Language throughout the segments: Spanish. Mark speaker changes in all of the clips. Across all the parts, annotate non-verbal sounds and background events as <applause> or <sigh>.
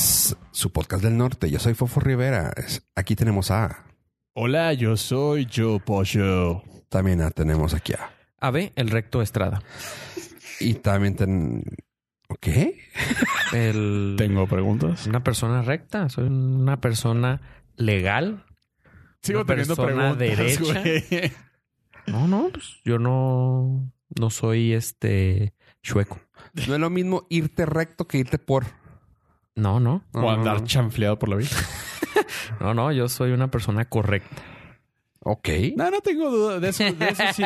Speaker 1: su podcast del norte. Yo soy Fofo Rivera. Es- Aquí tenemos a.
Speaker 2: Hola, yo soy Joe Pollo.
Speaker 1: También a, tenemos aquí a.
Speaker 3: AB, el recto Estrada.
Speaker 1: Y también ten. ¿Ok?
Speaker 3: El-
Speaker 2: ¿Tengo preguntas?
Speaker 3: Una persona recta, soy una persona legal.
Speaker 2: Sigo
Speaker 3: Una
Speaker 2: teniendo
Speaker 3: persona
Speaker 2: preguntas.
Speaker 3: derecha.
Speaker 2: güey.
Speaker 3: No, no, pues yo no, no soy este chueco.
Speaker 1: No es lo mismo irte recto que irte por.
Speaker 3: No, no,
Speaker 1: No,
Speaker 2: o
Speaker 1: no,
Speaker 2: andar
Speaker 1: no.
Speaker 2: chanfleado por la vida.
Speaker 3: no, no, yo soy una persona correcta.
Speaker 1: Ok.
Speaker 2: No, no tengo duda. De eso, de eso sí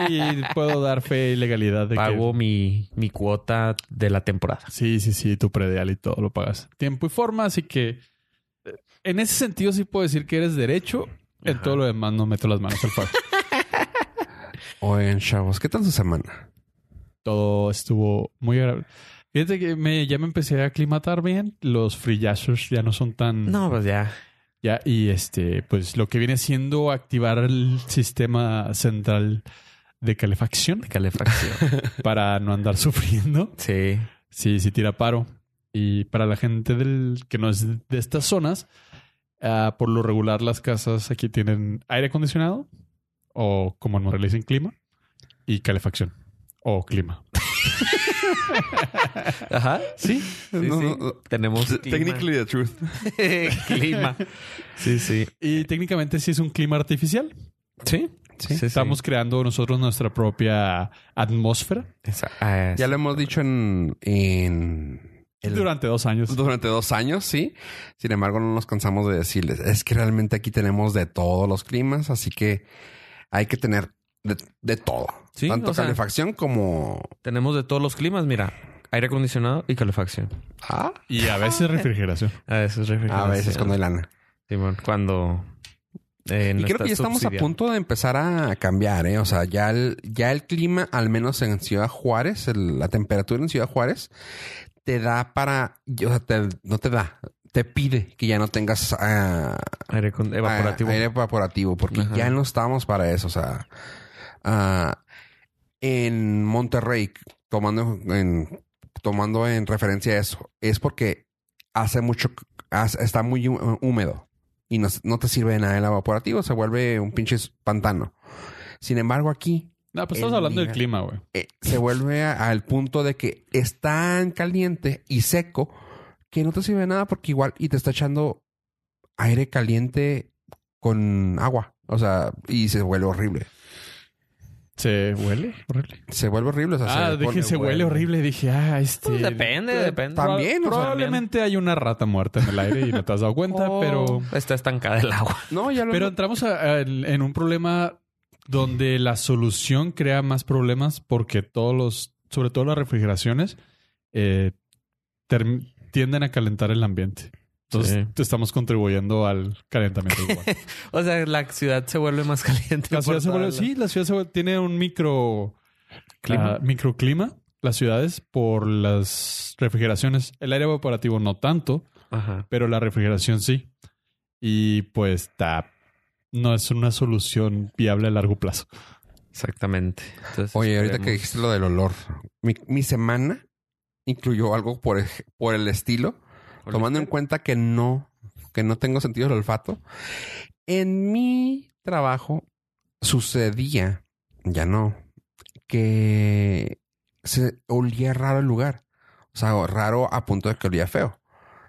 Speaker 2: puedo dar fe y legalidad. De que-
Speaker 3: Pago mi, mi cuota de la temporada.
Speaker 2: Sí, sí, sí, tu predial y todo lo pagas. Tiempo y forma, así que eh, en ese sentido sí puedo decir que eres derecho. En
Speaker 3: Ajá.
Speaker 2: todo lo demás no meto las manos al <laughs> fuego.
Speaker 1: Oigan, chavos, ¿qué tal su semana?
Speaker 2: todo estuvo muy agradable. Fíjate que me, ya me empecé a aclimatar bien. Los frillazos ya no son tan...
Speaker 3: No, pues ya.
Speaker 2: Ya, y este, pues lo que viene siendo activar el sistema central de calefacción
Speaker 3: De calefacción.
Speaker 2: para no andar <laughs> sufriendo.
Speaker 3: sí.
Speaker 2: Sí, sí tira paro. Y para la gente del, que no es de estas zonas, ah, por lo regular las casas aquí tienen aire acondicionado o como en Monterrey le dicen clima y calefacción o clima.
Speaker 3: Ajá.
Speaker 2: Sí,
Speaker 3: sí. Tenemos clima.
Speaker 1: Technically the truth.
Speaker 3: <laughs> clima. Sí, sí.
Speaker 2: y técnicamente sí es un clima artificial.
Speaker 3: Sí.
Speaker 1: Sí.
Speaker 2: Estamos creando nosotros nuestra propia atmósfera
Speaker 3: Esa- ah,
Speaker 1: Ya
Speaker 3: sí.
Speaker 1: lo hemos dicho en. en el-
Speaker 2: durante dos años.
Speaker 1: durante dos años, sí. Sin embargo, no nos cansamos de decirles. Es que realmente aquí tenemos de todos los climas, así que hay que tener de, de todo.
Speaker 3: Sí,
Speaker 1: Tanto
Speaker 3: o sea-
Speaker 1: calefacción como.
Speaker 3: Tenemos de todos los climas, mira. Aire acondicionado y calefacción.
Speaker 1: Ah,
Speaker 2: Y a veces refrigeración.
Speaker 3: A veces
Speaker 1: a veces cuando hay lana.
Speaker 3: Simón, cuando... eh, no
Speaker 1: y creo
Speaker 3: está
Speaker 1: que ya estamos a
Speaker 3: subsidiado.
Speaker 1: punto de empezar a cambiar, ¿eh? O sea, ya el, ya el clima, al menos en Ciudad Juárez, el- la temperatura en Ciudad Juárez, te da para... O sea, te- no te da, te pide que ya no tengas ah,
Speaker 3: Aire con- evaporativo.
Speaker 1: ah, aire evaporativo, porque
Speaker 3: Ajá.
Speaker 1: ya no estamos para eso. O sea, ah, en Monterrey, tomando en, tomando en referencia a eso, es porque hace mucho, hace- está muy hú- húmedo y no, no te sirve de nada el evaporativo, se vuelve un pinche pantano. Sin embargo, aquí
Speaker 2: No, pues
Speaker 1: El
Speaker 2: estamos hablando del
Speaker 1: nivel.
Speaker 2: clima, güey.
Speaker 1: eh, se vuelve a- al punto de que es tan caliente y seco que no te sirve de nada porque igual y te está echando aire caliente con agua. O sea, y se vuelve horrible.
Speaker 2: ¿Se huele horrible?
Speaker 1: Se vuelve horrible. o sea,
Speaker 2: Ah, dije,
Speaker 1: pone
Speaker 2: se huele
Speaker 1: bueno.
Speaker 2: horrible. Dije, ah, este...
Speaker 3: Pues depende,
Speaker 2: Eh,
Speaker 3: depende.
Speaker 2: proba-
Speaker 1: También, o sea,
Speaker 2: probablemente hay una rata muerta en el aire y no te has dado cuenta,
Speaker 3: Oh,
Speaker 2: pero...
Speaker 3: Está estancada el agua.
Speaker 1: No, ya lo
Speaker 2: Pero entramos a- a- en en un problema donde la solución crea más problemas porque todos los... Sobre todo las refrigeraciones eh, term- tienden a calentar el ambiente. Entonces
Speaker 3: Sí.
Speaker 2: te estamos contribuyendo al calentamiento global.
Speaker 3: O sea, la ciudad se vuelve más <laughs> caliente.
Speaker 2: La
Speaker 3: por
Speaker 2: ciudad se
Speaker 3: toda
Speaker 2: vuelve,
Speaker 3: la-
Speaker 2: sí, la ciudad se vuelve- tiene un micro
Speaker 3: Clima.
Speaker 2: ah, microclima, las ciudades, por las refrigeraciones. El aire evaporativo no tanto,
Speaker 3: Ajá.
Speaker 2: pero la refrigeración sí. Y pues está. No es una solución viable a largo plazo.
Speaker 3: Exactamente. Entonces,
Speaker 1: Oye, ahorita que
Speaker 3: esperemos.
Speaker 1: dijiste lo del olor, mi, mi semana incluyó algo por, ej- por el estilo, tomando en cuenta que no, que no tengo sentido del olfato. En mi trabajo sucedía, ya no, que se olía raro el lugar. O sea, raro a punto de que olía feo.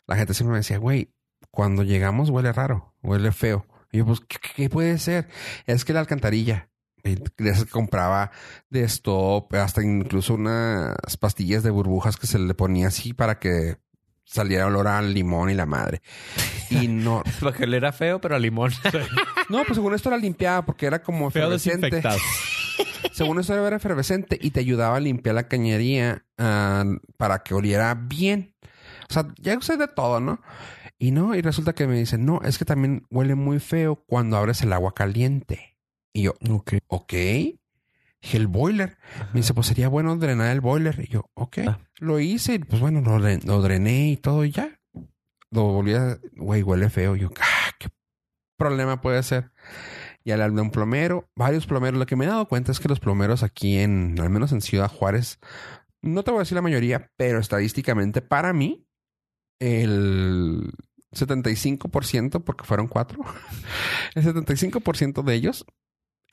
Speaker 1: La gente siempre me decía, güey, cuando llegamos huele raro, huele feo. Y yo, pues, ¿qué, qué puede ser? Es que la alcantarilla. Y les compraba de stop, hasta incluso unas pastillas de burbujas que se le ponía así para que saliera olor al limón y la madre. Y no,
Speaker 3: <laughs> Para que era feo, pero a limón.
Speaker 1: no, pues según esto era limpiada porque era como
Speaker 2: Feo
Speaker 1: efervescente.
Speaker 3: <laughs>
Speaker 2: desinfectado.
Speaker 1: Según eso era efervescente y te ayudaba a limpiar la cañería ah, para que oliera bien. O sea, ya usé de todo, ¿no? Y no, y resulta que me dicen, no, es que también huele muy feo cuando abres el agua caliente. Y yo,
Speaker 3: ok.
Speaker 1: ok. Dije, el boiler. Me dice, pues sería bueno drenar el boiler. Y yo, ok.
Speaker 3: Ah.
Speaker 1: Lo hice, y, pues bueno, lo, dre- lo drené y todo y ya. Lo volví a, güey, huele feo. Y yo, ah, qué problema puede ser. Ya le hablé a un plomero, varios plomeros. Lo que me he dado cuenta es que los plomeros aquí en, al menos en Ciudad Juárez, no te voy a decir la mayoría, pero estadísticamente para mí, el, 75%, porque fueron cuatro, <laughs> el 75% de ellos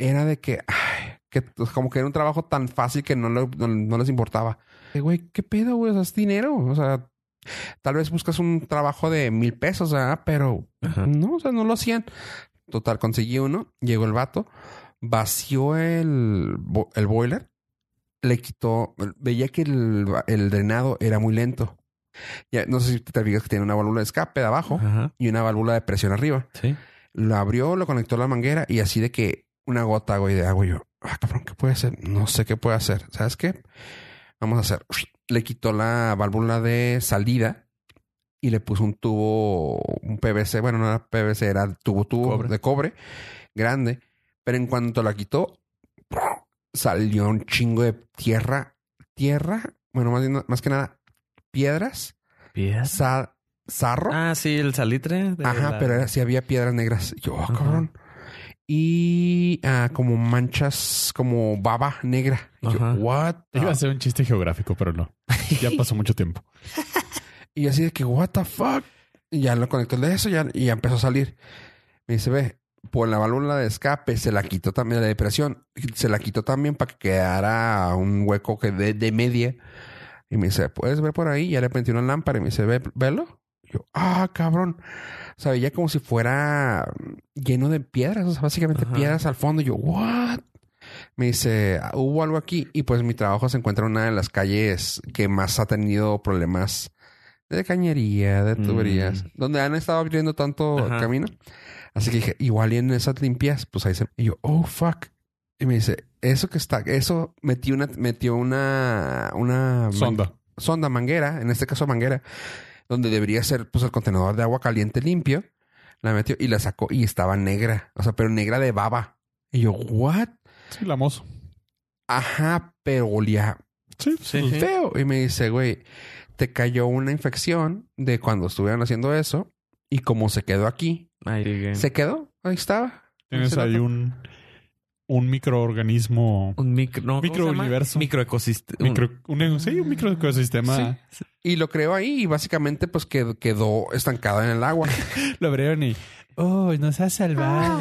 Speaker 1: era de que, ay, que pues, como que era un trabajo tan fácil que no, lo- no- no les importaba. Eh, güey, ¿qué pedo, güey? O sea, es dinero. O sea, tal vez buscas un trabajo de mil pesos, ¿verdad? Pero
Speaker 3: Ajá.
Speaker 1: no, o sea, no lo hacían. Total, conseguí uno, llegó el vato, vació el, bo- el boiler, le quitó, veía que el, el drenado era muy lento. Ya, no sé si te fijas que tiene una válvula de escape de abajo
Speaker 3: Ajá.
Speaker 1: y una válvula de presión arriba.
Speaker 3: Sí.
Speaker 1: Lo abrió, lo conectó a la manguera y así de que una gota, güey, de agua. Y Yo, ah, cabrón, ¿qué puede hacer? No sé qué puede hacer. ¿Sabes qué? Vamos a hacer. Le quitó la válvula de salida y le puso un tubo, un PVC. Bueno, no era PVC, era tubo, tubo
Speaker 3: Cobre.
Speaker 1: de cobre grande. Pero en cuanto la quitó, salió un chingo de tierra, tierra. Bueno, más, bien- más que nada, piedras,
Speaker 3: Pies.
Speaker 1: sa- sarro.
Speaker 3: Ah, sí, el salitre. de
Speaker 1: Ajá,
Speaker 3: la-
Speaker 1: pero era, sí había piedras negras. Yo, ah,
Speaker 3: Ajá.
Speaker 1: cabrón. Y ah, como manchas, como baba negra. Y yo,
Speaker 3: Ajá.
Speaker 1: what? the-
Speaker 3: Ah.
Speaker 2: Iba a ser un chiste geográfico, pero no. Ya pasó mucho tiempo.
Speaker 1: Y así de que, what the fuck. Y ya lo conectó el de eso ya, y ya empezó a salir. Me dice, ve, por la válvula de escape se la quitó también, la depresión, se la quitó también para que quedara un hueco que de, de media. Y me dice, puedes ver por ahí. Y ya le prendí una lámpara y me dice, ve, velo. Y yo, ah, cabrón. O sea, veía como si fuera lleno de piedras, o sea, básicamente
Speaker 3: Ajá.
Speaker 1: piedras al fondo. Y yo, what? Me dice, "Ah, hubo algo aquí. Y pues mi trabajo se encuentra en una de las calles que más ha tenido problemas de cañería, de
Speaker 3: Mm.
Speaker 1: tuberías, donde han estado abriendo tanto
Speaker 3: Ajá.
Speaker 1: camino. Así que dije, igual y en esas limpias, pues ahí se... Y yo, oh, fuck. Y me dice, eso que está, eso metió una, metió una, una
Speaker 2: Sonda.
Speaker 1: sonda, manguera, en este caso manguera, donde debería ser pues el contenedor de agua caliente limpio. La metió y la sacó y estaba negra. O sea, pero negra de baba. Y yo, what?
Speaker 2: Sí, la mozo.
Speaker 1: Ajá, pero olía
Speaker 2: Sí,
Speaker 3: Sí, sí.
Speaker 1: feo. Y me dice, güey, te cayó una infección de cuando estuvieron haciendo eso. Y como se quedó aquí,
Speaker 3: Ahí sigue.
Speaker 1: se quedó. Ahí estaba.
Speaker 2: Tienes
Speaker 1: Ese
Speaker 2: ahí
Speaker 1: dato.
Speaker 2: un, un microorganismo.
Speaker 3: Un micro... No, ¿cómo se llama?
Speaker 2: Microuniverso.
Speaker 3: Microecosistema.
Speaker 2: micro- un, sí, un microecosistema.
Speaker 1: Y lo creó ahí y básicamente pues qued- quedó estancado en el agua.
Speaker 2: <laughs> Lo abrieron y. ¡Oh, nos ha salvado!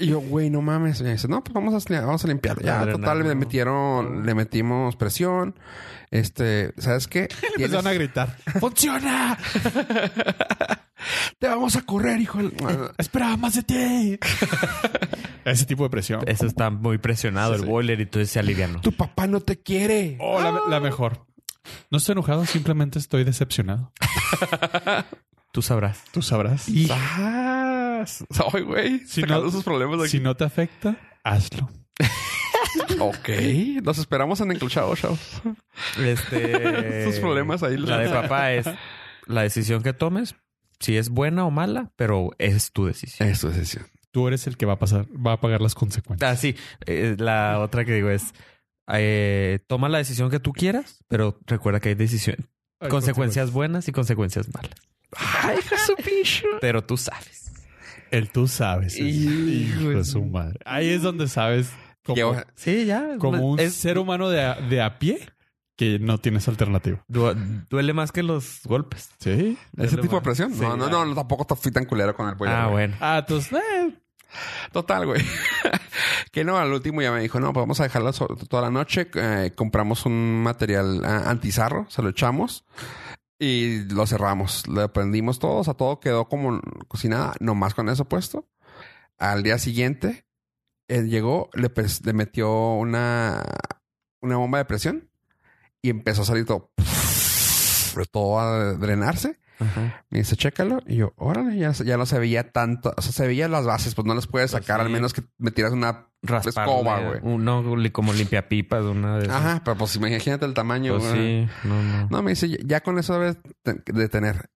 Speaker 1: Y yo, güey, no mames. Y me dice, no, pues vamos a, vamos a limpiarlo. Ya,
Speaker 3: Adrenalina.
Speaker 1: total, le metieron, le metimos presión. Este, ¿sabes
Speaker 2: <laughs>
Speaker 1: qué? Tienes-
Speaker 2: Empezaron a gritar. ¡Funciona!
Speaker 1: Te vamos a correr, hijo. del-
Speaker 2: ¡Espera, más de ti! Ese tipo de presión.
Speaker 3: Eso está muy presionado, el boiler, y entonces se alivianó.
Speaker 1: Tu papá no te quiere.
Speaker 2: Oh, la, la mejor. No estoy enojado, simplemente estoy decepcionado.
Speaker 3: Tú sabrás.
Speaker 2: Tú sabrás.
Speaker 1: ¡Sas! Ay, güey.
Speaker 2: Si
Speaker 1: sacando
Speaker 2: no-
Speaker 1: sus problemas aquí.
Speaker 2: Si no te afecta, hazlo.
Speaker 1: Ok, los esperamos en Encluchado Show.
Speaker 3: Este...
Speaker 1: Estos problemas ahí los-
Speaker 3: La de papá es la decisión que tomes, si es buena o mala, pero es tu decisión.
Speaker 1: Eso es decisión.
Speaker 2: Tú eres el que va a pasar, va a pagar las consecuencias.
Speaker 3: Ah, sí. eh, la otra que digo es, eh, toma la decisión que tú quieras, pero recuerda que hay decisión,
Speaker 2: Ay,
Speaker 3: consecuencias buenas y consecuencias malas.
Speaker 1: Ay, su pinche.
Speaker 3: Pero tú sabes.
Speaker 2: El tú sabes. es-
Speaker 3: Hijo
Speaker 2: Hijo
Speaker 3: de
Speaker 2: de su madre. Ahí es donde sabes como,
Speaker 3: Sí, ya.
Speaker 2: como un
Speaker 3: es-
Speaker 2: ser humano de a, de a pie que no tienes alternativa.
Speaker 3: du- duele más que los golpes.
Speaker 2: Sí.
Speaker 1: Ese tipo de
Speaker 3: más.
Speaker 1: presión.
Speaker 3: Sí,
Speaker 1: no, no,
Speaker 3: ya.
Speaker 1: no, tampoco fui tan culero con el pollo.
Speaker 3: Ah,
Speaker 1: güey.
Speaker 3: bueno.
Speaker 2: Ah, entonces, eh,
Speaker 1: Total, güey. <laughs> que no, al último ya me dijo, no, pues vamos a dejarlo so- toda la noche. Eh, compramos un material ah, antizarro, se lo echamos y lo cerramos. Lo prendimos todo, o sea, todo quedó como cocinada, nomás con eso puesto. Al día siguiente, él llegó, le, pres- le metió una, una bomba de presión y empezó a salir todo. Todo a drenarse.
Speaker 3: Ajá.
Speaker 1: Me dice, chécalo. Y yo, órale, ya, ya no se veía tanto. O sea, se veían las bases, pues no las puedes
Speaker 3: Pues
Speaker 1: sacar, al
Speaker 3: sí.
Speaker 1: menos que me tiras una.
Speaker 3: Rasparle
Speaker 1: Escoba, Pues, güey.
Speaker 3: Uno li- como limpia pipas, una de esas.
Speaker 1: Ajá, pero pues imagínate el tamaño.
Speaker 3: Pues
Speaker 1: güey.
Speaker 3: sí, no, no.
Speaker 1: No, me dice, ya- ya con eso debes te- de tener.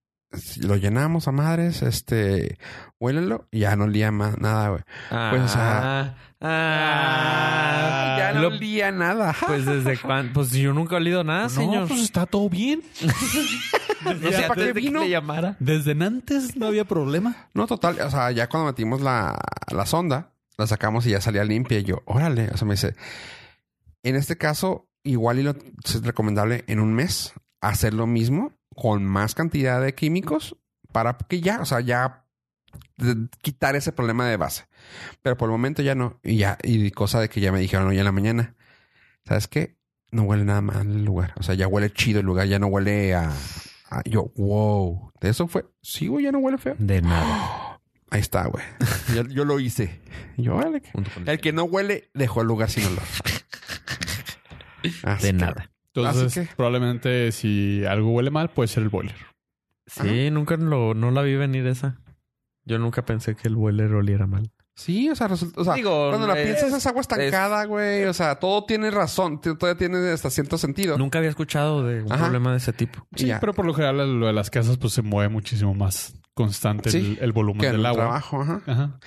Speaker 1: Lo llenamos a madres, este, huélelo, y ya no olía más nada, güey. Pues, o sea-
Speaker 3: Ah, ah,
Speaker 1: ya no
Speaker 3: lo-
Speaker 1: olía nada.
Speaker 3: Pues desde cuándo, pues yo nunca he olido nada,
Speaker 2: no,
Speaker 3: señor.
Speaker 2: pues está todo bien.
Speaker 1: no sé para qué vino.
Speaker 3: llamara.
Speaker 2: Desde antes no había problema.
Speaker 1: No, total. O sea, ya cuando metimos la, la sonda, la sacamos y ya salía limpia. Y yo, órale. O sea, me dice, en este caso, igual y lo es recomendable en un mes hacer lo mismo con más cantidad de químicos para que ya, o sea, ya de- quitar ese problema de base. Pero por el momento ya no. Y ya, y cosa de que ya me dijeron hoy en la mañana. ¿Sabes qué? No huele nada mal el lugar. O sea, ya huele chido el lugar, ya no huele a. a- yo, wow. De eso fue. Sí, güey, ya no huele feo.
Speaker 3: De nada.
Speaker 1: Ahí está, güey. <laughs> yo, yo lo hice. Y Yo, vale.
Speaker 3: Junto con
Speaker 1: El que no huele dejó el lugar sin olor. Así
Speaker 3: De
Speaker 1: que-
Speaker 3: nada.
Speaker 1: Así
Speaker 2: Entonces,
Speaker 1: que-
Speaker 2: probablemente si algo huele mal, puede ser el boiler.
Speaker 1: Ajá.
Speaker 3: Sí, nunca lo, no la vi venir esa. Yo nunca pensé que el boiler oliera mal.
Speaker 1: Sí, o sea, resulta, o sea
Speaker 3: Digo,
Speaker 1: cuando la
Speaker 2: eh,
Speaker 3: es-
Speaker 1: piensas es agua estancada, güey. O sea, todo tiene razón. t- Todavía tiene hasta cierto sentido.
Speaker 3: Nunca había escuchado de un
Speaker 1: Ajá.
Speaker 3: problema de ese tipo.
Speaker 1: Y
Speaker 2: Sí,
Speaker 1: ya.
Speaker 2: pero por lo general lo de las casas pues se mueve muchísimo más constante
Speaker 1: Sí,
Speaker 2: el, el volumen
Speaker 1: que en
Speaker 2: del
Speaker 1: el
Speaker 2: agua.
Speaker 1: trabajo, ajá.
Speaker 2: Ajá.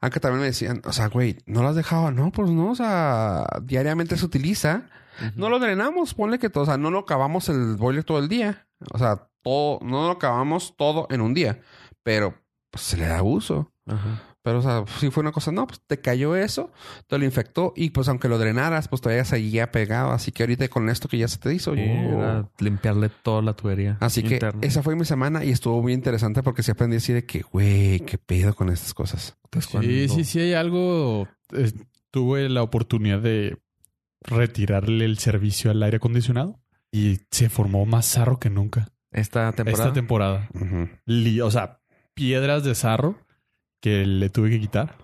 Speaker 1: Aunque también me decían, o sea, güey, ¿no lo has dejado? No, pues no, o sea, diariamente se utiliza. No lo drenamos, ponle que todo, o sea, no lo cavamos el boiler todo el día. O sea, todo, no lo cavamos todo en un día, pero pues, se le da uso.
Speaker 3: Ajá.
Speaker 1: Pero, o sea, si fue una cosa, no, pues te cayó eso, te lo infectó y pues aunque lo drenaras, pues todavía seguía pegado. Así que ahorita con esto que ya se te hizo,
Speaker 3: Sí,
Speaker 1: oh.
Speaker 3: era limpiarle toda la tubería.
Speaker 1: Así que
Speaker 3: interna.
Speaker 1: esa fue mi semana y estuvo muy interesante porque sí aprendí así de que, güey, qué pedo con estas cosas.
Speaker 3: Pues cuando-
Speaker 2: Sí, sí, sí hay algo. eh, tuve la oportunidad de retirarle el servicio al aire acondicionado y se formó más sarro que nunca
Speaker 3: Esta temporada.
Speaker 2: esta temporada.
Speaker 1: Ujú.
Speaker 2: Li- o sea, piedras de sarro que le tuve que quitar.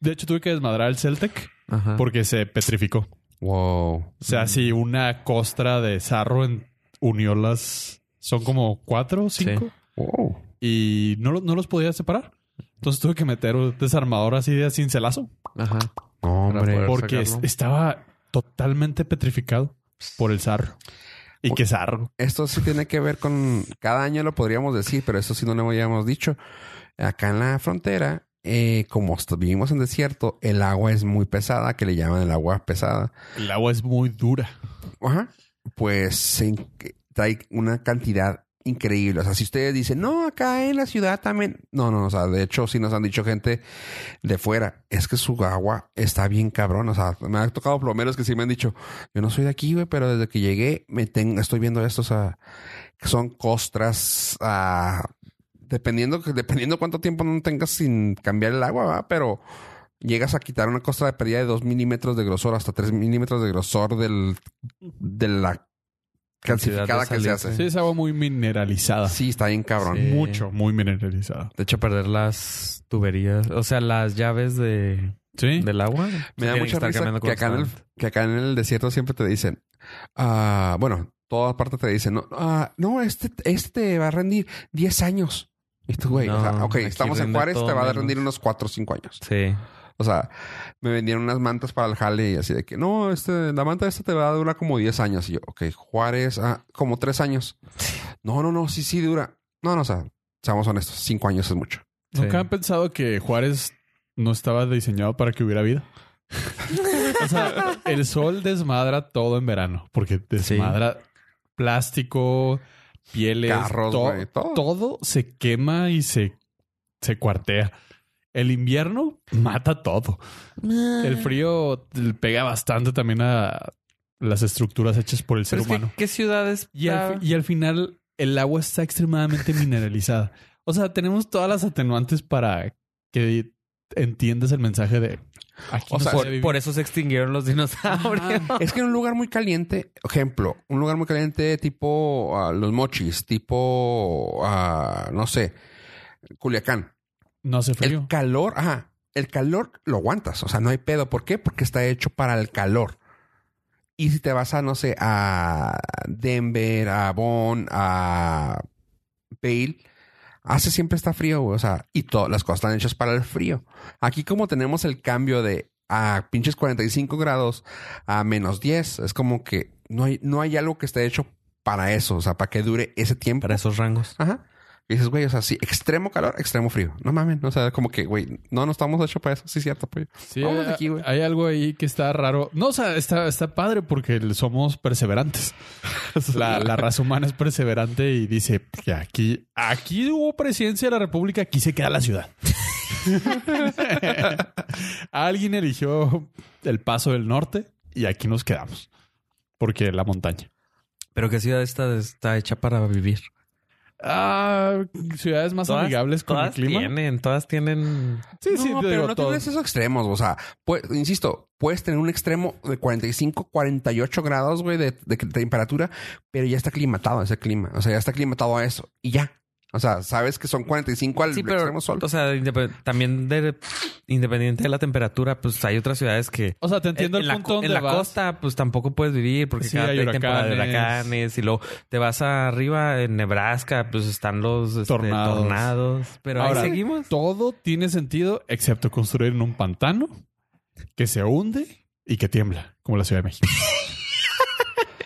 Speaker 2: De hecho, tuve que desmadrar el Celtec
Speaker 3: Ajá.
Speaker 2: porque se petrificó.
Speaker 1: Wow.
Speaker 2: O sea,
Speaker 3: Ah. Mm.
Speaker 2: si una costra de sarro en- unió las... Son como cuatro o cinco.
Speaker 1: Wow.
Speaker 2: Y no, lo- no los podía separar. Entonces tuve que meter un desarmador así de cincelazo.
Speaker 3: Ajá.
Speaker 1: No,
Speaker 3: Para
Speaker 1: hombre.
Speaker 3: poder-
Speaker 2: Porque es-
Speaker 3: sacarlo.
Speaker 2: estaba totalmente petrificado por el sarro. Y que sarro.
Speaker 1: Esto sí tiene que ver con... Cada año lo podríamos decir, pero esto sí no lo habíamos dicho. Acá en la frontera, eh, como est- vivimos en desierto, el agua es muy pesada, que le llaman el agua pesada.
Speaker 2: El agua es muy dura.
Speaker 1: Ajá. Pues se in- trae una cantidad increíble. O sea, si ustedes dicen, no, acá en la ciudad también. No, no, o sea, de hecho, sí nos han dicho gente de fuera, es que su agua está bien cabrón. O sea, me ha tocado plomeros que sí me han dicho, yo no soy de aquí, güey, pero desde que llegué me tengo, estoy viendo esto, o sea, que son costras, ah, dependiendo, dependiendo cuánto tiempo no tengas sin cambiar el agua, ¿verdad? pero llegas a quitar una costra de pérdida de 2 milímetros de grosor hasta 3 milímetros de grosor del, de la
Speaker 3: Cantidad de
Speaker 1: calcificada que se
Speaker 3: salitre.
Speaker 1: hace.
Speaker 2: Sí,
Speaker 1: Sí,
Speaker 2: es agua muy mineralizada.
Speaker 1: está bien cabrón.
Speaker 3: Sí.
Speaker 2: Mucho, muy mineralizada.
Speaker 3: De hecho, perder las tuberías, o sea, las llaves de,
Speaker 2: Sí.
Speaker 3: del agua.
Speaker 1: Me da
Speaker 3: Tienen
Speaker 1: mucha
Speaker 3: estar
Speaker 1: risa
Speaker 3: cambiando
Speaker 1: que acá, en el,
Speaker 3: constante.
Speaker 1: que acá en el desierto siempre te dicen, ah, bueno, todas partes te dicen, no, ah, no este, este va a rendir 10 años. Y tú, güey, o sea,
Speaker 3: No,
Speaker 1: ok,
Speaker 3: aquí
Speaker 1: estamos en
Speaker 3: rinde
Speaker 1: Juárez,
Speaker 3: todo
Speaker 1: te va a
Speaker 3: menos.
Speaker 1: rendir unos 4 o 5 años.
Speaker 3: Sí.
Speaker 1: O sea, me vendieron unas mantas para el jale y así de que, no, este, la manta esta te va a durar como 10 años. Y yo, ok, Juárez, ah, como 3 años. No, no, no, sí, sí dura. No, no, o sea, seamos honestos, 5 años es mucho.
Speaker 2: ¿Nunca
Speaker 3: Sí.
Speaker 2: han pensado que Juárez no estaba diseñado para que hubiera vida? o sea, el sol desmadra todo en verano, porque desmadra plástico, pieles,
Speaker 1: Carros,
Speaker 2: to-
Speaker 1: güey, todo.
Speaker 2: todo se quema y se, se cuartea. El invierno mata todo. El frío le pega bastante también a las estructuras hechas por el ser
Speaker 3: Pero es que,
Speaker 2: humano.
Speaker 3: ¿qué ciudades?
Speaker 2: Y al, fi- y al final, el agua está extremadamente mineralizada. O sea, tenemos todas las atenuantes para que entiendas el mensaje de. Aquí
Speaker 1: O
Speaker 2: no
Speaker 1: sea,
Speaker 2: se
Speaker 1: por-
Speaker 2: debe vivir.
Speaker 3: Por eso se extinguieron los dinosaurios.
Speaker 1: Es que en un lugar muy caliente, ejemplo, un lugar muy caliente tipo ah, los mochis, tipo, ah, no sé, Culiacán.
Speaker 2: no hace
Speaker 1: El
Speaker 2: frío.
Speaker 1: calor, ajá, el calor lo aguantas, o sea, no hay pedo. ¿Por qué? Porque está hecho para el calor. Y si te vas a, no sé, a Denver, a Bonn, a Bale, hace siempre está frío, güey, o sea, y todas las cosas están hechas para el frío. Aquí como tenemos el cambio de a pinches 45 grados a menos 10, es como que no hay, no hay algo que esté hecho para eso, o sea, para que dure ese tiempo.
Speaker 3: Para esos rangos.
Speaker 1: Ajá. Y dices, güey, o sea, sí, extremo calor, extremo frío. No mames, o sea, como que, güey, no, no estamos hechos para eso. Sí, cierto, pues.
Speaker 2: Sí,
Speaker 1: vámonos de aquí,
Speaker 2: hay,
Speaker 1: güey.
Speaker 2: hay algo ahí que está raro. No, o sea, está, está padre porque somos
Speaker 1: <laughs>
Speaker 2: perseverantes. La, la raza humana es perseverante y dice que aquí, aquí hubo presidencia de la república, aquí se queda la ciudad. <laughs> Alguien eligió el paso del norte y aquí nos quedamos. Porque la montaña.
Speaker 3: Pero qué ciudad está, está hecha para vivir.
Speaker 2: Ah, ciudades más
Speaker 3: Todas-
Speaker 2: amigables con el
Speaker 3: Todas
Speaker 2: clima.
Speaker 3: tienen, todas tienen.
Speaker 2: Sí, sí,
Speaker 1: no,
Speaker 2: te
Speaker 1: pero
Speaker 2: digo,
Speaker 1: no
Speaker 2: todo.
Speaker 1: tienes esos extremos. O sea, pues, insisto, puedes tener un extremo de 45, 48 grados, güey, de, de temperatura, pero ya está aclimatado a ese clima. O sea, ya está aclimatado a eso y ya. O sea, sabes que son 45 al
Speaker 3: Sí, pero
Speaker 1: extremo sol.
Speaker 3: o sea, independ- también de- independiente de la temperatura, pues hay otras ciudades que
Speaker 2: O sea, te entiendo
Speaker 3: Eh, en
Speaker 2: el
Speaker 3: la,
Speaker 2: punto
Speaker 3: co-
Speaker 2: donde
Speaker 3: en la
Speaker 2: vas.
Speaker 3: costa, pues tampoco puedes vivir porque
Speaker 2: Sí,
Speaker 3: cada
Speaker 2: hay
Speaker 3: hay temporada de
Speaker 2: huracanes.
Speaker 3: huracanes y luego te vas arriba en Nebraska, pues están los este,
Speaker 2: Tornados.
Speaker 3: tornados. Pero
Speaker 2: Ahora,
Speaker 3: ahí seguimos.
Speaker 2: Todo tiene sentido excepto construir en un pantano que se hunde y que tiembla, como la Ciudad de México.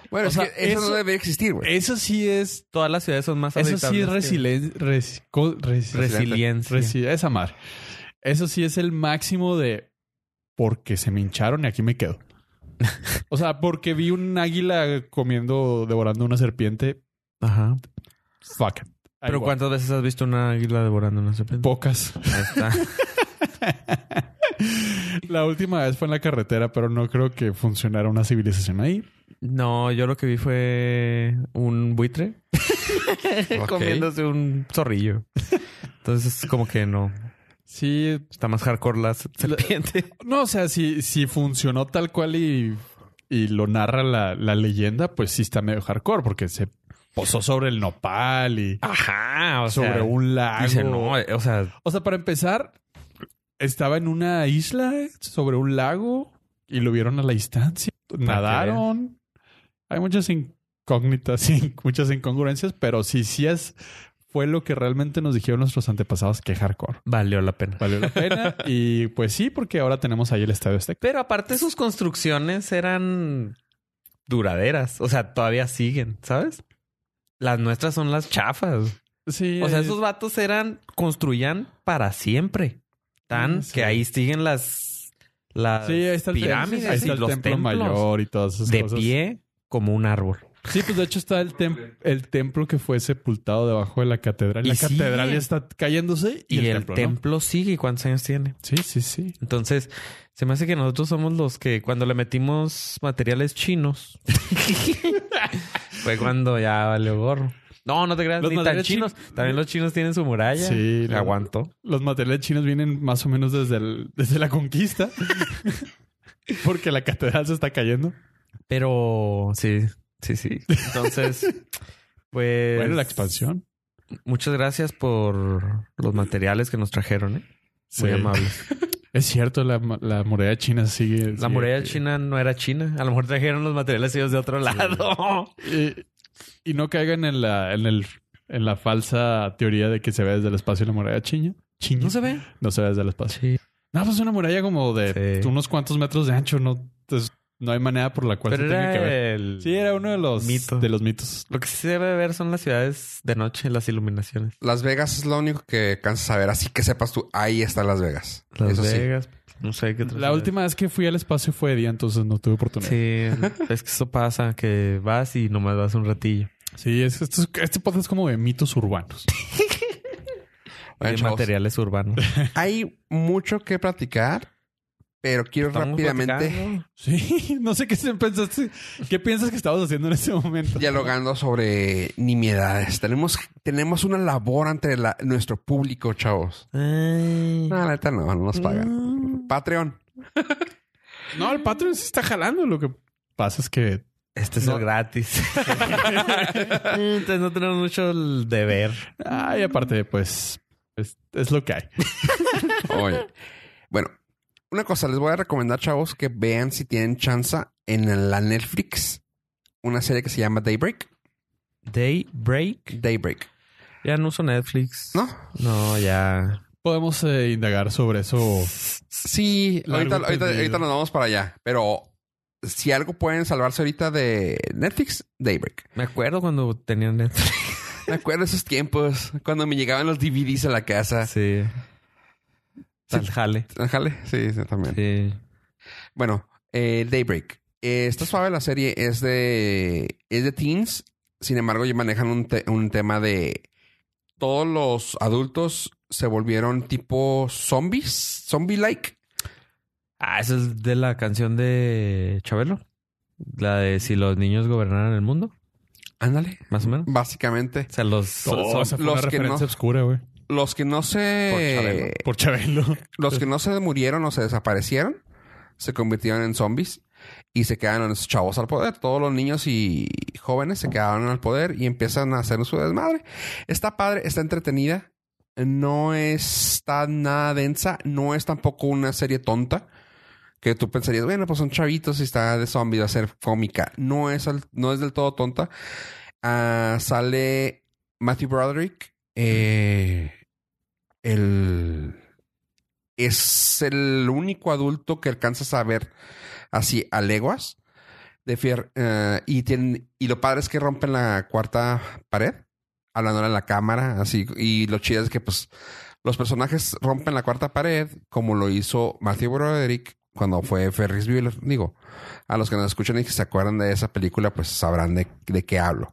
Speaker 1: bueno,
Speaker 2: o
Speaker 1: es
Speaker 2: sea,
Speaker 1: que eso,
Speaker 2: eso-
Speaker 1: no debe existir, güey.
Speaker 2: Eso sí es.
Speaker 3: Todas las ciudades son más
Speaker 2: Eso sí es
Speaker 3: adaptables que-
Speaker 2: resilien- res- co- res-
Speaker 3: resiliencia.
Speaker 2: resi- Esa madre. Eso sí es el máximo de porque se me hincharon y aquí me quedo. O sea, porque vi un águila comiendo, devorando una serpiente.
Speaker 3: Ajá.
Speaker 2: Fuck. it. Ahí
Speaker 3: Pero
Speaker 2: voy.
Speaker 3: ¿cuántas veces has visto una águila devorando una serpiente?
Speaker 2: Pocas. <laughs>
Speaker 3: Ahí está.
Speaker 2: La última vez fue en la carretera, pero no creo que funcionara una civilización ahí.
Speaker 3: No, yo lo que vi fue un buitre
Speaker 1: Ok.
Speaker 3: comiéndose un zorrillo. Entonces, como que no.
Speaker 2: Sí.
Speaker 3: Está más hardcore la se- serpiente.
Speaker 2: No, o sea, si, si funcionó tal cual y, y lo narra la, la leyenda, pues sí está medio hardcore porque se posó sobre el nopal y
Speaker 3: Ajá. Ah, O
Speaker 2: sobre
Speaker 3: sea,
Speaker 2: un lago.
Speaker 3: dice, no, eh, o sea,
Speaker 2: O sea, para empezar, estaba en una isla eh, sobre un lago y lo vieron a la distancia. Nadaron. Hay muchas incógnitas, y <laughs> muchas incongruencias, pero sí, sí es, fue lo que realmente nos dijeron nuestros antepasados que hardcore.
Speaker 3: valió la pena.
Speaker 2: Valió la
Speaker 3: <laughs>
Speaker 2: pena. y pues sí, porque ahora tenemos ahí el estadio Azteca.
Speaker 3: Pero aparte sus construcciones eran duraderas. O sea, todavía siguen, ¿sabes? Las nuestras son las chafas.
Speaker 2: Sí.
Speaker 3: O sea,
Speaker 2: eh,
Speaker 3: esos vatos eran, construían para siempre. Tan
Speaker 2: Sí.
Speaker 3: que ahí siguen las, las
Speaker 2: Sí, ahí está el,
Speaker 3: pirámides
Speaker 2: ahí está
Speaker 3: y
Speaker 2: el
Speaker 3: los
Speaker 2: templo
Speaker 3: templos
Speaker 2: mayor y todas esas
Speaker 3: de
Speaker 2: cosas.
Speaker 3: pie como un árbol.
Speaker 2: Sí, pues de hecho está el, tem- el templo que fue sepultado debajo de la catedral.
Speaker 3: Y
Speaker 2: la
Speaker 3: sí.
Speaker 2: catedral ya está cayéndose y,
Speaker 3: Y, el, templo,
Speaker 2: ¿no?
Speaker 3: sigue. ¿Cuántos años tiene?
Speaker 2: Sí, sí, sí.
Speaker 3: Entonces, se me hace que nosotros somos los que cuando le metimos
Speaker 2: <laughs>
Speaker 3: materiales chinos fue cuando ya valió gorro. No, no te creas,
Speaker 2: Los
Speaker 3: ni tan
Speaker 2: materiales
Speaker 3: chinos. También los chinos tienen su muralla.
Speaker 2: Sí, la-
Speaker 3: aguanto.
Speaker 2: Los materiales chinos vienen más o menos desde, el- desde la
Speaker 3: <laughs>
Speaker 2: conquista. Porque la catedral se está cayendo.
Speaker 3: Pero sí, sí, sí.
Speaker 2: <laughs>
Speaker 3: Entonces, pues.
Speaker 2: Bueno, la expansión.
Speaker 3: Muchas gracias por los materiales que nos trajeron, ¿eh? Muy
Speaker 2: Sí.
Speaker 3: amables.
Speaker 2: Es cierto, la, la muralla china sigue.
Speaker 3: La muralla china no era china. A lo mejor trajeron los materiales ellos de otro lado. <laughs>
Speaker 2: Y, y no caigan en la, en, el, en la falsa teoría de que se ve desde el espacio la muralla china. China.
Speaker 3: ¿No se ve?
Speaker 2: No se ve desde el espacio.
Speaker 3: Sí.
Speaker 2: No, pues una muralla como de
Speaker 3: Sí.
Speaker 2: unos cuantos metros de ancho. No, entonces, no hay manera por la cual
Speaker 3: Pero
Speaker 2: se tenga que ver.
Speaker 3: era el...
Speaker 2: Sí, era uno de los,
Speaker 3: Mito.
Speaker 2: de los mitos.
Speaker 3: Lo que sí se debe ver son las ciudades de noche, las iluminaciones.
Speaker 1: Las Vegas es lo único que alcanzas a ver. Así que sepas tú, ahí está Las Vegas.
Speaker 3: Las
Speaker 1: eso sí.
Speaker 3: Vegas, no sé qué otras
Speaker 2: La
Speaker 3: ciudades.
Speaker 2: última vez que fui al espacio fue de día, entonces no tuve oportunidad.
Speaker 3: Sí, es que eso pasa, que vas y nomás vas un ratillo.
Speaker 2: Sí, es, esto es- este podcast es como de mitos urbanos.
Speaker 1: Bueno,
Speaker 3: Hay
Speaker 1: chavos.
Speaker 3: materiales urbanos.
Speaker 1: <laughs> Hay mucho que platicar, pero quiero
Speaker 3: Estamos
Speaker 1: rápidamente
Speaker 3: platicando.
Speaker 2: <laughs> Sí, no sé qué se- pensaste. ¿Qué piensas que estabas haciendo en ese momento?
Speaker 1: dialogando sobre nimiedades. Tenemos, tenemos una labor ante la- nuestro público, chavos.
Speaker 3: Ay.
Speaker 1: No, la neta no, no nos pagan.
Speaker 3: Mm.
Speaker 1: Patreon.
Speaker 2: No, el Patreon sí está jalando. Lo que pasa es que
Speaker 3: Este es
Speaker 2: No.
Speaker 1: <laughs>
Speaker 3: el gratis. Entonces no tenemos mucho el deber.
Speaker 2: Ay, Ah, aparte, pues es, es lo que hay.
Speaker 1: Oye. Bueno, una cosa, les voy a recomendar, chavos, que vean si tienen chance en la Netflix una serie que se llama Daybreak.
Speaker 3: Daybreak.
Speaker 1: Daybreak.
Speaker 3: Ya no uso Netflix.
Speaker 1: ¿No?
Speaker 3: No, ya.
Speaker 2: Podemos eh, indagar sobre eso.
Speaker 1: Sí,
Speaker 2: Largo
Speaker 1: ahorita, ahorita,
Speaker 2: entendido.
Speaker 1: ahorita nos vamos para allá. Pero si algo pueden salvarse ahorita de Netflix, Daybreak.
Speaker 3: Me acuerdo cuando tenía Netflix.
Speaker 1: Me acuerdo esos tiempos cuando me llegaban los DVDs a la casa.
Speaker 3: Sí. Tal jale.
Speaker 1: Ájale, sí, sí, también.
Speaker 3: Sí.
Speaker 1: Bueno, eh, Daybreak. Eh, está suave la serie, es de, es de teens. Sin embargo, ya manejan un, te- un tema de todos los adultos se volvieron tipo zombies, zombie-like.
Speaker 3: Ah, esa es de la canción de Chabelo. La de si los niños gobernaran el mundo.
Speaker 1: Ándale.
Speaker 3: Más o menos.
Speaker 1: Básicamente,
Speaker 3: O sea, los...
Speaker 1: Todo.
Speaker 2: Oh,
Speaker 1: son
Speaker 2: esa fue
Speaker 1: los
Speaker 2: una
Speaker 1: que
Speaker 2: referencia
Speaker 1: no-
Speaker 2: oscura, güey.
Speaker 1: los que no se...
Speaker 2: Por Chabelo.
Speaker 1: Los que no se murieron o se desaparecieron, se convirtieron en zombies y se quedaron los chavos al poder. Todos los niños y jóvenes se quedaron al poder y empiezan a hacer su desmadre. Está padre, está entretenida. No está nada densa. No es tampoco una serie tonta. Que tú pensarías, bueno, pues son chavitos y está de zombies, va a ser cómica. No es, al- no es del todo tonta. Ah, sale Matthew Broderick. eh, el es el único adulto que alcanzas a ver así a leguas de fier eh, y tienen y lo padre es que rompen la cuarta pared hablándole a la cámara así y lo chido es que pues los personajes rompen la cuarta pared como lo hizo Matthew Broderick cuando fue Ferris Bueller digo a los que nos escuchan y que se acuerdan de esa película pues sabrán de, de qué hablo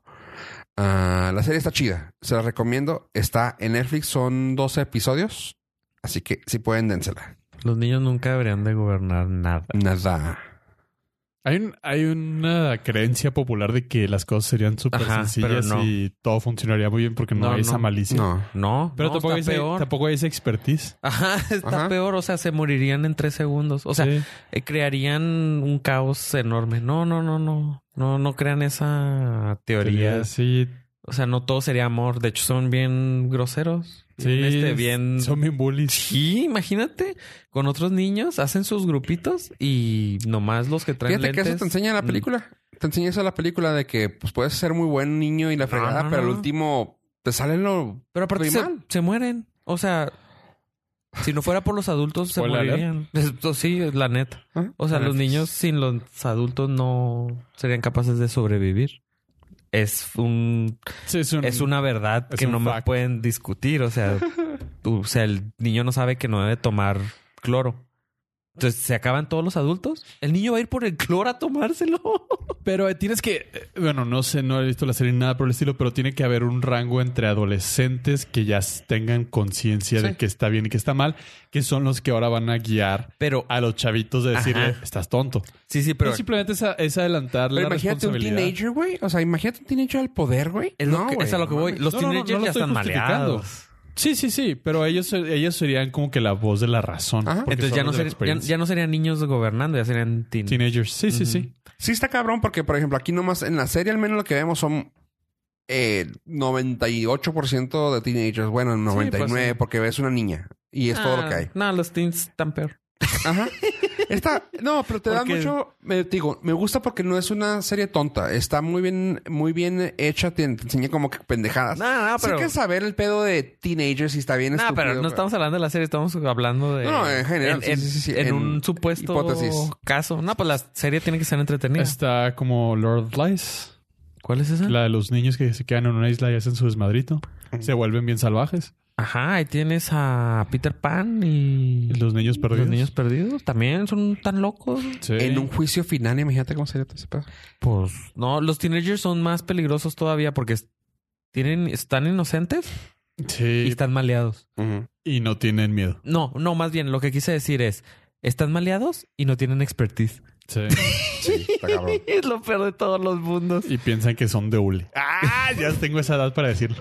Speaker 1: Ah, la serie está chida se la recomiendo está en Netflix son 12 episodios así que si pueden dénsela
Speaker 3: Los niños nunca deberían de gobernar nada.
Speaker 1: nada
Speaker 2: Hay, un- hay una creencia popular de que las cosas serían súper
Speaker 3: Ajá, pero
Speaker 2: sencillas
Speaker 3: no.
Speaker 2: y todo funcionaría muy bien porque no,
Speaker 3: No,
Speaker 2: hay esa
Speaker 3: no.
Speaker 2: malicia.
Speaker 1: no
Speaker 3: No,
Speaker 2: Pero
Speaker 3: no,
Speaker 2: tampoco, hay
Speaker 3: está
Speaker 2: ese-
Speaker 3: peor.
Speaker 2: tampoco hay esa expertise.
Speaker 3: Ajá, <laughs> está
Speaker 1: Ajá.
Speaker 3: peor. O sea, se morirían en tres segundos. O sea,
Speaker 2: Sí.
Speaker 3: eh, crearían un caos enorme. No, no, no, no. No, no crean esa
Speaker 2: Sería-
Speaker 3: teoría.
Speaker 2: sí,
Speaker 3: O sea, no todo sería amor. De hecho, son bien groseros.
Speaker 2: sí,
Speaker 3: Bien, este, bien...
Speaker 2: son bien bullies.
Speaker 3: Sí, imagínate. Con otros niños hacen sus grupitos y nomás los que traen
Speaker 1: Fíjate que eso
Speaker 3: lentes- Mm.
Speaker 1: te enseña la película. Te enseña eso la película de que pues puedes ser muy buen niño y la fregada,
Speaker 3: no,
Speaker 1: pero al
Speaker 3: no.
Speaker 1: último te sale lo
Speaker 3: Pero aparte
Speaker 1: Muy
Speaker 3: se,
Speaker 1: mal.
Speaker 3: se mueren. O sea, si no fuera por los adultos, se
Speaker 2: Spoiler
Speaker 3: morirían. Esto sí, es la neta.
Speaker 1: ¿Ah?
Speaker 3: O sea, los niños sin los adultos no serían capaces de sobrevivir. Es un
Speaker 2: Sí, es un-
Speaker 3: es una verdad
Speaker 2: es
Speaker 3: que
Speaker 2: un
Speaker 3: no me
Speaker 2: fact.
Speaker 3: pueden discutir. O
Speaker 2: <laughs>
Speaker 3: sea, tú- o sea, el niño no sabe que no debe tomar cloro. Entonces, ¿se acaban todos los adultos? El niño va a ir por el cloro
Speaker 2: <laughs>
Speaker 3: a tomárselo.
Speaker 2: Pero eh, tienes que, eh, bueno, no sé, no he visto la serie ni nada por el estilo, pero tiene que haber un rango entre adolescentes que ya s- tengan conciencia de
Speaker 1: Sí.
Speaker 2: que está bien y que está mal, que son los que ahora van a guiar
Speaker 3: Pero,
Speaker 2: a los chavitos de decirle,
Speaker 3: Ajá.
Speaker 2: estás tonto.
Speaker 3: sí, sí,
Speaker 2: Ah, Pero
Speaker 3: pero
Speaker 2: simplemente es, a- es adelantar
Speaker 1: Pero
Speaker 2: la
Speaker 1: imagínate un
Speaker 2: responsabilidad.
Speaker 1: teenager, güey. O sea, imagínate un teenager al poder, güey.
Speaker 3: es, lo que-
Speaker 1: güey,
Speaker 3: es a lo que
Speaker 1: no
Speaker 3: voy.
Speaker 1: mames.
Speaker 3: Los
Speaker 2: No, no, no,
Speaker 3: teenagers
Speaker 2: no lo
Speaker 3: ya
Speaker 2: estoy
Speaker 3: están
Speaker 2: justificando.
Speaker 3: maleados.
Speaker 2: Sí, sí, sí, pero ellos, ellos serían como que la voz de la razón.
Speaker 1: Ajá.
Speaker 2: porque
Speaker 3: Entonces ya
Speaker 2: son
Speaker 3: no,
Speaker 2: los de la
Speaker 3: ser- ya,
Speaker 2: experiencia.
Speaker 3: ya no serían niños gobernando, ya serían teen.
Speaker 2: Teenagers, sí, sí, sí.
Speaker 1: Sí está cabrón porque, por ejemplo, aquí nomás en la serie al menos lo que vemos son eh, 98% de teenagers. Bueno, 99
Speaker 3: sí.
Speaker 1: porque ves una niña y es todo lo que hay.
Speaker 3: Ah, No, los teens están peor.
Speaker 1: Ajá. Está, no, pero te da
Speaker 3: Porque-
Speaker 1: mucho, me digo, me gusta porque no es una serie tonta, está muy bien, muy bien hecha, te, te enseña como que pendejadas.
Speaker 3: No, no,
Speaker 1: Ah, Sí
Speaker 3: pero.
Speaker 1: que saber el pedo de teenagers si está bien
Speaker 3: No,
Speaker 1: estúpido.
Speaker 3: pero no estamos hablando de la serie, estamos hablando de.
Speaker 1: No, no, en general, sí,
Speaker 3: En,
Speaker 1: sí, sí, sí,
Speaker 3: en
Speaker 1: en
Speaker 3: un supuesto
Speaker 1: hipótesis.
Speaker 3: caso. No, pues la serie tiene que ser entretenida.
Speaker 2: Está como Lord of Lies,
Speaker 3: ¿Cuál es esa?
Speaker 2: la de los niños que se quedan en una isla y hacen su desmadrito. Se vuelven bien salvajes.
Speaker 3: Ajá, ahí tienes a Peter Pan y.
Speaker 2: Y Los niños perdidos.
Speaker 3: Los niños perdidos. También son tan locos.
Speaker 2: Sí.
Speaker 1: En un juicio final, imagínate cómo sería todo ese pedo.
Speaker 3: Pues. No, los teenagers son más peligrosos todavía porque es- tienen, están inocentes y
Speaker 2: Sí,
Speaker 3: están maleados.
Speaker 2: y no tienen miedo.
Speaker 3: No, no, más bien lo que quise decir es. Están maleados y no tienen expertise.
Speaker 2: Sí.
Speaker 1: Sí, está cabrón.
Speaker 3: Es lo peor de todos los mundos.
Speaker 2: y piensan que son de hule. Ah, ya tengo esa edad para decirlo.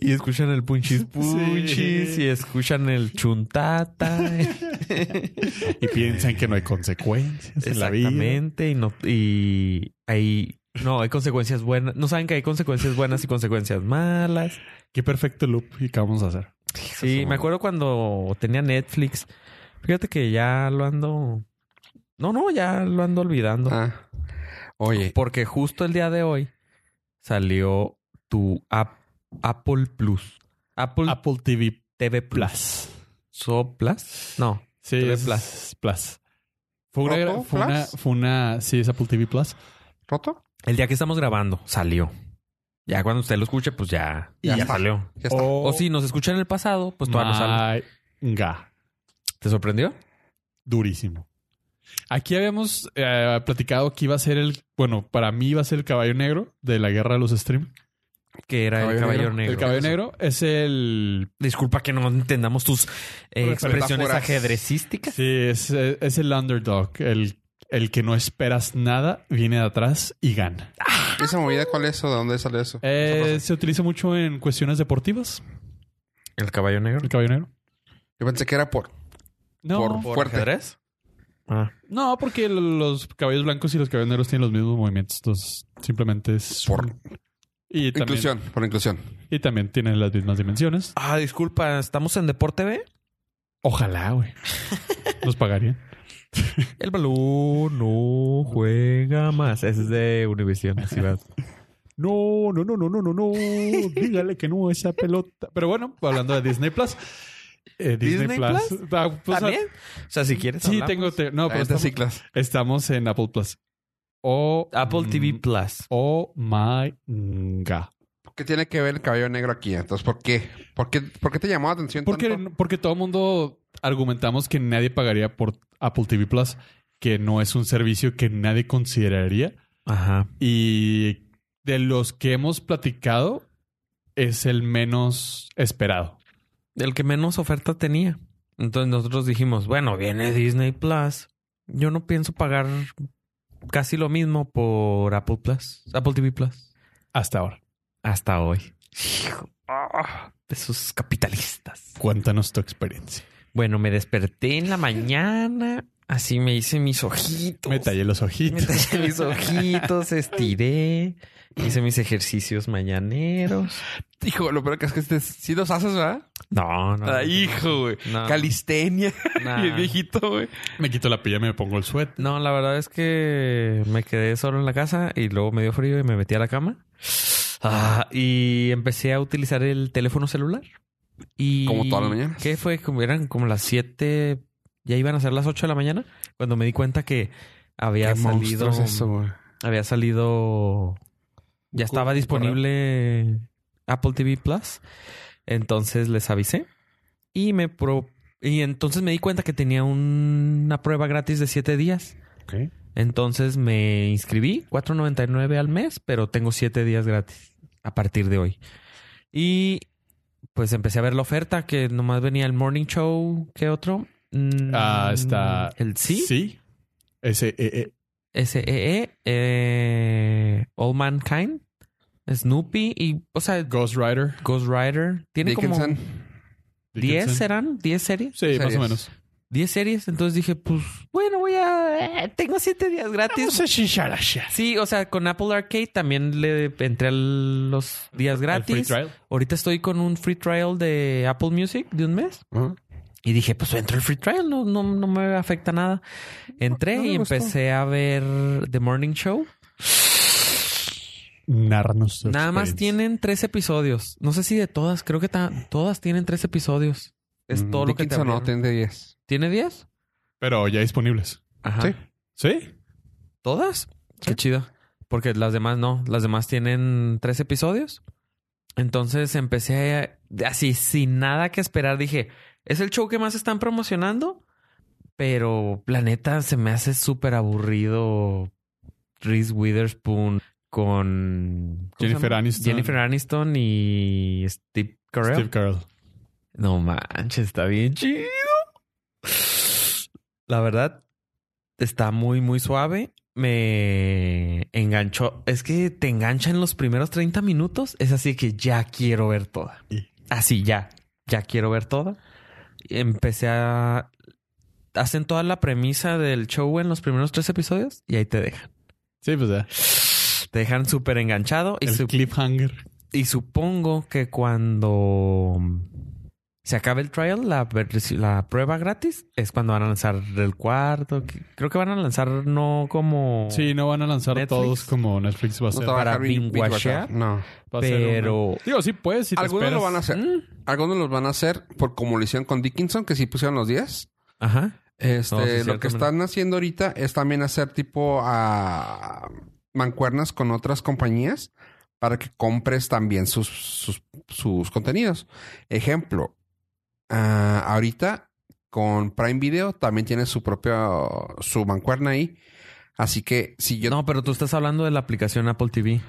Speaker 3: Y escuchan el punchis punchis
Speaker 2: Sí.
Speaker 3: y escuchan el chuntata. <laughs>
Speaker 2: Y piensan que no hay consecuencias en la vida.
Speaker 3: Exactamente. Y, no, y ahí no hay consecuencias buenas. No saben que hay consecuencias buenas y consecuencias malas.
Speaker 2: Qué perfecto loop y qué vamos a hacer.
Speaker 3: <laughs> Sí, me acuerdo cuando tenía Netflix. Fíjate que ya lo ando. No, no, ya lo ando olvidando.
Speaker 1: Ah. Oye,
Speaker 3: Porque justo el día de hoy salió tu Ap- Apple Plus. Apple,
Speaker 2: Apple TV
Speaker 3: TV Plus.
Speaker 2: Plus.
Speaker 3: ¿Soplas? No.
Speaker 2: Sí,
Speaker 3: TV
Speaker 2: es
Speaker 3: Plus.
Speaker 2: Plus. Fue una,
Speaker 1: ¿Apple
Speaker 2: fue, una,
Speaker 1: Plus?
Speaker 2: fue una- sí, es Apple TV Plus.
Speaker 1: ¿roto?
Speaker 3: El día que estamos grabando, salió. Ya cuando usted lo escuche, pues ya,
Speaker 1: Y
Speaker 3: ya,
Speaker 1: ya está.
Speaker 3: salió.
Speaker 1: Ya está.
Speaker 2: Oh
Speaker 3: O si nos escucha en el pasado, pues todavía no sale.
Speaker 2: Manga.
Speaker 3: ¿Te sorprendió?
Speaker 2: Durísimo. Aquí habíamos eh, platicado que iba a ser el, bueno, para mí iba a ser el caballo negro de la guerra de los stream.
Speaker 3: Que era el
Speaker 1: Caballo
Speaker 3: caballo
Speaker 1: Negro.
Speaker 3: negro.
Speaker 2: El caballo negro es el
Speaker 3: Disculpa que no entendamos tus eh,
Speaker 1: Las
Speaker 3: expresiones
Speaker 1: metáforas.
Speaker 3: ajedrecísticas.
Speaker 2: Sí, es, es el underdog, el, el que no esperas nada, viene de atrás y gana.
Speaker 1: ¿Esa movida cuál es o de dónde sale eso?
Speaker 2: Eh,
Speaker 1: Esa cosa.
Speaker 2: se utiliza mucho en cuestiones deportivas.
Speaker 3: ¿El caballo negro?
Speaker 2: El caballo negro.
Speaker 1: Yo pensé que era por.
Speaker 2: No,
Speaker 1: Por-
Speaker 3: ¿Por
Speaker 1: Fuerte.
Speaker 3: ajedrez? Ah.
Speaker 2: no, porque l- los caballos blancos y los caballos negros tienen los mismos movimientos. Entonces, simplemente es.
Speaker 1: Por
Speaker 2: un- y también,
Speaker 1: inclusión, por inclusión.
Speaker 2: Y también tienen las mismas dimensiones.
Speaker 3: Ah, disculpa, ¿estamos en Deporte B? Ah,
Speaker 2: Ojalá, güey. Nos pagarían.
Speaker 3: El balón no juega más. Ese es de Univision. así va.
Speaker 2: <laughs> No, no, no, no, no, no, no. Dígale que no a esa pelota. Pero bueno, hablando de Disney Plus. eh, Disney,
Speaker 3: ¿Disney
Speaker 2: Plus.
Speaker 3: Plus?
Speaker 2: Ah, pues,
Speaker 3: ¿También? O sea, si
Speaker 2: ah,
Speaker 3: quieres
Speaker 2: Sí,
Speaker 3: hablamos.
Speaker 2: tengo. te- no, pero
Speaker 1: Estas
Speaker 2: estamos,
Speaker 1: ciclas.
Speaker 2: estamos en Apple Plus. O.
Speaker 3: Apple TV Plus.
Speaker 2: Oh my God.
Speaker 1: ¿Qué tiene que ver el cabello negro aquí? Entonces, ¿por qué? ¿Por qué, por qué te llamó la atención
Speaker 2: Porque,
Speaker 1: tanto?
Speaker 2: porque todo el mundo argumentamos que nadie pagaría por Apple TV Plus, que no es un servicio que nadie consideraría.
Speaker 3: Ajá.
Speaker 2: Y de los que hemos platicado, es el menos esperado.
Speaker 3: El que menos oferta tenía. Entonces nosotros dijimos, bueno, viene Disney Plus. Yo no pienso pagar casi lo mismo por Apple Plus, Apple TV Plus.
Speaker 2: Hasta ahora.
Speaker 3: Hasta hoy. Hijo, ah, de esos capitalistas.
Speaker 2: Cuéntanos tu experiencia.
Speaker 3: Bueno, me desperté en la mañana. Así me hice mis ojitos.
Speaker 2: Me tallé los
Speaker 3: Me
Speaker 2: ojitos.
Speaker 3: tallé mis ojitos, estiré, hice mis ejercicios mañaneros.
Speaker 1: Hijo, lo peor que es que este, sí los haces, ¿verdad?
Speaker 3: No, no.
Speaker 1: Ah, hijo, güey.
Speaker 3: No.
Speaker 1: Calistenia. <laughs>
Speaker 3: Nah.
Speaker 1: Y el viejito, güey.
Speaker 2: <laughs> Me quito la pijama y me pongo el suéter.
Speaker 3: No, la verdad es que me quedé solo en la casa y luego me dio frío y me metí a la cama. Ah, y empecé a utilizar el teléfono celular. Y
Speaker 1: Como todas las mañanas.
Speaker 3: ¿Qué fue? Como eran como las 7, ya iban a ser las 8 de la mañana, cuando me di cuenta que había salido
Speaker 1: güey.
Speaker 3: había salido ya estaba
Speaker 2: correo.
Speaker 3: disponible Apple TV Plus. Entonces les avisé y me pro- y entonces me di cuenta que tenía un- una prueba gratis de 7 días. Entonces me inscribí 4.99 al mes, pero tengo 7 días gratis a partir de hoy. Y pues empecé a ver la oferta que nomás venía el Morning Show, ¿qué otro? Mm,
Speaker 2: Ah, está-
Speaker 3: el sí,
Speaker 2: Sí. Ese, eh, eh.
Speaker 3: SEE, eh, All Mankind, Snoopy y, o sea,
Speaker 2: Ghost Rider.
Speaker 3: Ghost Rider. Tiene
Speaker 1: Dickinson.
Speaker 3: como 10
Speaker 2: Dickinson.
Speaker 3: serán, 10 series.
Speaker 2: Sí, más
Speaker 1: Series.
Speaker 2: o menos.
Speaker 3: 10 series. Entonces dije, pues, bueno, voy a. eh, tengo 7 días gratis. Sí, o sea, con Apple Arcade también le entré a los días
Speaker 2: El free
Speaker 3: gratis.
Speaker 2: trial.
Speaker 3: Ahorita estoy con un free trial de Apple Music de un mes.
Speaker 1: Ajá.
Speaker 3: Y dije, pues entro el free trial, no, no, no me afecta nada. Entré
Speaker 1: No me
Speaker 3: y
Speaker 1: gustó.
Speaker 3: empecé a ver The Morning Show.
Speaker 2: Narranos tu
Speaker 3: Nada más
Speaker 2: experiencia.
Speaker 3: tienen tres episodios. No sé si de todas, creo que ta- todas tienen tres episodios. Es
Speaker 1: Mm,
Speaker 3: todo lo que te
Speaker 1: Dickinson no,
Speaker 3: abrieron.
Speaker 1: tiene 10.
Speaker 3: ¿Tiene diez?
Speaker 2: Pero ya disponibles.
Speaker 3: Ajá.
Speaker 1: Sí.
Speaker 2: ¿Sí?
Speaker 3: ¿Todas? Qué chido. Porque las demás no. Las demás tienen tres episodios. Entonces empecé a- así, sin nada que esperar. Dije, es el show que más están promocionando, pero planeta se me hace súper aburrido. Reese Witherspoon con ¿cómo se
Speaker 2: Jennifer
Speaker 3: llama?
Speaker 2: Aniston.
Speaker 3: Jennifer Aniston y Steve Carell.
Speaker 2: Steve Carell.
Speaker 3: No manches, está bien chido. La verdad, está muy, muy suave. Me enganchó. Es que te engancha en los primeros 30 minutos. Es así que ya quiero ver toda.
Speaker 2: Y-
Speaker 3: Así, ya. Ya quiero ver toda. Empecé a... Hacen toda la premisa del show en los primeros tres episodios y ahí te dejan.
Speaker 2: Sí, pues ya.
Speaker 3: Te dejan súper enganchado y
Speaker 2: El
Speaker 3: súper...
Speaker 2: cliffhanger.
Speaker 3: Y supongo que cuando se acabe el trial, la, vers- la prueba gratis, es cuando van a lanzar el cuarto. que- Creo que van a lanzar no como...
Speaker 2: Sí, no van a lanzar
Speaker 3: Oh. Netflix.
Speaker 2: todos como Netflix va a
Speaker 1: No
Speaker 2: ser.
Speaker 1: te
Speaker 2: va
Speaker 1: va a
Speaker 3: para
Speaker 1: dejar bin-
Speaker 3: binguachear.
Speaker 1: binguachear, No.
Speaker 2: a ser una-
Speaker 3: pero-
Speaker 2: Digo, sí, pues. Si te
Speaker 1: Algunos lo
Speaker 2: esperas.
Speaker 1: van a hacer.
Speaker 3: Mm.
Speaker 1: Algunos los van a hacer por como lo hicieron con Dickinson, que sí pusieron los 10.
Speaker 3: Ajá.
Speaker 1: Este,
Speaker 3: No, sí, es
Speaker 1: lo
Speaker 3: cierto,
Speaker 1: que
Speaker 3: mira.
Speaker 1: están haciendo ahorita es también hacer tipo a mancuernas con otras compañías para que compres también sus, sus, sus contenidos. Ejemplo, ah, ahorita con Prime Video también tiene su propio, su mancuerna ahí. Así que si yo...
Speaker 3: No, pero tú estás hablando de la aplicación Apple TV.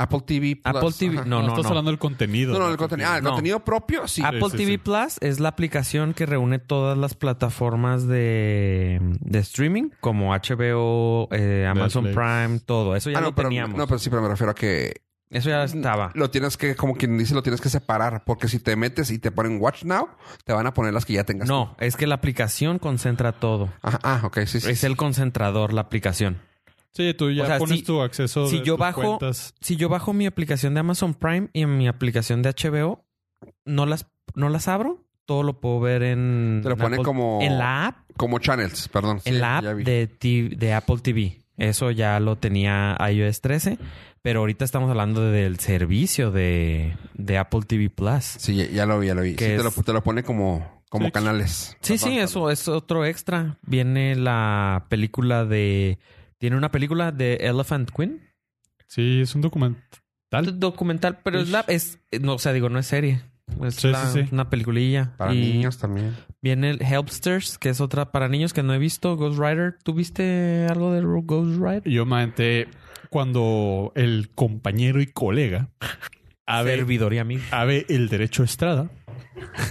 Speaker 1: Apple TV Plus.
Speaker 3: Apple TV,
Speaker 1: ajá.
Speaker 3: no, no,
Speaker 2: estás
Speaker 3: no.
Speaker 2: hablando del contenido.
Speaker 1: No, no,
Speaker 2: del
Speaker 1: el contenido, ah, el
Speaker 3: No.
Speaker 1: contenido propio, sí.
Speaker 2: Ah,
Speaker 3: Apple
Speaker 2: sí,
Speaker 3: TV
Speaker 2: sí.
Speaker 3: Plus es la aplicación que reúne todas las plataformas de, de streaming, como HBO, eh, Amazon
Speaker 2: Netflix.
Speaker 3: Prime, todo. Eso ya
Speaker 1: Ah,
Speaker 3: lo
Speaker 1: no, pero,
Speaker 3: teníamos.
Speaker 1: no, pero sí, pero me refiero a que
Speaker 3: Eso ya estaba.
Speaker 1: lo tienes que, como quien dice, lo tienes que separar. Porque si te metes y te ponen Watch Now, te van a poner las que ya tengas.
Speaker 3: No, es que la aplicación concentra todo.
Speaker 1: Ajá, ah, ok, sí, sí.
Speaker 3: Es el concentrador, la aplicación.
Speaker 2: Sí, tú ya
Speaker 3: O sea,
Speaker 2: pones
Speaker 3: si-
Speaker 2: tu acceso.
Speaker 3: si
Speaker 2: de
Speaker 3: yo
Speaker 2: tus
Speaker 3: bajo-
Speaker 2: cuentas.
Speaker 3: Si yo bajo mi aplicación de Amazon Prime y mi aplicación de HBO, no las, no las abro, todo lo puedo ver en.
Speaker 1: Te lo
Speaker 3: en
Speaker 1: pone
Speaker 3: Apple-
Speaker 1: como-
Speaker 3: En la app
Speaker 1: Como channels, perdón. sí,
Speaker 3: en la app
Speaker 1: ya vi.
Speaker 3: de, ti- de Apple TV. Eso ya lo tenía iOS 13, pero ahorita estamos hablando del servicio de, de Apple TV Plus.
Speaker 1: Sí, ya, ya lo vi, ya lo vi. Sí,
Speaker 3: Que
Speaker 1: te,
Speaker 3: es-
Speaker 1: lo, te lo pone como, como
Speaker 2: Sí.
Speaker 1: canales.
Speaker 3: Sí, sí, eso es otro extra. Viene la película de... Tiene una película de Elephant Queen.
Speaker 2: Sí, es un documental.
Speaker 3: Documental, pero es la... Es, no, o sea, digo, no es serie. Es
Speaker 2: Sí,
Speaker 3: la-
Speaker 2: sí, sí.
Speaker 3: una peliculilla.
Speaker 1: Para
Speaker 3: Y
Speaker 1: niños también.
Speaker 3: Viene el Helpsters, que es otra para niños que no he visto. Ghost Rider. ¿Tú viste algo de Ghost Rider?
Speaker 2: Yo me aventé cuando el compañero y colega, Ave,
Speaker 3: Servidor y amigo.
Speaker 2: Ave el Derecho Estrada, <laughs>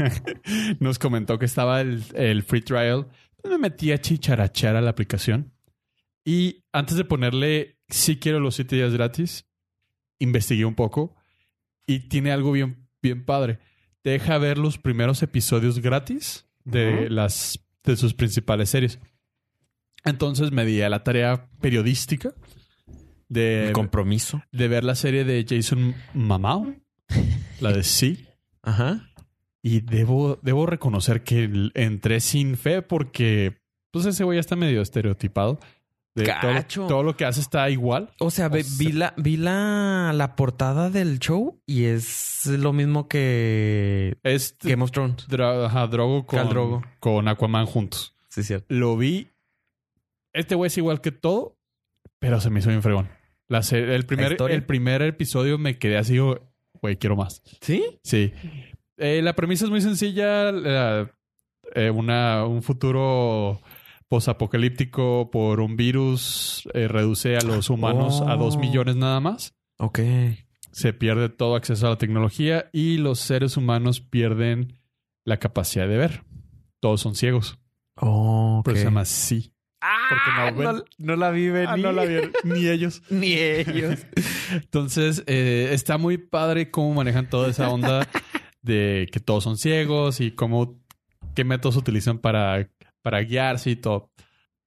Speaker 2: nos comentó que estaba el, el free trial. Pues Me metí a chicharachar a la aplicación y antes de ponerle sí quiero los siete días gratis, investigué un poco y tiene algo bien, bien padre. Te deja ver los primeros episodios gratis de
Speaker 1: Ujú.
Speaker 2: las de sus principales series. Entonces me di a la tarea periodística de, Eh,
Speaker 3: El compromiso.
Speaker 2: de ver la serie de Jason Mamao, la de Sí.
Speaker 3: Ajá.
Speaker 2: Y debo, debo reconocer que el- entré sin fe porque pues ese güey ya está medio estereotipado. De todo, lo-
Speaker 3: Cacho.
Speaker 2: todo lo que hace está igual.
Speaker 3: O sea, ve-
Speaker 2: sea-
Speaker 3: vi, la, vi la, la portada del show y es lo mismo que
Speaker 2: Es
Speaker 3: Game of Thrones.
Speaker 2: Dra- ajá, Drogo con,
Speaker 3: Khal Drogo.
Speaker 2: con Aquaman juntos.
Speaker 3: Sí, cierto.
Speaker 2: Lo vi. Este güey es igual que todo, pero se me hizo bien fregón. La se- el, primer,
Speaker 3: historia?
Speaker 2: el primer episodio me quedé así, oh, güey, quiero más.
Speaker 3: ¿Sí?
Speaker 2: Sí. Eh, la premisa es muy sencilla. la- eh, una, un futuro posapocalíptico por un virus eh, reduce a los humanos a dos
Speaker 3: Oh.
Speaker 2: millones nada más.
Speaker 3: Ok.
Speaker 2: Se pierde todo acceso a la tecnología y los seres humanos pierden la capacidad de ver. Todos son ciegos.
Speaker 3: Oh,
Speaker 2: Pero se llama sí.
Speaker 3: Ah,
Speaker 2: porque no ven.
Speaker 3: la vi venir.
Speaker 2: Ah, no la vieron, <laughs> ni ellos.
Speaker 3: <laughs>
Speaker 2: <laughs>
Speaker 3: Ni ellos.
Speaker 2: Entonces, eh, está muy padre cómo manejan toda esa
Speaker 3: <laughs>
Speaker 2: onda de que todos son ciegos y cómo, qué métodos utilizan para, para guiarse y todo.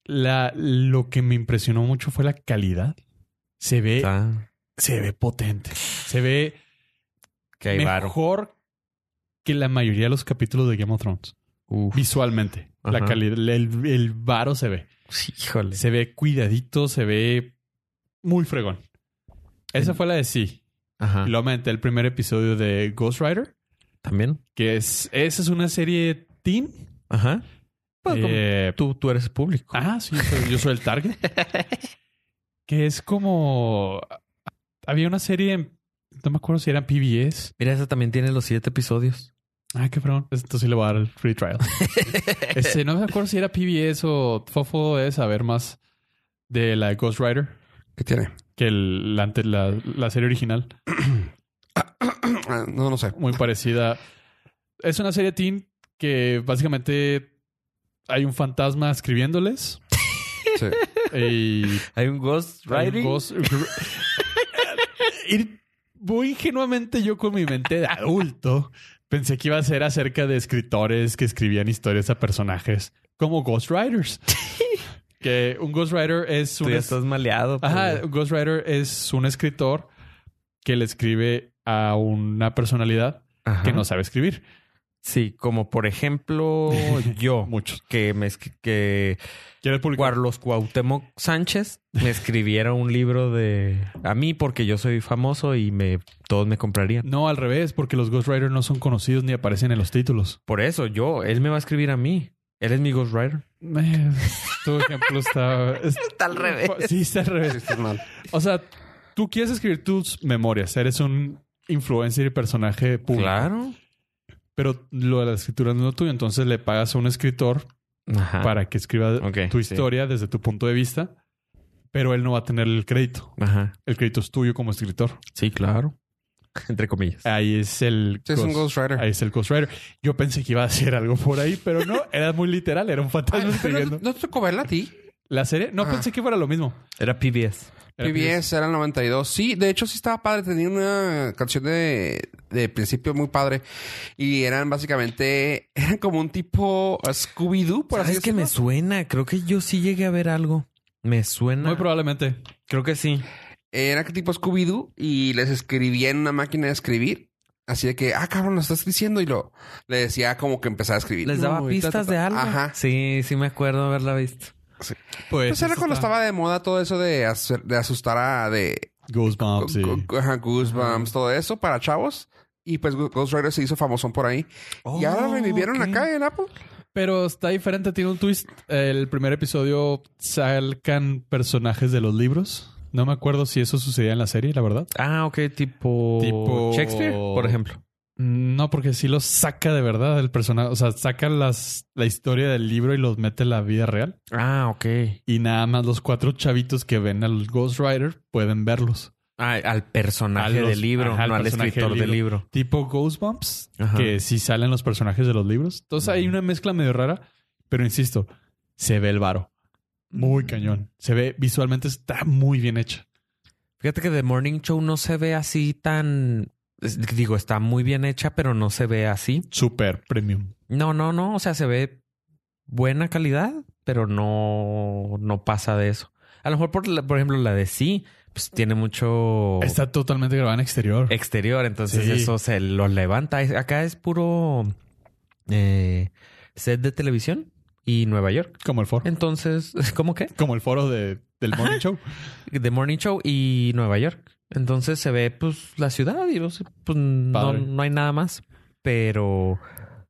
Speaker 2: La, lo que me impresionó mucho fue la calidad. Se ve,
Speaker 3: Está-
Speaker 2: se ve potente. Se ve
Speaker 3: que hay varo.
Speaker 2: mejor que la mayoría de los capítulos de Game of Thrones.
Speaker 3: Uf.
Speaker 2: Visualmente. La
Speaker 3: Ajá.
Speaker 2: calidad, el, el varo se ve.
Speaker 3: Sí, Híjole.
Speaker 2: Se ve cuidadito, se ve muy fregón. Esa
Speaker 3: En-
Speaker 2: fue la de sí.
Speaker 3: Ajá.
Speaker 2: Y luego me aventé el primer episodio de Ghost Rider,
Speaker 3: ¿También?
Speaker 2: que es. Esa es una serie teen.
Speaker 3: Ajá. Pues, como
Speaker 2: Eh,
Speaker 3: tú, tú eres público.
Speaker 2: ah, sí, yo soy, yo soy el
Speaker 3: <laughs>
Speaker 2: target. que es como. Había una serie. en- No me acuerdo si era en PBS.
Speaker 3: Mira, esa también tiene los siete episodios.
Speaker 2: Ah, qué fregón. Esto sí le voy a dar el free
Speaker 3: <laughs>
Speaker 2: trial. Este, no me acuerdo si era PBS o Fofo debe saber más de la de Ghost Rider
Speaker 1: ¿Qué tiene? <clears throat>
Speaker 2: que el- la ante- la- la serie original.
Speaker 1: Ah, no, no sé.
Speaker 2: muy parecida. Es una serie teen que básicamente hay un fantasma escribiéndoles
Speaker 1: Sí.
Speaker 2: y
Speaker 3: Hay un Ghost
Speaker 2: hay un
Speaker 3: Riding.
Speaker 2: ghost- y muy ingenuamente yo con mi mente de adulto pensé que iba a ser acerca de escritores que escribían historias a personajes como Ghost Riders. que un Ghost Rider es
Speaker 3: Tú
Speaker 2: un
Speaker 3: ya
Speaker 2: es-
Speaker 3: estás maleado.
Speaker 2: Ajá,
Speaker 3: pues.
Speaker 2: Ghost Rider es un escritor que le escribe a una personalidad
Speaker 3: Ajá.
Speaker 2: que no sabe escribir.
Speaker 3: Sí, como por <laughs> ejemplo yo,
Speaker 2: Muchos.
Speaker 3: que me esqui- que
Speaker 2: ¿Quieres publicar?
Speaker 3: Carlos Cuauhtémoc Sánchez me escribiera un libro de a mí porque yo soy famoso y me todos me comprarían.
Speaker 2: No, al revés, porque los Ghost Riders no son conocidos ni aparecen en los títulos.
Speaker 3: Por eso yo, él me va a escribir a mí. Él es mi ghostwriter.
Speaker 2: Eh, tu ejemplo <laughs> está... es-
Speaker 3: Está al revés.
Speaker 2: Sí, está al
Speaker 3: Pues,
Speaker 1: Sí,
Speaker 2: revés.
Speaker 1: estás mal.
Speaker 2: O sea, tú quieres escribir tus memorias. Eres un influencer y personaje público.
Speaker 3: Claro.
Speaker 2: Pero lo de la escritura no es lo tuyo. Entonces le pagas a un escritor
Speaker 3: Ajá.
Speaker 2: Ah. para que escriba
Speaker 3: Ok,
Speaker 2: tu
Speaker 3: sí.
Speaker 2: historia desde tu punto de vista. pero él no va a tener el crédito.
Speaker 3: Ajá.
Speaker 2: El crédito es tuyo como escritor.
Speaker 3: Sí, claro. Entre comillas.
Speaker 2: Ahí es el.
Speaker 1: Sí, es un
Speaker 2: ghost-
Speaker 1: ghostwriter.
Speaker 2: Ahí es el Ghost Rider. Yo pensé que iba a decir algo por ahí,
Speaker 1: <laughs>
Speaker 2: pero no, era muy literal, era un
Speaker 1: Ay,
Speaker 2: fantasma
Speaker 3: Pues,
Speaker 1: pero ¿No
Speaker 2: escribiendo.
Speaker 1: no te tocó verla a ti?
Speaker 2: La serie, no
Speaker 1: Ah.
Speaker 2: pensé que fuera lo mismo.
Speaker 3: Era PBS.
Speaker 2: Era
Speaker 1: PBS era el 92. Sí, de hecho sí estaba padre. Tenía una canción de, de principio muy padre. Y eran básicamente... <laughs> Eran como un tipo Scooby-Doo, por así
Speaker 3: ¿Sabes que
Speaker 1: decirlo.
Speaker 3: me suena? Creo que yo sí llegué a ver algo. Me suena.
Speaker 2: Muy probablemente.
Speaker 3: Creo que sí.
Speaker 1: Era que tipo Scooby-Doo y les escribía en una máquina de escribir. Así de que, ah, cabrón, lo estás diciendo. Y lo le decía como que empezaba a escribir.
Speaker 3: Les daba
Speaker 1: No, y ta,
Speaker 3: pistas
Speaker 1: ta, ta.
Speaker 3: de algo.
Speaker 1: Ajá.
Speaker 3: Sí, sí me acuerdo haberla visto.
Speaker 2: Pues,
Speaker 1: Pues era cuando estaba de moda todo eso de, hacer- de asustar a... De,
Speaker 2: Goosebumps. y-
Speaker 1: Gu- gu- Oh, ajá, Goosebumps, todo eso para chavos. Y pues Gu- Ghost Rider se hizo famosón por ahí. y ahora
Speaker 3: Oh,
Speaker 1: revivieron
Speaker 3: ok.
Speaker 1: acá ¿eh? en Apple.
Speaker 2: Pero está diferente, tiene un twist. El primer episodio salcan personajes de los libros. No me acuerdo si eso sucedía en la serie, la verdad.
Speaker 3: Ah, ok, tipo...
Speaker 2: Tipo-
Speaker 3: Shakespeare, por ejemplo.
Speaker 2: No, porque sí los saca de verdad el personaje. O sea, saca las, la historia del libro y los mete en la vida real.
Speaker 3: Ah, ok.
Speaker 2: Y nada más los cuatro chavitos que ven al Ghost Rider pueden verlos.
Speaker 3: Ah, al personaje
Speaker 2: A los-
Speaker 3: del libro,
Speaker 2: ajá, al
Speaker 3: no al
Speaker 2: personaje
Speaker 3: escritor
Speaker 2: del
Speaker 3: del libro.
Speaker 2: Tipo Ghostbumps,
Speaker 3: Ajá.
Speaker 2: que sí salen los personajes de los libros. Entonces hay
Speaker 3: Ujú.
Speaker 2: una mezcla medio rara, pero insisto, se ve el varo. Muy cañón. Se ve visualmente, está muy bien hecha.
Speaker 3: Fíjate que The Morning Show no se ve así tan... es- Digo, está muy bien hecha, pero no se ve así.
Speaker 2: Super premium.
Speaker 3: No, no, no. O sea, se ve buena calidad, pero no, no pasa de eso. A lo mejor, por, la- por ejemplo, la de sí, pues tiene mucho
Speaker 2: Oh. Está totalmente grabada en exterior.
Speaker 3: exterior, entonces
Speaker 2: Sí.
Speaker 3: eso se lo levanta. Es- Acá es puro eh, set de televisión y Nueva York.
Speaker 2: Como el foro.
Speaker 3: Entonces, <laughs> ¿cómo qué?
Speaker 2: Como el foro de, del Morning
Speaker 3: <laughs>
Speaker 2: Show.
Speaker 3: The Morning Show y Nueva York. Entonces se ve pues la ciudad y no sé, pues, no,
Speaker 2: Padre.
Speaker 3: no hay nada más. Pero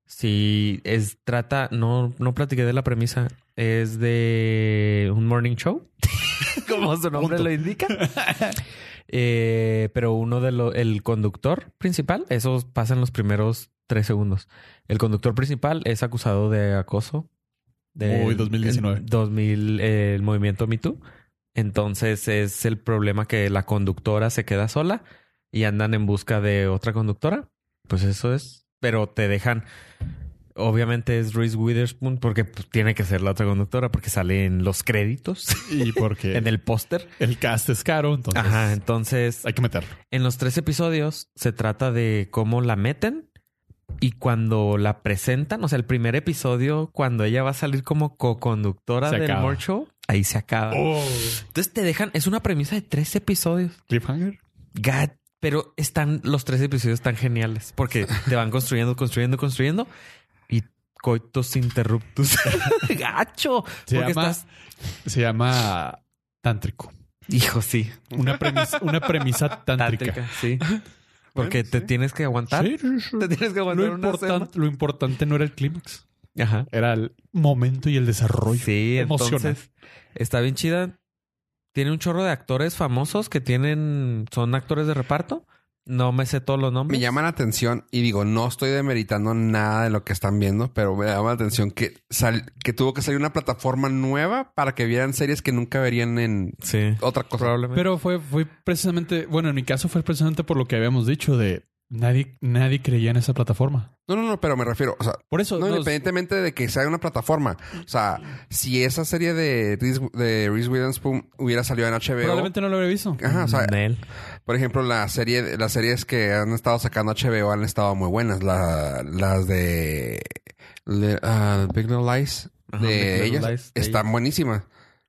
Speaker 3: si es trata, no, no platiqué de la premisa, es de un morning show, <laughs> como su nombre
Speaker 2: Punto.
Speaker 3: lo indica. <laughs> Eh, pero uno de los, el conductor principal, eso pasa en los primeros tres segundos. El conductor principal es acusado de acoso. de
Speaker 2: Uy, 2019.
Speaker 3: 2000, eh, el movimiento Me Too. Entonces es el problema que la conductora se queda sola y andan en busca de otra conductora. Pues eso es. Pero te dejan. Obviamente es Reese Witherspoon porque pues, tiene que ser la otra conductora porque sale en los créditos,
Speaker 2: y porque
Speaker 3: <laughs> en
Speaker 2: el,
Speaker 3: el póster.
Speaker 2: cast es caro, entonces
Speaker 3: Ajá, entonces
Speaker 2: hay que meterlo.
Speaker 3: en los tres episodios se trata de cómo la meten y cuando la presentan, o sea, el primer episodio, cuando ella va a salir como co-conductora
Speaker 2: Se
Speaker 3: del
Speaker 2: acaba. Oh.
Speaker 3: More Show, ahí se acaba. Entonces te dejan, es una premisa de tres episodios.
Speaker 2: Cliffhanger.
Speaker 3: God, pero están los tres episodios tan geniales
Speaker 2: <laughs>
Speaker 3: porque te van construyendo, construyendo, construyendo y
Speaker 2: <laughs>
Speaker 3: coitos interruptus. Gacho.
Speaker 2: Se
Speaker 3: porque
Speaker 2: llama,
Speaker 3: estás.
Speaker 2: se llama Tántrico.
Speaker 3: Hijo, sí.
Speaker 2: Una premisa,
Speaker 1: <laughs>
Speaker 2: una premisa tántrica.
Speaker 3: Tántrica,
Speaker 2: <laughs>
Speaker 3: sí. Porque
Speaker 1: Bueno,
Speaker 3: te
Speaker 1: sí.
Speaker 3: tienes que aguantar.
Speaker 2: Sí, sí, sí.
Speaker 3: Te tienes que aguantar
Speaker 2: Lo,
Speaker 3: una semana.
Speaker 2: importante, lo importante no era el clímax,
Speaker 3: Ajá.
Speaker 2: era el momento y el desarrollo.
Speaker 3: Sí,
Speaker 2: Emocional.
Speaker 3: entonces está bien chida. Tiene un chorro de actores famosos que tienen, son actores de reparto. No me sé todos los nombres.
Speaker 1: Me llama la atención y digo, no estoy demeritando nada de lo que están viendo, pero me llama la atención que, sal- que tuvo que salir una plataforma nueva para que vieran series que nunca verían en
Speaker 3: Sí,
Speaker 1: otra cosa.
Speaker 3: probablemente.
Speaker 2: Pero fue, fue precisamente, bueno, en mi caso fue precisamente por lo que habíamos dicho de nadie, nadie creía en esa plataforma.
Speaker 1: No, no, no, pero me refiero, o sea,
Speaker 2: Por eso,
Speaker 1: no,
Speaker 2: nos-
Speaker 1: independientemente de que sea una plataforma. O sea, si esa serie de, Reese- de Reese Witherspoon hubiera salido en HBO...
Speaker 2: probablemente no lo habría visto.
Speaker 1: Ajá, o sea,
Speaker 3: Mm, Nel.
Speaker 1: Por ejemplo, la serie, las series que han estado sacando HBO han estado muy buenas. La- las de, de, ah, Big Little Lies
Speaker 3: Ajá, Big
Speaker 1: de
Speaker 3: Little
Speaker 1: ellas
Speaker 3: Lies de
Speaker 1: están buenísimas.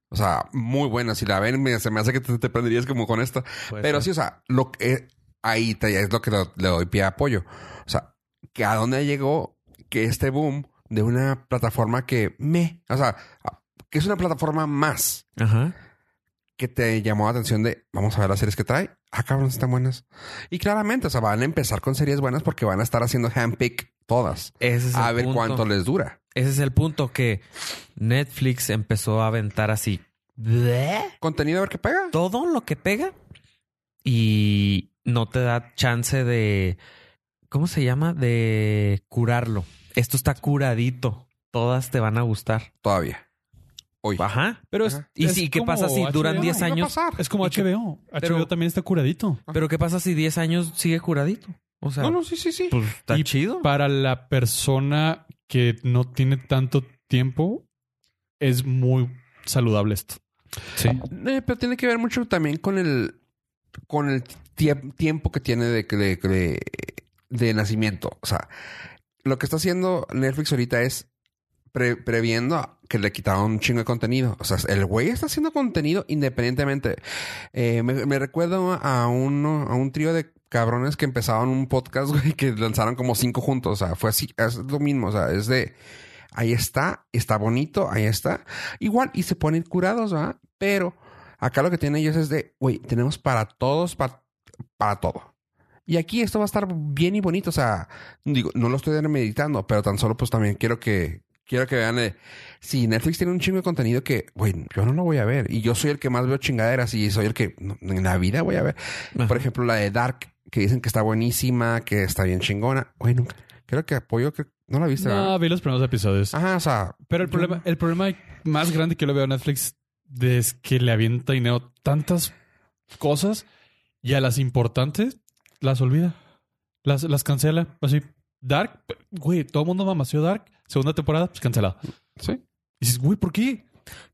Speaker 1: O sea, muy buenas. Si la ven, mira, se me hace que te, te prenderías como con esta.
Speaker 3: Puede
Speaker 1: Pero
Speaker 3: ser.
Speaker 1: sí, o sea, lo que ahí te- es lo que lo- le doy pie a apoyo. O sea, que a dónde llegó que este boom de una plataforma que me, o sea, que es una plataforma más
Speaker 3: Ajá.
Speaker 1: que te llamó la atención de vamos a ver las series que trae. Ah, cabrón, están buenas. Y claramente, o sea, van a empezar con series buenas porque van a estar haciendo handpick todas.
Speaker 3: Ese es el
Speaker 1: A ver
Speaker 3: punto.
Speaker 1: cuánto les dura.
Speaker 3: Ese es el punto que Netflix empezó a aventar así. ¿Bleh?
Speaker 1: Contenido a ver qué pega.
Speaker 3: todo lo que pega y no te da chance de, ¿cómo se llama? De curarlo. Esto está curadito. Todas te van a gustar.
Speaker 1: Todavía. hoy.
Speaker 3: Ajá. Pero es,
Speaker 1: Ajá.
Speaker 3: ¿y
Speaker 2: Es
Speaker 3: sí, qué
Speaker 2: como
Speaker 3: pasa si duran
Speaker 2: HBO,
Speaker 3: 10
Speaker 1: ¿Qué va a
Speaker 3: años?
Speaker 1: pasar?
Speaker 2: Es como
Speaker 3: Y que-
Speaker 2: HBO.
Speaker 3: pero-
Speaker 2: HBO también está curadito.
Speaker 3: Pero ¿qué pasa si 10 años sigue curadito? O sea,
Speaker 1: No, no, sí, sí, sí.
Speaker 3: pues está
Speaker 2: Y
Speaker 3: chido.
Speaker 2: Para la persona que no tiene tanto tiempo, es muy saludable esto.
Speaker 3: Sí.
Speaker 1: Eh, pero tiene que ver mucho también con el con el tie- tiempo que tiene de, de, de- de nacimiento. O sea, lo que está haciendo Netflix ahorita es pre- previendo que le quitaron un chingo de contenido. O sea, el güey está haciendo contenido independientemente. Eh, me, me recuerdo a uno, a un trío de cabrones que empezaron un podcast, <laughs> güey, que lanzaron como cinco juntos. O sea, fue así, es lo mismo. O sea, es de ahí está, está bonito, ahí está. Igual, y se ponen curados, ¿verdad? Pero acá lo que tienen ellos es de, güey, tenemos para todos, para, para todo. Y aquí esto va a estar bien y bonito. O sea, digo, no lo estoy meditando, pero tan solo pues también quiero que, quiero que vean, eh, si Netflix tiene un chingo de contenido que, güey, yo no lo voy a ver. Y yo soy el que más veo chingaderas y soy el que no, en la vida voy a ver.
Speaker 3: Ajá.
Speaker 1: Por ejemplo, la de Dark, que dicen que está buenísima, que está bien chingona. Güey, nunca. Creo que apoyo que no la viste, ¿verdad?
Speaker 2: No, vi los primeros episodios.
Speaker 1: Ajá, o sea,
Speaker 2: Pero el
Speaker 1: Ah, Yo
Speaker 2: problema,
Speaker 1: no.
Speaker 2: el problema más grande que yo le veo a Netflix es que le avienta dinero tantas cosas y a las importantes las olvida. Las, las cancela. Así, Dark, güey, todo el mundo mamació Dark. Segunda temporada, pues cancelada.
Speaker 1: sí.
Speaker 2: Y dices, güey, ¿por qué?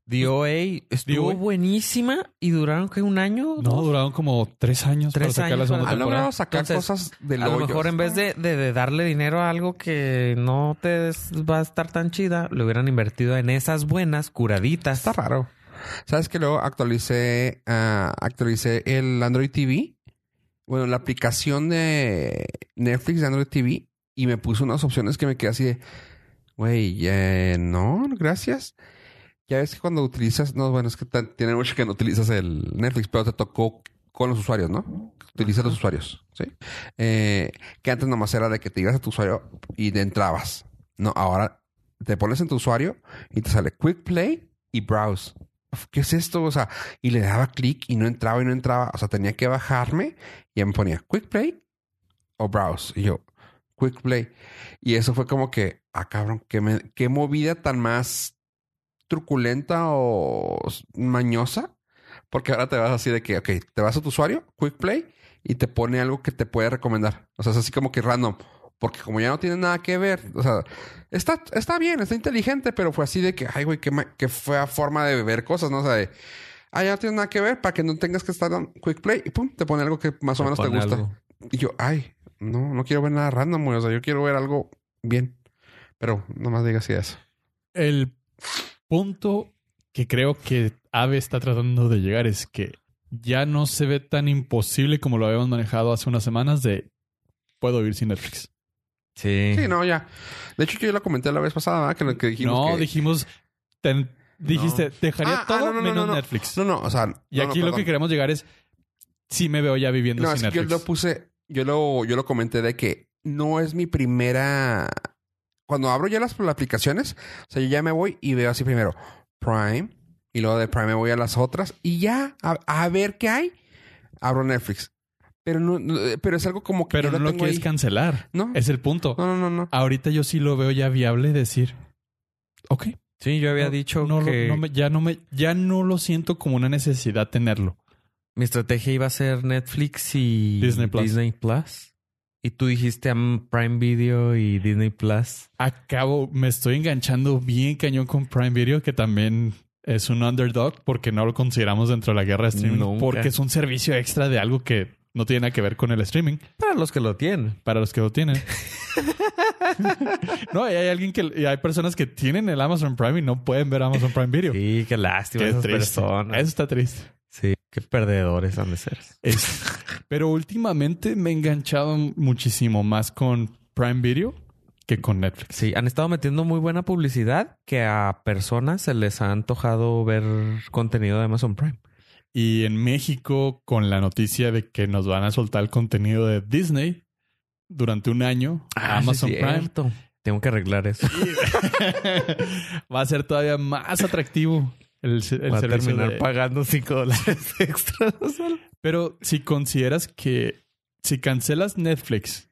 Speaker 3: DOA estuvo
Speaker 2: DOA.
Speaker 3: buenísima y duraron que un año.
Speaker 2: No, duraron como tres años
Speaker 3: Tres
Speaker 2: para sacar
Speaker 3: años
Speaker 2: la segunda
Speaker 3: para-
Speaker 1: Ha
Speaker 2: temporada.
Speaker 1: logrado sacar
Speaker 3: Entonces,
Speaker 1: cosas del
Speaker 3: a lo
Speaker 1: hoyo.
Speaker 3: mejor en vez de, de- de darle dinero a algo que no te es- va a estar tan chida, le hubieran invertido en esas buenas curaditas.
Speaker 1: Está raro. ¿Sabes que luego actualicé, ah, actualicé el Android TV? Bueno, la aplicación de Netflix de Android TV y me puso unas opciones que me quedé así de, güey, eh, no, gracias. Ya ves que cuando utilizas, no, bueno, es que tan- tiene mucho que no utilizas el Netflix, pero te tocó con los usuarios, ¿no? Utilizas los usuarios, ¿sí? Eh, que antes nomás era de que te ibas a tu usuario y te entrabas. No, ahora te pones en tu usuario y te sale Quick Play y Browse. Uf, ¿Qué es esto? O sea, y le daba clic y no entraba y no entraba. O sea, tenía que bajarme y ya me ponía Quick Play o Browse. Y yo, Quick Play. Y eso fue como que, ah, cabrón, qué, me- qué movida tan más truculenta o s- mañosa. Porque ahora te vas así de que, ok, te vas a tu usuario, Quick Play, y te pone algo que te puede recomendar. O sea, es así como que random. Porque como ya no tiene nada que ver, o sea, está, está bien, está inteligente, pero fue así de que, ay, güey, qué, ma- qué fea forma de ver cosas, ¿no? O sea, de, ah, ya no tiene nada que ver para que no tengas que estar en Quick Play y pum, te pone algo que más o menos te
Speaker 3: pone
Speaker 1: gusta.
Speaker 3: algo.
Speaker 1: Y yo, ay, no, no quiero ver nada random, güey. O sea, yo quiero ver algo bien. Pero nomás digas así eso.
Speaker 2: El punto que creo que Ave está tratando de llegar es que ya no se ve tan imposible como lo habíamos manejado hace unas semanas de puedo vivir sin Netflix.
Speaker 3: Sí.
Speaker 1: Sí, no, ya. De hecho, yo ya lo comenté la vez pasada, ¿verdad? Que lo que dijimos.
Speaker 2: no,
Speaker 1: que-
Speaker 2: dijimos, ten- dijiste, dejaría
Speaker 1: Ah, ah,
Speaker 2: todo
Speaker 1: no, no, no,
Speaker 2: menos
Speaker 1: no, no.
Speaker 2: Netflix.
Speaker 1: No, no, o sea. no,
Speaker 2: y aquí
Speaker 1: no,
Speaker 2: lo que
Speaker 1: perdón.
Speaker 2: queremos llegar es, sí me veo ya viviendo
Speaker 1: No,
Speaker 2: sin
Speaker 1: es que yo
Speaker 2: Netflix.
Speaker 1: lo puse. Yo lo, yo lo comenté de que no es mi primera. Cuando abro ya las, las aplicaciones, o sea, yo ya me voy y veo así primero Prime. Y luego de Prime me voy a las otras. Y ya, a, a ver qué hay, abro Netflix. Pero no, no- pero es algo como que
Speaker 2: Pero
Speaker 1: yo
Speaker 2: no lo
Speaker 1: tengo
Speaker 2: quieres
Speaker 1: ahí.
Speaker 2: cancelar.
Speaker 1: No.
Speaker 2: Es el punto.
Speaker 1: No, no, no, no.
Speaker 2: Ahorita yo sí lo veo ya viable decir, ok,
Speaker 3: Sí, yo había
Speaker 2: No,
Speaker 3: dicho
Speaker 2: no lo-
Speaker 3: que
Speaker 2: no me- ya no me, ya no lo siento como una necesidad tenerlo.
Speaker 3: mi estrategia iba a ser Netflix y
Speaker 2: Disney Plus.
Speaker 3: Plus. Y tú dijiste mm, Prime Video y Disney Plus.
Speaker 2: Acabo, me estoy enganchando bien cañón con Prime Video, que también es un underdog porque no lo consideramos dentro de la guerra de streaming,
Speaker 3: Nunca.
Speaker 2: porque es un servicio extra de algo que no tiene nada que ver con el streaming
Speaker 3: Para los que lo tienen.
Speaker 2: para los que lo
Speaker 3: <laughs>
Speaker 2: tienen. no, y hay alguien que y hay personas que tienen el Amazon Prime y no pueden ver Amazon Prime Video.
Speaker 3: Sí, qué lástima
Speaker 2: Qué
Speaker 3: esas
Speaker 2: triste.
Speaker 3: personas.
Speaker 2: Eso está triste.
Speaker 3: Sí, qué perdedores han de ser.
Speaker 2: Es- <laughs> pero últimamente me he enganchado muchísimo más con Prime Video que con Netflix.
Speaker 3: Sí, han estado metiendo muy buena publicidad que a personas se les ha antojado ver contenido de Amazon Prime.
Speaker 2: Y en México, con la noticia de que nos van a soltar el contenido de Disney durante un año a
Speaker 3: Ah,
Speaker 2: Amazon Prime,
Speaker 3: Prime. Tengo que arreglar eso.
Speaker 2: <laughs> va a ser todavía más atractivo el, se- el
Speaker 3: Voy a
Speaker 2: servicio.
Speaker 3: terminar
Speaker 2: de-
Speaker 3: pagando 5 dólares <laughs> extras.
Speaker 2: Pero si consideras que si cancelas Netflix,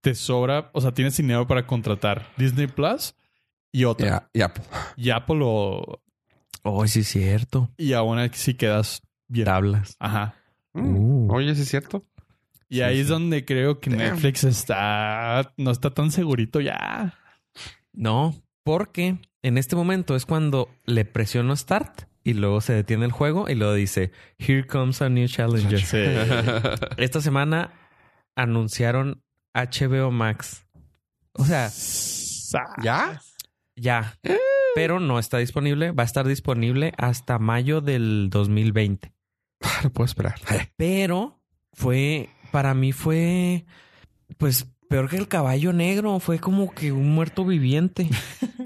Speaker 2: te sobra, o sea, tienes dinero para contratar Disney Plus y otra.
Speaker 1: Ya, ya.
Speaker 2: Y Apple o
Speaker 3: Oh, sí es cierto.
Speaker 2: Y aún así quedas bien.
Speaker 3: Tablas.
Speaker 2: Ajá.
Speaker 1: Mm. Oye, sí es cierto.
Speaker 2: Y
Speaker 3: Sí,
Speaker 2: ahí es
Speaker 3: sí.
Speaker 2: donde creo que
Speaker 1: Damn.
Speaker 2: Netflix está. No está tan segurito ya.
Speaker 3: No, porque en este momento es cuando le presiono start y luego se detiene el juego y luego dice, Here comes a new challenger.
Speaker 2: <laughs>
Speaker 1: Eh, <laughs>
Speaker 3: Esta semana anunciaron HBO Max. O sea,
Speaker 2: Sa-
Speaker 1: ¿Ya?
Speaker 3: ya. Pero no está disponible. Va a estar disponible hasta mayo del 2020.
Speaker 1: Ah, No puedo esperar.
Speaker 3: Pero fue, para mí fue, pues, peor que el caballo negro. Fue como que un
Speaker 1: <laughs>
Speaker 3: muerto viviente.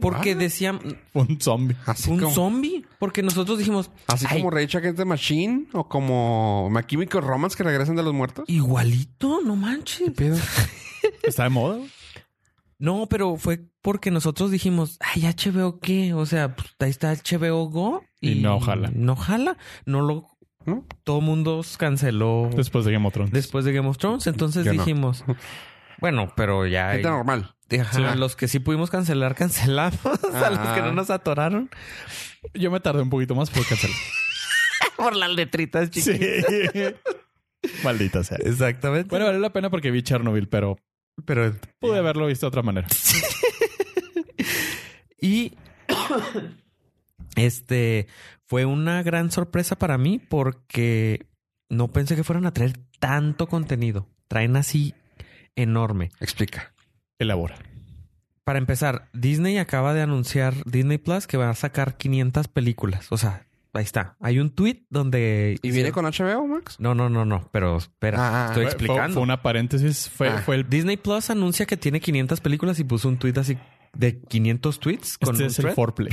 Speaker 3: Porque
Speaker 1: Ah.
Speaker 3: decían,
Speaker 2: Un zombie.
Speaker 1: <laughs> Así
Speaker 3: un
Speaker 1: como,
Speaker 3: zombie. Porque nosotros dijimos,
Speaker 1: así
Speaker 3: "Ay,
Speaker 1: como Rage Against the Machine o como My Chemical Romance que regresan de los muertos.
Speaker 3: igualito, no manches.
Speaker 2: Está de moda.
Speaker 3: No, pero fue porque nosotros dijimos, ay, HBO qué, o sea, pues, ahí está HBO Go
Speaker 2: Y no jala.
Speaker 3: No jala, no lo
Speaker 1: ¿No?
Speaker 3: todo mundo canceló
Speaker 2: Después de Game of Thrones.
Speaker 3: después de Game of Thrones, entonces
Speaker 1: Yo no. <laughs>
Speaker 3: dijimos, bueno, pero ya hay-
Speaker 1: Gente normal.
Speaker 3: Ajá, los que sí pudimos cancelar <laughs> cancelamos, a los que
Speaker 1: Ah.
Speaker 3: no nos atoraron
Speaker 2: Yo me tardé un poquito más por cancelar.
Speaker 3: por las letritas
Speaker 2: <laughs> sí.
Speaker 3: chiquitas.
Speaker 2: <laughs> Maldita sea.
Speaker 3: Exactamente.
Speaker 2: Bueno, valió la pena porque vi Chernobyl, pero
Speaker 3: pero
Speaker 2: pude haberlo visto de otra manera.
Speaker 3: Y <coughs> este fue una gran sorpresa para mí porque no pensé que fueran a traer tanto contenido. Traen así enorme.
Speaker 1: Explica.
Speaker 2: Elabora.
Speaker 3: Para empezar, Disney acaba de anunciar Disney Plus que va a sacar 500 películas. O sea, ahí está. Hay un tweet donde.
Speaker 1: ¿Y viene con HBO, Max?
Speaker 3: No, no, no, no. Pero espera,
Speaker 1: Ah, ah,
Speaker 3: estoy
Speaker 2: Fue- fue- Fue,
Speaker 3: explicando.
Speaker 2: una paréntesis. Fue,
Speaker 1: Ah.
Speaker 2: fue el.
Speaker 3: Disney Plus anuncia que tiene 500 películas y puso un tweet así de 500 tweets con
Speaker 2: Este
Speaker 3: un
Speaker 2: es el
Speaker 3: thread.
Speaker 2: foreplay.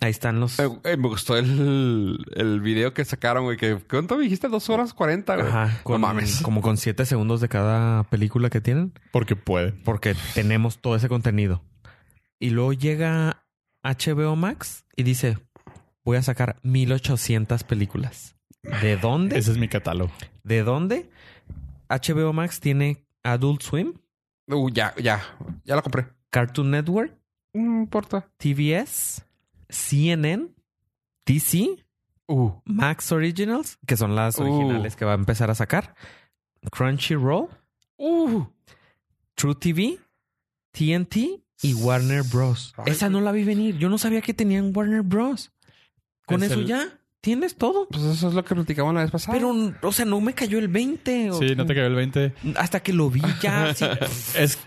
Speaker 3: Ahí están los.
Speaker 1: Eh, eh, me gustó el, el video que sacaron, güey. Que, ¿Cuánto me dijiste? Dos horas cuarenta, güey.
Speaker 3: Ajá, con,
Speaker 1: mames.
Speaker 3: Como con siete segundos de cada película que tienen,
Speaker 2: Porque puede.
Speaker 3: porque tenemos todo ese contenido. Y luego llega HBO Max y dice, voy a sacar 1800 películas. ¿De dónde?
Speaker 2: Ese es mi catálogo.
Speaker 3: ¿De dónde? HBO Max tiene Adult Swim,
Speaker 1: Uh, ya, ya. Ya lo compré.
Speaker 3: Cartoon Network,
Speaker 1: No importa.
Speaker 3: TVS, CNN, DC,
Speaker 1: Uh,
Speaker 3: Max Originals, que son las
Speaker 1: Uh.
Speaker 3: originales que va a empezar a sacar, Crunchyroll,
Speaker 1: uh.
Speaker 3: True TV, TNT y Warner Bros.
Speaker 1: Ay,
Speaker 3: Esa no la vi venir. Yo no sabía que tenían Warner Bros. Con
Speaker 2: Es
Speaker 3: eso
Speaker 2: el-
Speaker 3: ya tienes todo.
Speaker 1: Pues eso es lo que platicamos la vez pasada.
Speaker 3: Pero, o sea, no me cayó el 20. o-
Speaker 2: Sí, no te cayó el 20.
Speaker 3: Hasta que lo vi ya. así.
Speaker 2: Es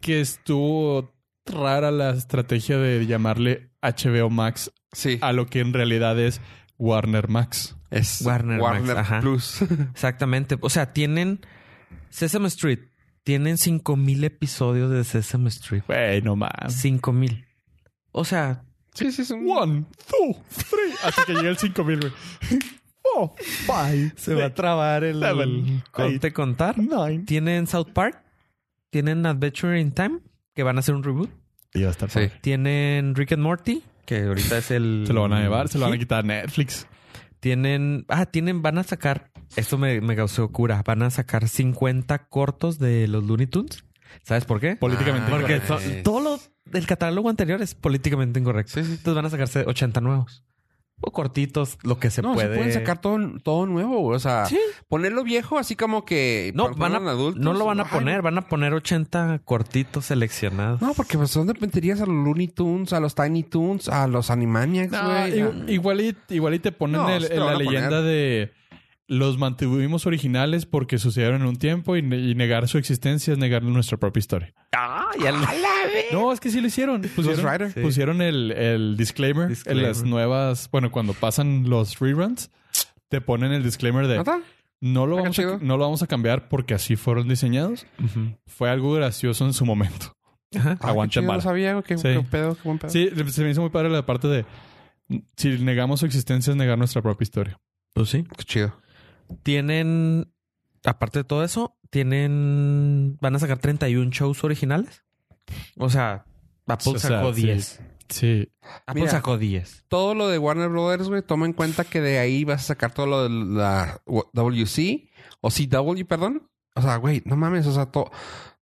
Speaker 2: que estuvo rara la estrategia de llamarle HBO Max
Speaker 1: Sí.
Speaker 2: a lo que en realidad es Warner Max.
Speaker 1: Es
Speaker 3: Warner
Speaker 1: Warner,
Speaker 3: Max, ajá.
Speaker 1: Plus. <laughs>
Speaker 3: Exactamente. O sea, tienen Sesame Street. Tienen 5000 episodios de Sesame Street.
Speaker 2: Güey, no más.
Speaker 3: 5000. O sea,
Speaker 1: sí, sí, es un...
Speaker 2: One, two, three. Hasta que llegue el 5000, güey. Four, five, six,
Speaker 3: trabar el.
Speaker 2: Seven,
Speaker 3: Conte contar.
Speaker 2: nine.
Speaker 3: Tienen South Park. Tienen Adventure in Time. Que van a hacer un reboot.
Speaker 2: Y va a estar
Speaker 1: Sí.
Speaker 2: padre.
Speaker 3: Tienen Rick and Morty, que ahorita es el.
Speaker 2: Se lo van a llevar, se lo van a
Speaker 3: hit.
Speaker 2: quitar a Netflix.
Speaker 3: Tienen. Ah, tienen, van a sacar. Esto me, me causó cura. Van a sacar 50 cortos de los Looney Tunes. ¿Sabes por qué?
Speaker 2: Políticamente
Speaker 1: Ah,
Speaker 2: incorrecto.
Speaker 3: Porque
Speaker 1: correcto.
Speaker 3: to- todo lo del catálogo anterior es políticamente incorrecto.
Speaker 1: Sí, sí.
Speaker 3: Entonces van a sacarse 80 nuevos. O cortitos, lo que se
Speaker 1: no,
Speaker 3: puede.
Speaker 1: se pueden sacar todo, todo nuevo. güey. O sea,
Speaker 3: Sí.
Speaker 1: ponerlo viejo así como que...
Speaker 3: No,
Speaker 1: para
Speaker 3: van a,
Speaker 1: ponerlo en adultos.
Speaker 3: no lo van a
Speaker 1: Ay,
Speaker 3: poner, van a poner 80 cortitos seleccionados.
Speaker 1: No, porque pues, son dependerías a los Looney Tunes, a los Tiny Tunes, a los Animaniacs,
Speaker 2: No,
Speaker 1: güey.
Speaker 2: igu- igual, y, igual y te ponen
Speaker 1: No,
Speaker 2: el-
Speaker 1: sí te
Speaker 2: el-
Speaker 1: lo
Speaker 2: la
Speaker 1: van a poner.
Speaker 2: leyenda de los mantuvimos originales porque sucedieron en un tiempo y, ne- y negar su existencia es negar nuestra propia historia.
Speaker 3: Ah, ya lo-
Speaker 2: No, es que sí lo hicieron. Pusieron,
Speaker 1: Rider.
Speaker 3: Sí.
Speaker 2: pusieron el, el disclaimer,
Speaker 3: Disclaimer.
Speaker 2: en las nuevas. Bueno, cuando pasan los reruns, te ponen el disclaimer de
Speaker 1: ¿Neta?
Speaker 2: no lo,
Speaker 1: Está
Speaker 2: vamos a,
Speaker 1: chido.
Speaker 2: no lo vamos a cambiar porque así fueron diseñados.
Speaker 3: Ujú.
Speaker 2: Fue algo gracioso en su momento.
Speaker 3: Ajá.
Speaker 1: Ah, qué
Speaker 2: Aguanten
Speaker 1: chido,
Speaker 2: vara.
Speaker 1: No sabía, güey. Qué,
Speaker 2: Sí.
Speaker 1: qué pedo, qué buen pedo.
Speaker 2: Sí, se me hizo muy padre la parte de si negamos su existencia es negar nuestra propia historia.
Speaker 3: Pues sí.
Speaker 1: Qué chido.
Speaker 3: Tienen, aparte de todo eso, tienen, van a sacar 31 shows originales. O sea, Apple
Speaker 1: Pues
Speaker 2: O sea,
Speaker 3: sacó
Speaker 2: sí.
Speaker 3: 10.
Speaker 2: Sí,
Speaker 3: Apple
Speaker 1: Mira.
Speaker 3: sacó 10.
Speaker 1: Todo lo de Warner Brothers, güey, toma en cuenta que de ahí vas a sacar todo lo de la WC o CW, perdón. O sea, güey, no mames, o sea, to-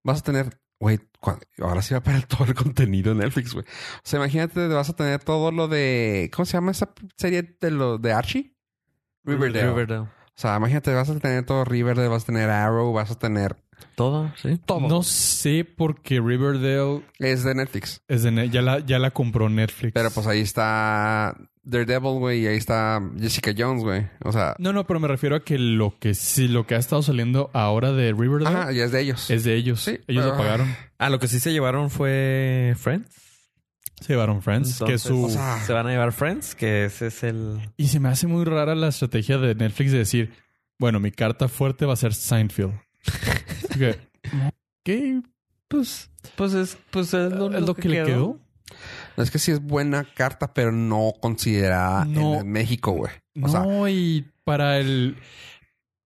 Speaker 1: vas a tener Güey, cua- ahora sí va para <laughs> todo el contenido de Netflix, güey. O sea, imagínate, vas a tener todo lo de. ¿Cómo se llama esa serie de lo de Archie? Riverdale.
Speaker 3: Riverdale.
Speaker 1: O sea, imagínate, vas a tener todo Riverdale, vas a tener Arrow, vas a tener.
Speaker 3: Todo, sí.
Speaker 2: No sé por qué Riverdale
Speaker 1: Es de Netflix.
Speaker 2: es de Ne- ya, la, ya la compró Netflix.
Speaker 1: Pero pues ahí está Daredevil, güey, y ahí está Jessica Jones, güey. O sea,
Speaker 2: No, no, pero me refiero a que lo que sí, lo que ha estado saliendo ahora de Riverdale
Speaker 1: ajá, y es de ellos.
Speaker 2: es de ellos.
Speaker 1: Sí,
Speaker 2: ellos lo
Speaker 1: pero-
Speaker 2: pagaron.
Speaker 3: Ah, lo que sí se llevaron fue Friends.
Speaker 2: Se llevaron Friends, que es su...
Speaker 1: o sea-
Speaker 3: Se van a llevar Friends, que ese es el...
Speaker 2: Y se me hace muy rara la estrategia de Netflix de decir, bueno, mi carta fuerte va a ser Seinfeld. que, ok, pues eh,
Speaker 3: Pues es, pues es lo,
Speaker 2: es lo que, le quedó.
Speaker 1: Es que sí es buena carta, pero no considerada
Speaker 2: No.
Speaker 1: en México, güey. O
Speaker 2: No,
Speaker 1: sea,
Speaker 2: y para el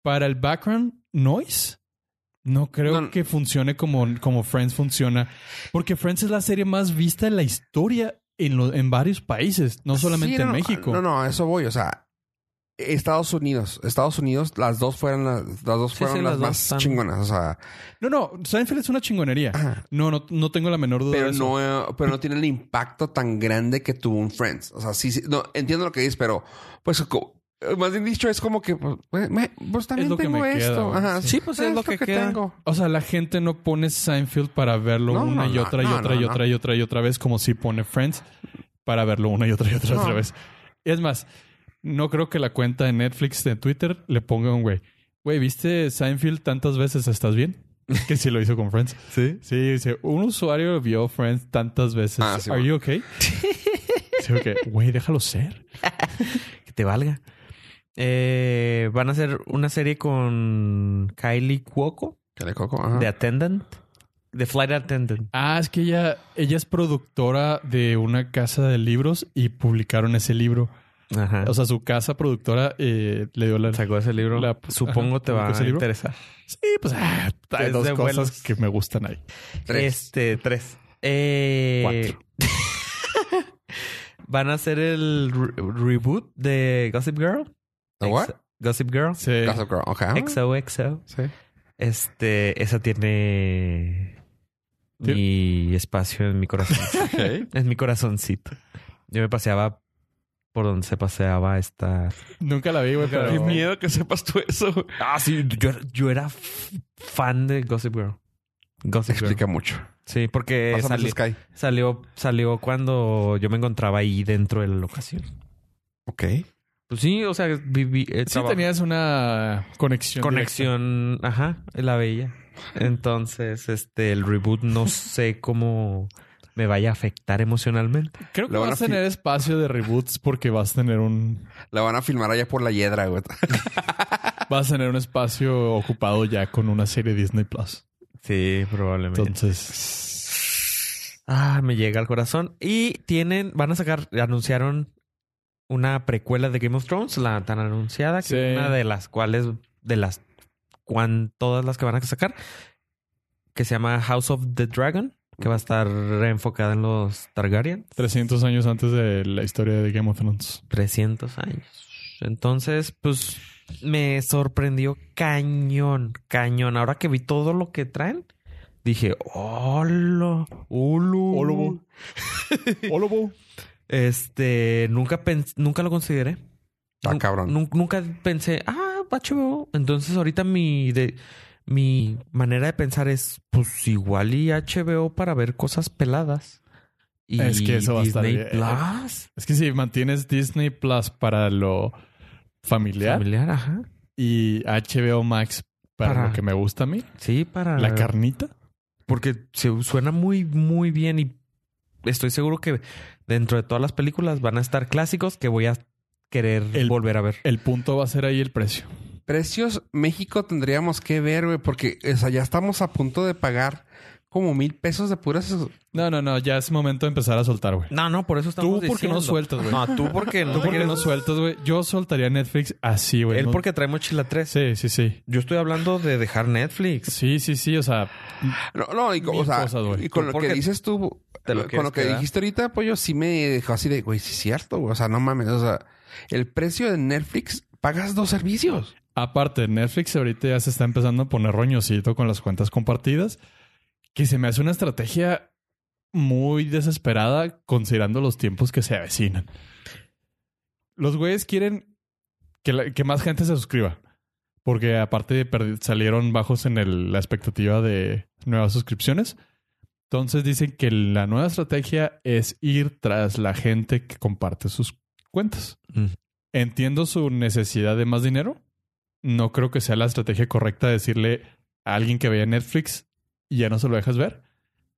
Speaker 2: para el background noise, no creo
Speaker 1: No.
Speaker 2: que funcione como, como Friends funciona. Porque Friends es la serie más vista en la historia en, lo- en varios países, no solamente
Speaker 1: Ah, Sí, no,
Speaker 2: en México.
Speaker 1: No, no, a eso voy. O sea, Estados Unidos. Estados Unidos, las dos fueron las, las dos
Speaker 3: Sí,
Speaker 1: fueron
Speaker 3: sí,
Speaker 1: las,
Speaker 3: las dos
Speaker 1: más
Speaker 3: están-
Speaker 1: chingonas. O sea,
Speaker 2: No, no, Seinfeld es una chingonería.
Speaker 1: Ajá.
Speaker 2: No, no, no tengo la menor duda.
Speaker 1: Ah. pero
Speaker 2: de eso.
Speaker 1: no, eh, pero no tiene el impacto tan grande que tuvo un Friends. O sea, sí, sí, no, entiendo lo que dices, pero pues co- eh, más bien dicho, es como que pues, pues, me- pues, también
Speaker 2: lo que
Speaker 1: tengo
Speaker 2: me queda,
Speaker 1: esto.
Speaker 2: güey.
Speaker 1: Ajá,
Speaker 3: Sí, pues, es lo que queda.
Speaker 1: tengo.
Speaker 2: O sea, la gente no pone Seinfeld para verlo
Speaker 1: No,
Speaker 2: una
Speaker 1: no,
Speaker 2: y
Speaker 1: no,
Speaker 2: otra y
Speaker 1: no,
Speaker 2: otra y
Speaker 1: no, no.
Speaker 2: otra y otra y otra vez, como si pone Friends para verlo una y otra y otra, y otra
Speaker 1: No.
Speaker 2: vez. Es más, no creo que la cuenta de Netflix de Twitter le ponga un güey. Güey, ¿viste Seinfeld tantas veces? ¿Estás
Speaker 1: <laughs>
Speaker 2: bien? Que sí lo hizo con Friends.
Speaker 3: Sí.
Speaker 2: Sí, dice, un usuario vio Friends tantas veces.
Speaker 1: Ah, sí,
Speaker 2: ¿Are
Speaker 1: bueno. <laughs>
Speaker 2: you okay? Sí, ok. Güey, déjalo ser.
Speaker 3: Que te valga. Eh, van a hacer una serie con Kylie Cuoco,
Speaker 1: Que le coco. Ajá.
Speaker 3: de Attendant. De Flight Attendant.
Speaker 2: Ah, es que ella, ella es productora de una casa de libros y publicaron ese libro.
Speaker 3: Ajá.
Speaker 2: O sea, su casa productora eh, le dio la...
Speaker 3: sacó ese libro.
Speaker 2: La-
Speaker 3: Supongo
Speaker 2: Ajá,
Speaker 3: te
Speaker 2: ¿sacó
Speaker 3: va
Speaker 2: ese
Speaker 3: a
Speaker 2: libro?
Speaker 3: interesar.
Speaker 2: Sí, pues ah, hay
Speaker 3: Es
Speaker 2: dos
Speaker 3: de
Speaker 2: cosas
Speaker 3: vuelos.
Speaker 2: que me gustan ahí.
Speaker 1: Tres.
Speaker 3: Este, tres. Eh, <laughs> van a hacer el re- reboot de Gossip Girl.
Speaker 1: ¿The what?
Speaker 3: Ex- Gossip Girl.
Speaker 2: Sí.
Speaker 1: Gossip Girl.
Speaker 2: Ah.
Speaker 1: Ok.
Speaker 3: XOXO.
Speaker 1: Sí.
Speaker 3: Este, esa tiene
Speaker 2: Ti-
Speaker 3: mi espacio en mi corazón. en mi corazoncito. Yo me paseaba por donde se paseaba esta.
Speaker 2: <laughs> Nunca la vi, güey, pero...
Speaker 1: que sepas tú eso.
Speaker 3: Ah, sí, yo, yo era f- fan de Gossip Girl. Gossip Girl. <laughs>
Speaker 1: Explica mucho.
Speaker 3: Sí, porque
Speaker 1: Pásame
Speaker 3: sali-
Speaker 1: el Sky.
Speaker 3: salió, salió cuando yo me encontraba ahí dentro de la locación.
Speaker 1: Ok.
Speaker 3: Pues sí, o sea, viví. eh,
Speaker 2: Sí
Speaker 3: traba-
Speaker 2: tenías una conexión.
Speaker 3: conexión, ajá, la veía. Entonces, este, el reboot no sé cómo me vaya a afectar emocionalmente.
Speaker 2: directa. Creo que
Speaker 1: Lo van
Speaker 2: vas a
Speaker 1: a fi-
Speaker 2: tener espacio de reboots porque vas a tener un...
Speaker 1: La van a filmar allá por la hiedra, güey.
Speaker 2: Vas a tener un espacio ocupado ya con una serie Disney+. Plus.
Speaker 3: Sí, probablemente.
Speaker 2: Entonces...
Speaker 3: Ah, me llega al corazón. Y tienen, van a sacar, anunciaron una precuela de Game of Thrones, la tan anunciada, que
Speaker 2: Sí.
Speaker 3: es una de las cuales, de las cuan, todas las que van a sacar, que se llama House of the Dragon, que va a estar enfocada en los Targaryen.
Speaker 2: 300 años antes de la historia de Game of Thrones.
Speaker 3: 300 años. Entonces, pues me sorprendió cañón, cañón. Ahora que vi todo lo que traen, dije, hola, ulu.
Speaker 2: Olo. Olobo.
Speaker 3: Este, nunca pens- nunca lo consideré.
Speaker 1: Ah,
Speaker 3: Nun-
Speaker 1: cabrón.
Speaker 3: nun- Nunca pensé, ah, HBO. Entonces, ahorita mi de mi manera de pensar es pues igual y HBO para ver cosas peladas. Y
Speaker 2: Es que eso va a estar
Speaker 3: Disney
Speaker 2: bien.
Speaker 3: Plus.
Speaker 2: Es que si mantienes Disney Plus para lo familiar,
Speaker 3: Familiar, ajá.
Speaker 2: y HBO Max para,
Speaker 3: Para-
Speaker 2: lo que me gusta a mí,
Speaker 3: Sí, para
Speaker 2: la carnita.
Speaker 3: Porque se suena muy, muy bien y estoy seguro que dentro de todas las películas van a estar clásicos que voy a querer
Speaker 2: El-
Speaker 3: volver a ver.
Speaker 2: El punto va a ser ahí el precio.
Speaker 1: Precios México tendríamos que ver, güey, porque o sea, ya estamos a punto de pagar como mil pesos de puras.
Speaker 2: No, no, no, ya es momento de empezar a soltar, güey.
Speaker 3: No, no, por eso estamos
Speaker 2: Tú porque no sueltas, güey.
Speaker 3: No, tú porque
Speaker 2: <laughs>
Speaker 3: no
Speaker 2: Tú porque
Speaker 3: quieres-
Speaker 2: no sueltas, güey. Yo soltaría Netflix así, güey.
Speaker 3: Él
Speaker 2: No-
Speaker 3: porque trae mochila 3.
Speaker 2: Sí, sí, sí.
Speaker 3: Yo estoy hablando de dejar Netflix.
Speaker 2: Sí, sí, sí. O sea,
Speaker 1: No, no, y, co- o
Speaker 2: Mil
Speaker 1: sea,
Speaker 2: cosas, güey.
Speaker 1: y con lo
Speaker 3: Porque
Speaker 1: que dices tú,
Speaker 3: te lo
Speaker 1: con
Speaker 3: quieres
Speaker 1: lo que
Speaker 3: quedar.
Speaker 1: dijiste ahorita, pollo, sí me dejó así de, güey, sí es cierto, güey. O sea, no mames. O sea, el precio de Netflix pagas dos servicios.
Speaker 2: aparte, Netflix ahorita ya se está empezando a poner roñosito con las cuentas compartidas. que se me hace una estrategia muy desesperada considerando los tiempos que se avecinan. Los güeyes quieren que, la- que más gente se suscriba. Porque aparte perdi- salieron bajos en el- la expectativa de nuevas suscripciones. Entonces dicen que la nueva estrategia es ir tras la gente que comparte sus cuentas.
Speaker 3: Mm.
Speaker 2: Entiendo su necesidad de más dinero. No creo que sea la estrategia correcta decirle a alguien que vea Netflix y ya no se lo dejas ver.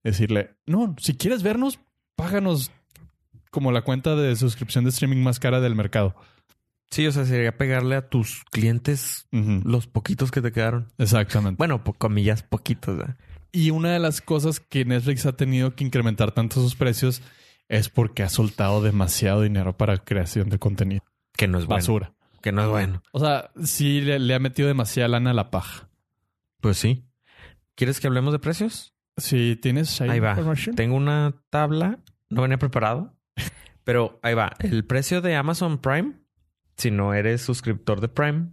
Speaker 2: Decirle, no, si quieres vernos, páganos como la cuenta de suscripción de streaming más cara del mercado.
Speaker 3: Sí, o sea, sería pegarle a tus clientes
Speaker 2: Ujú.
Speaker 3: los poquitos que te quedaron.
Speaker 2: Exactamente.
Speaker 3: Bueno, po- comillas, poquitos. ¿verdad?
Speaker 2: y una de las cosas que Netflix ha tenido que incrementar tanto sus precios es porque ha soltado demasiado dinero para creación de contenido.
Speaker 3: Que no es bueno.
Speaker 2: Basura.
Speaker 3: Que no es bueno.
Speaker 2: O sea, sí le, le ha metido demasiada lana a la paja.
Speaker 3: Pues sí. ¿Quieres que hablemos de precios?
Speaker 2: Si tienes ahí,
Speaker 3: Ahí va.
Speaker 2: información.
Speaker 3: Tengo una tabla, no venía preparado, pero ahí va. El precio de Amazon Prime, si no eres suscriptor de Prime,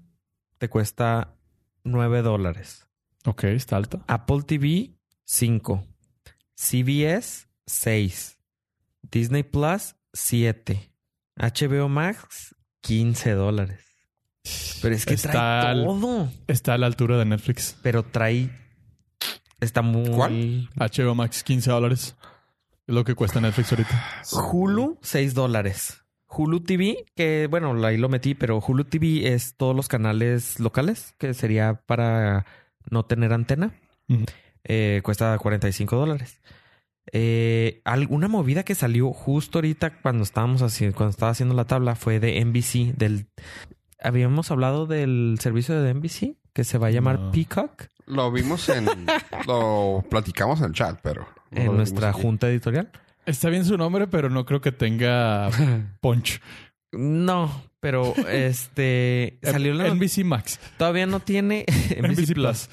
Speaker 3: te cuesta 9 dólares.
Speaker 2: Ok, está alta.
Speaker 3: Apple TV, 5. CBS, 6. Disney Plus, 7. HBO Max, 15 dólares. Pero es que
Speaker 2: Está al-
Speaker 3: trae todo.
Speaker 2: Está a la altura de Netflix.
Speaker 3: Pero trae... Está muy...
Speaker 1: ¿Cuál?
Speaker 2: HBO Max, 15 dólares. Es lo que cuesta Netflix ahorita.
Speaker 3: Hulu, 6 dólares. Hulu TV, que bueno, ahí lo metí, pero Hulu TV es todos los canales locales, que sería para no tener antena.
Speaker 2: Ujú.
Speaker 3: Eh, cuesta 45 dólares. Eh, alguna movida que salió justo ahorita cuando estábamos haciendo, cuando estaba haciendo la tabla fue de NBC, del habíamos hablado del servicio de NBC que se va a llamar
Speaker 2: No.
Speaker 3: Peacock
Speaker 1: Lo vimos <laughs> en. lo platicamos en el chat, pero. no lo
Speaker 3: en
Speaker 1: vimos
Speaker 3: nuestra
Speaker 1: aquí.
Speaker 3: junta editorial.
Speaker 2: Está bien su nombre, pero no creo que tenga punch.
Speaker 3: <laughs> No, pero
Speaker 2: <laughs>
Speaker 3: este salió la noticia.
Speaker 2: NBC Max.
Speaker 3: Todavía no tiene <laughs>
Speaker 2: NBC Plus.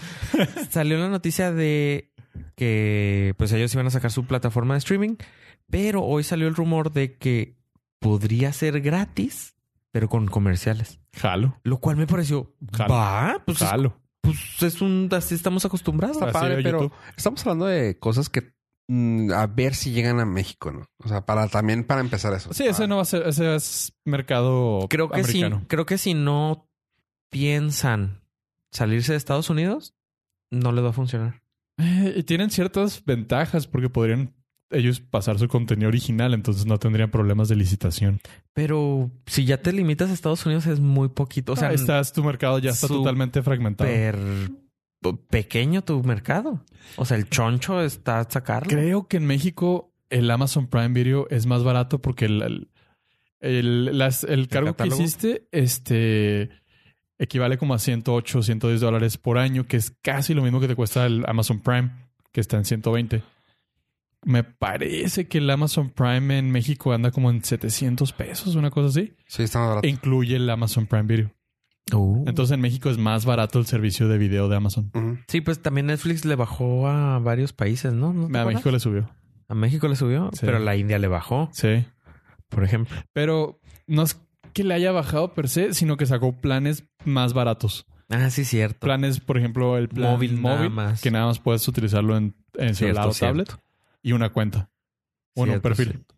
Speaker 3: Salió la noticia de que pues ellos iban a sacar su plataforma de streaming, pero hoy salió el rumor de que podría ser gratis, pero con comerciales.
Speaker 2: Jalo.
Speaker 3: Lo cual me pareció,
Speaker 2: Jalo.
Speaker 3: va, pues, es,
Speaker 2: Jalo.
Speaker 3: pues es un, así estamos acostumbrados.
Speaker 1: Está
Speaker 2: Así
Speaker 1: padre,
Speaker 2: era
Speaker 1: pero
Speaker 2: YouTube.
Speaker 1: estamos hablando de cosas que. mm, a ver si llegan a México, ¿no? O sea, para también para empezar eso.
Speaker 2: Sí, ese
Speaker 1: Ah,
Speaker 2: no va a ser, ese es mercado
Speaker 3: Creo que sí,
Speaker 2: americano.
Speaker 3: creo que si no piensan salirse de Estados Unidos, no les va a funcionar.
Speaker 2: Eh, Y tienen ciertas ventajas porque podrían ellos pasar su contenido original, entonces no tendrían problemas de licitación.
Speaker 3: Pero si ya te limitas a Estados Unidos es muy poquito. O sea,
Speaker 2: Ah, estás, tu mercado ya está
Speaker 3: su-
Speaker 2: totalmente fragmentado.
Speaker 3: súper pequeño tu mercado. O sea, el choncho está a sacarlo.
Speaker 2: Creo que en México el Amazon Prime Video es más barato porque el, el, el- las- el cargo que
Speaker 3: catálogo?
Speaker 2: hiciste este, equivale como a 108, 110 dólares por año, que es casi lo mismo que te cuesta el Amazon Prime, que está en 120. Me parece que el Amazon Prime en México anda como en 700 pesos, una cosa así.
Speaker 1: Sí, está más barato.
Speaker 2: E incluye el Amazon Prime Video.
Speaker 3: Uh.
Speaker 2: Entonces en México es más barato el servicio de video de Amazon.
Speaker 1: Ujú.
Speaker 3: sí, pues también Netflix le bajó a varios países, ¿no? ¿No te
Speaker 2: A
Speaker 3: acuerdas?
Speaker 2: México le subió.
Speaker 3: A México le subió,
Speaker 2: Sí.
Speaker 3: pero a la India le bajó,
Speaker 2: Sí.
Speaker 3: por ejemplo.
Speaker 2: Pero no es que le haya bajado per se, sino que sacó planes más baratos.
Speaker 3: Ah, sí, cierto.
Speaker 2: Planes, por ejemplo, el plan móvil,
Speaker 3: Móvil nada más.
Speaker 2: que nada más puedes utilizarlo en, en celular
Speaker 3: Cierto,
Speaker 2: o tablet
Speaker 3: cierto.
Speaker 2: y una cuenta. Bueno, un
Speaker 3: Cierto,
Speaker 2: perfil.
Speaker 3: cierto.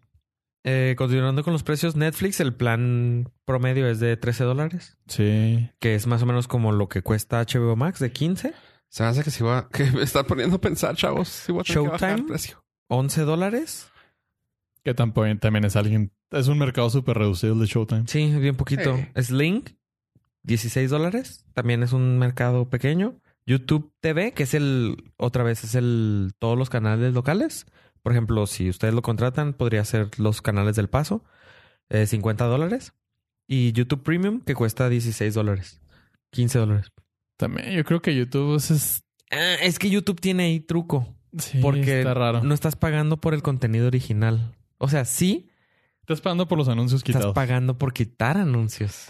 Speaker 3: Eh, continuando con los precios, Netflix, el plan promedio es de 13 dólares,
Speaker 2: Sí.
Speaker 3: que es más o menos como lo que cuesta HBO Max de 15,
Speaker 1: Se me hace que si va. <laughs> Que me está poniendo a pensar, chavos. Si voy a tener que bajar el
Speaker 3: Showtime.
Speaker 1: precio.
Speaker 3: 11 dólares.
Speaker 2: Que tampoco también es alguien. Es un mercado súper reducido el de Showtime.
Speaker 3: Sí, bien poquito.
Speaker 1: Sí.
Speaker 3: Sling, 16 dólares. También es un mercado pequeño. YouTube TV, que es el, otra vez, es el, todos los canales locales. Por ejemplo, si ustedes lo contratan, podría ser los canales del paso, eh, 50 dólares. Y YouTube Premium, que cuesta 16 dólares. 15 dólares.
Speaker 2: También yo creo que YouTube es- es.
Speaker 3: Ah, es que YouTube tiene ahí truco.
Speaker 2: sí,
Speaker 3: Porque
Speaker 2: está raro.
Speaker 3: no estás pagando por el contenido original. O sea, sí,
Speaker 2: Estás pagando por los anuncios
Speaker 3: estás
Speaker 2: quitados.
Speaker 3: pagando por quitar anuncios.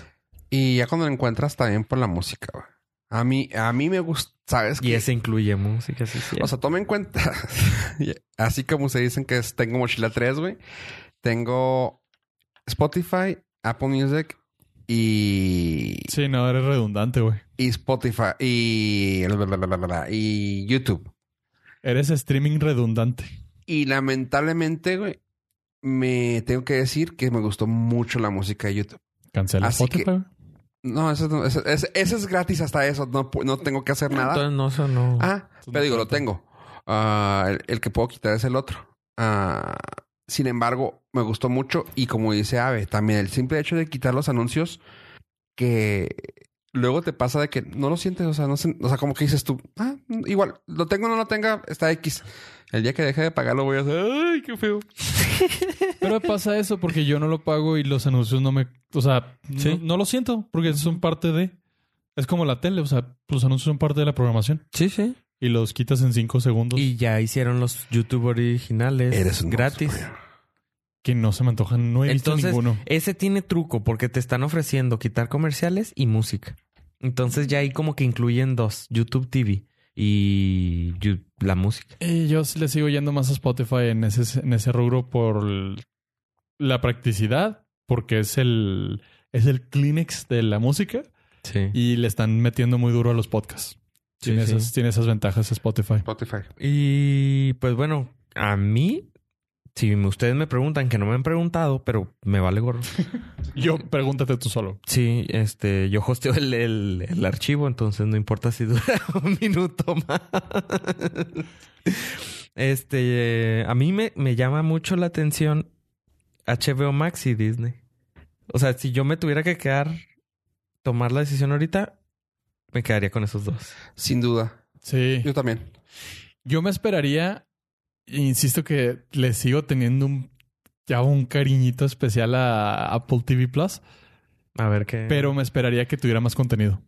Speaker 1: Y ya cuando lo encuentras también por la música, güey. A mí, a mí me gusta, ¿sabes?
Speaker 3: Y
Speaker 1: qué?
Speaker 3: ese incluye música, sí, sí.
Speaker 1: O sea, toma en cuenta. <laughs> Así como se dicen que es- tengo mochila 3, güey. Tengo Spotify, Apple Music y,
Speaker 2: Sí, no, eres redundante, güey.
Speaker 1: y Spotify y, y YouTube.
Speaker 2: Eres streaming redundante.
Speaker 1: Y lamentablemente, güey, me tengo que decir que me gustó mucho la música de YouTube.
Speaker 2: Cancela
Speaker 1: Así
Speaker 2: Spotify.
Speaker 1: que- No, eso, no- eso- eso- eso es gratis hasta eso. No, pu- no tengo que hacer nada.
Speaker 3: Entonces, no, eso no.
Speaker 1: Ah, pero digo, lo tengo. Ah, el, el que puedo quitar es el otro. Ah, sin embargo, me gustó mucho. Y como dice Ave, también el simple hecho de quitar los anuncios que luego te pasa de que no lo sientes. O sea, no sé- o sea, como que dices tú, ah, igual, lo tengo o no lo tenga, está X. El día que deje de pagarlo voy a hacer, ay, qué feo.
Speaker 2: Pero pasa eso porque yo no lo pago y los anuncios no me. O sea, no-
Speaker 3: Sí.
Speaker 2: no, lo siento porque son parte de. Es como la tele, o sea, los anuncios son parte de la programación
Speaker 3: Sí, sí.
Speaker 2: y los quitas en cinco segundos.
Speaker 3: Y ya hicieron los YouTube originales
Speaker 1: Eres un
Speaker 3: gratis.
Speaker 1: monstruo.
Speaker 2: que no se me antojan, no he
Speaker 3: Entonces,
Speaker 2: visto ninguno.
Speaker 3: Ese tiene truco porque te están ofreciendo quitar comerciales y música. Entonces ya ahí como que incluyen dos, YouTube TV y Yu- la música.
Speaker 2: Y eh, yo sí le sigo yendo más a Spotify en ese, en ese rubro por el- la practicidad, porque es el, es el Kleenex de la música
Speaker 3: Sí.
Speaker 2: y le están metiendo muy duro a los podcasts.
Speaker 3: Sí,
Speaker 2: tiene,
Speaker 3: sí.
Speaker 2: Esas, tiene esas ventajas Spotify.
Speaker 1: Spotify.
Speaker 3: Y pues bueno, a mí, si me- ustedes me preguntan, que no me han preguntado, pero me vale gorro.
Speaker 2: Yo pregúntate tú solo.
Speaker 3: Sí, este, yo hosteo el, el- el archivo, entonces no importa si dura <laughs> un minuto más. Este, eh, a mí me, me llama mucho la atención HBO Max y Disney. O sea, si yo me tuviera que quedar, tomar la decisión ahorita, me quedaría con esos dos.
Speaker 1: Sin duda.
Speaker 2: Sí.
Speaker 1: Yo también.
Speaker 2: Yo me esperaría, insisto que le sigo teniendo un, ya un cariñito especial a Apple TV Plus,
Speaker 3: A ver qué.
Speaker 2: pero me esperaría que tuviera más contenido.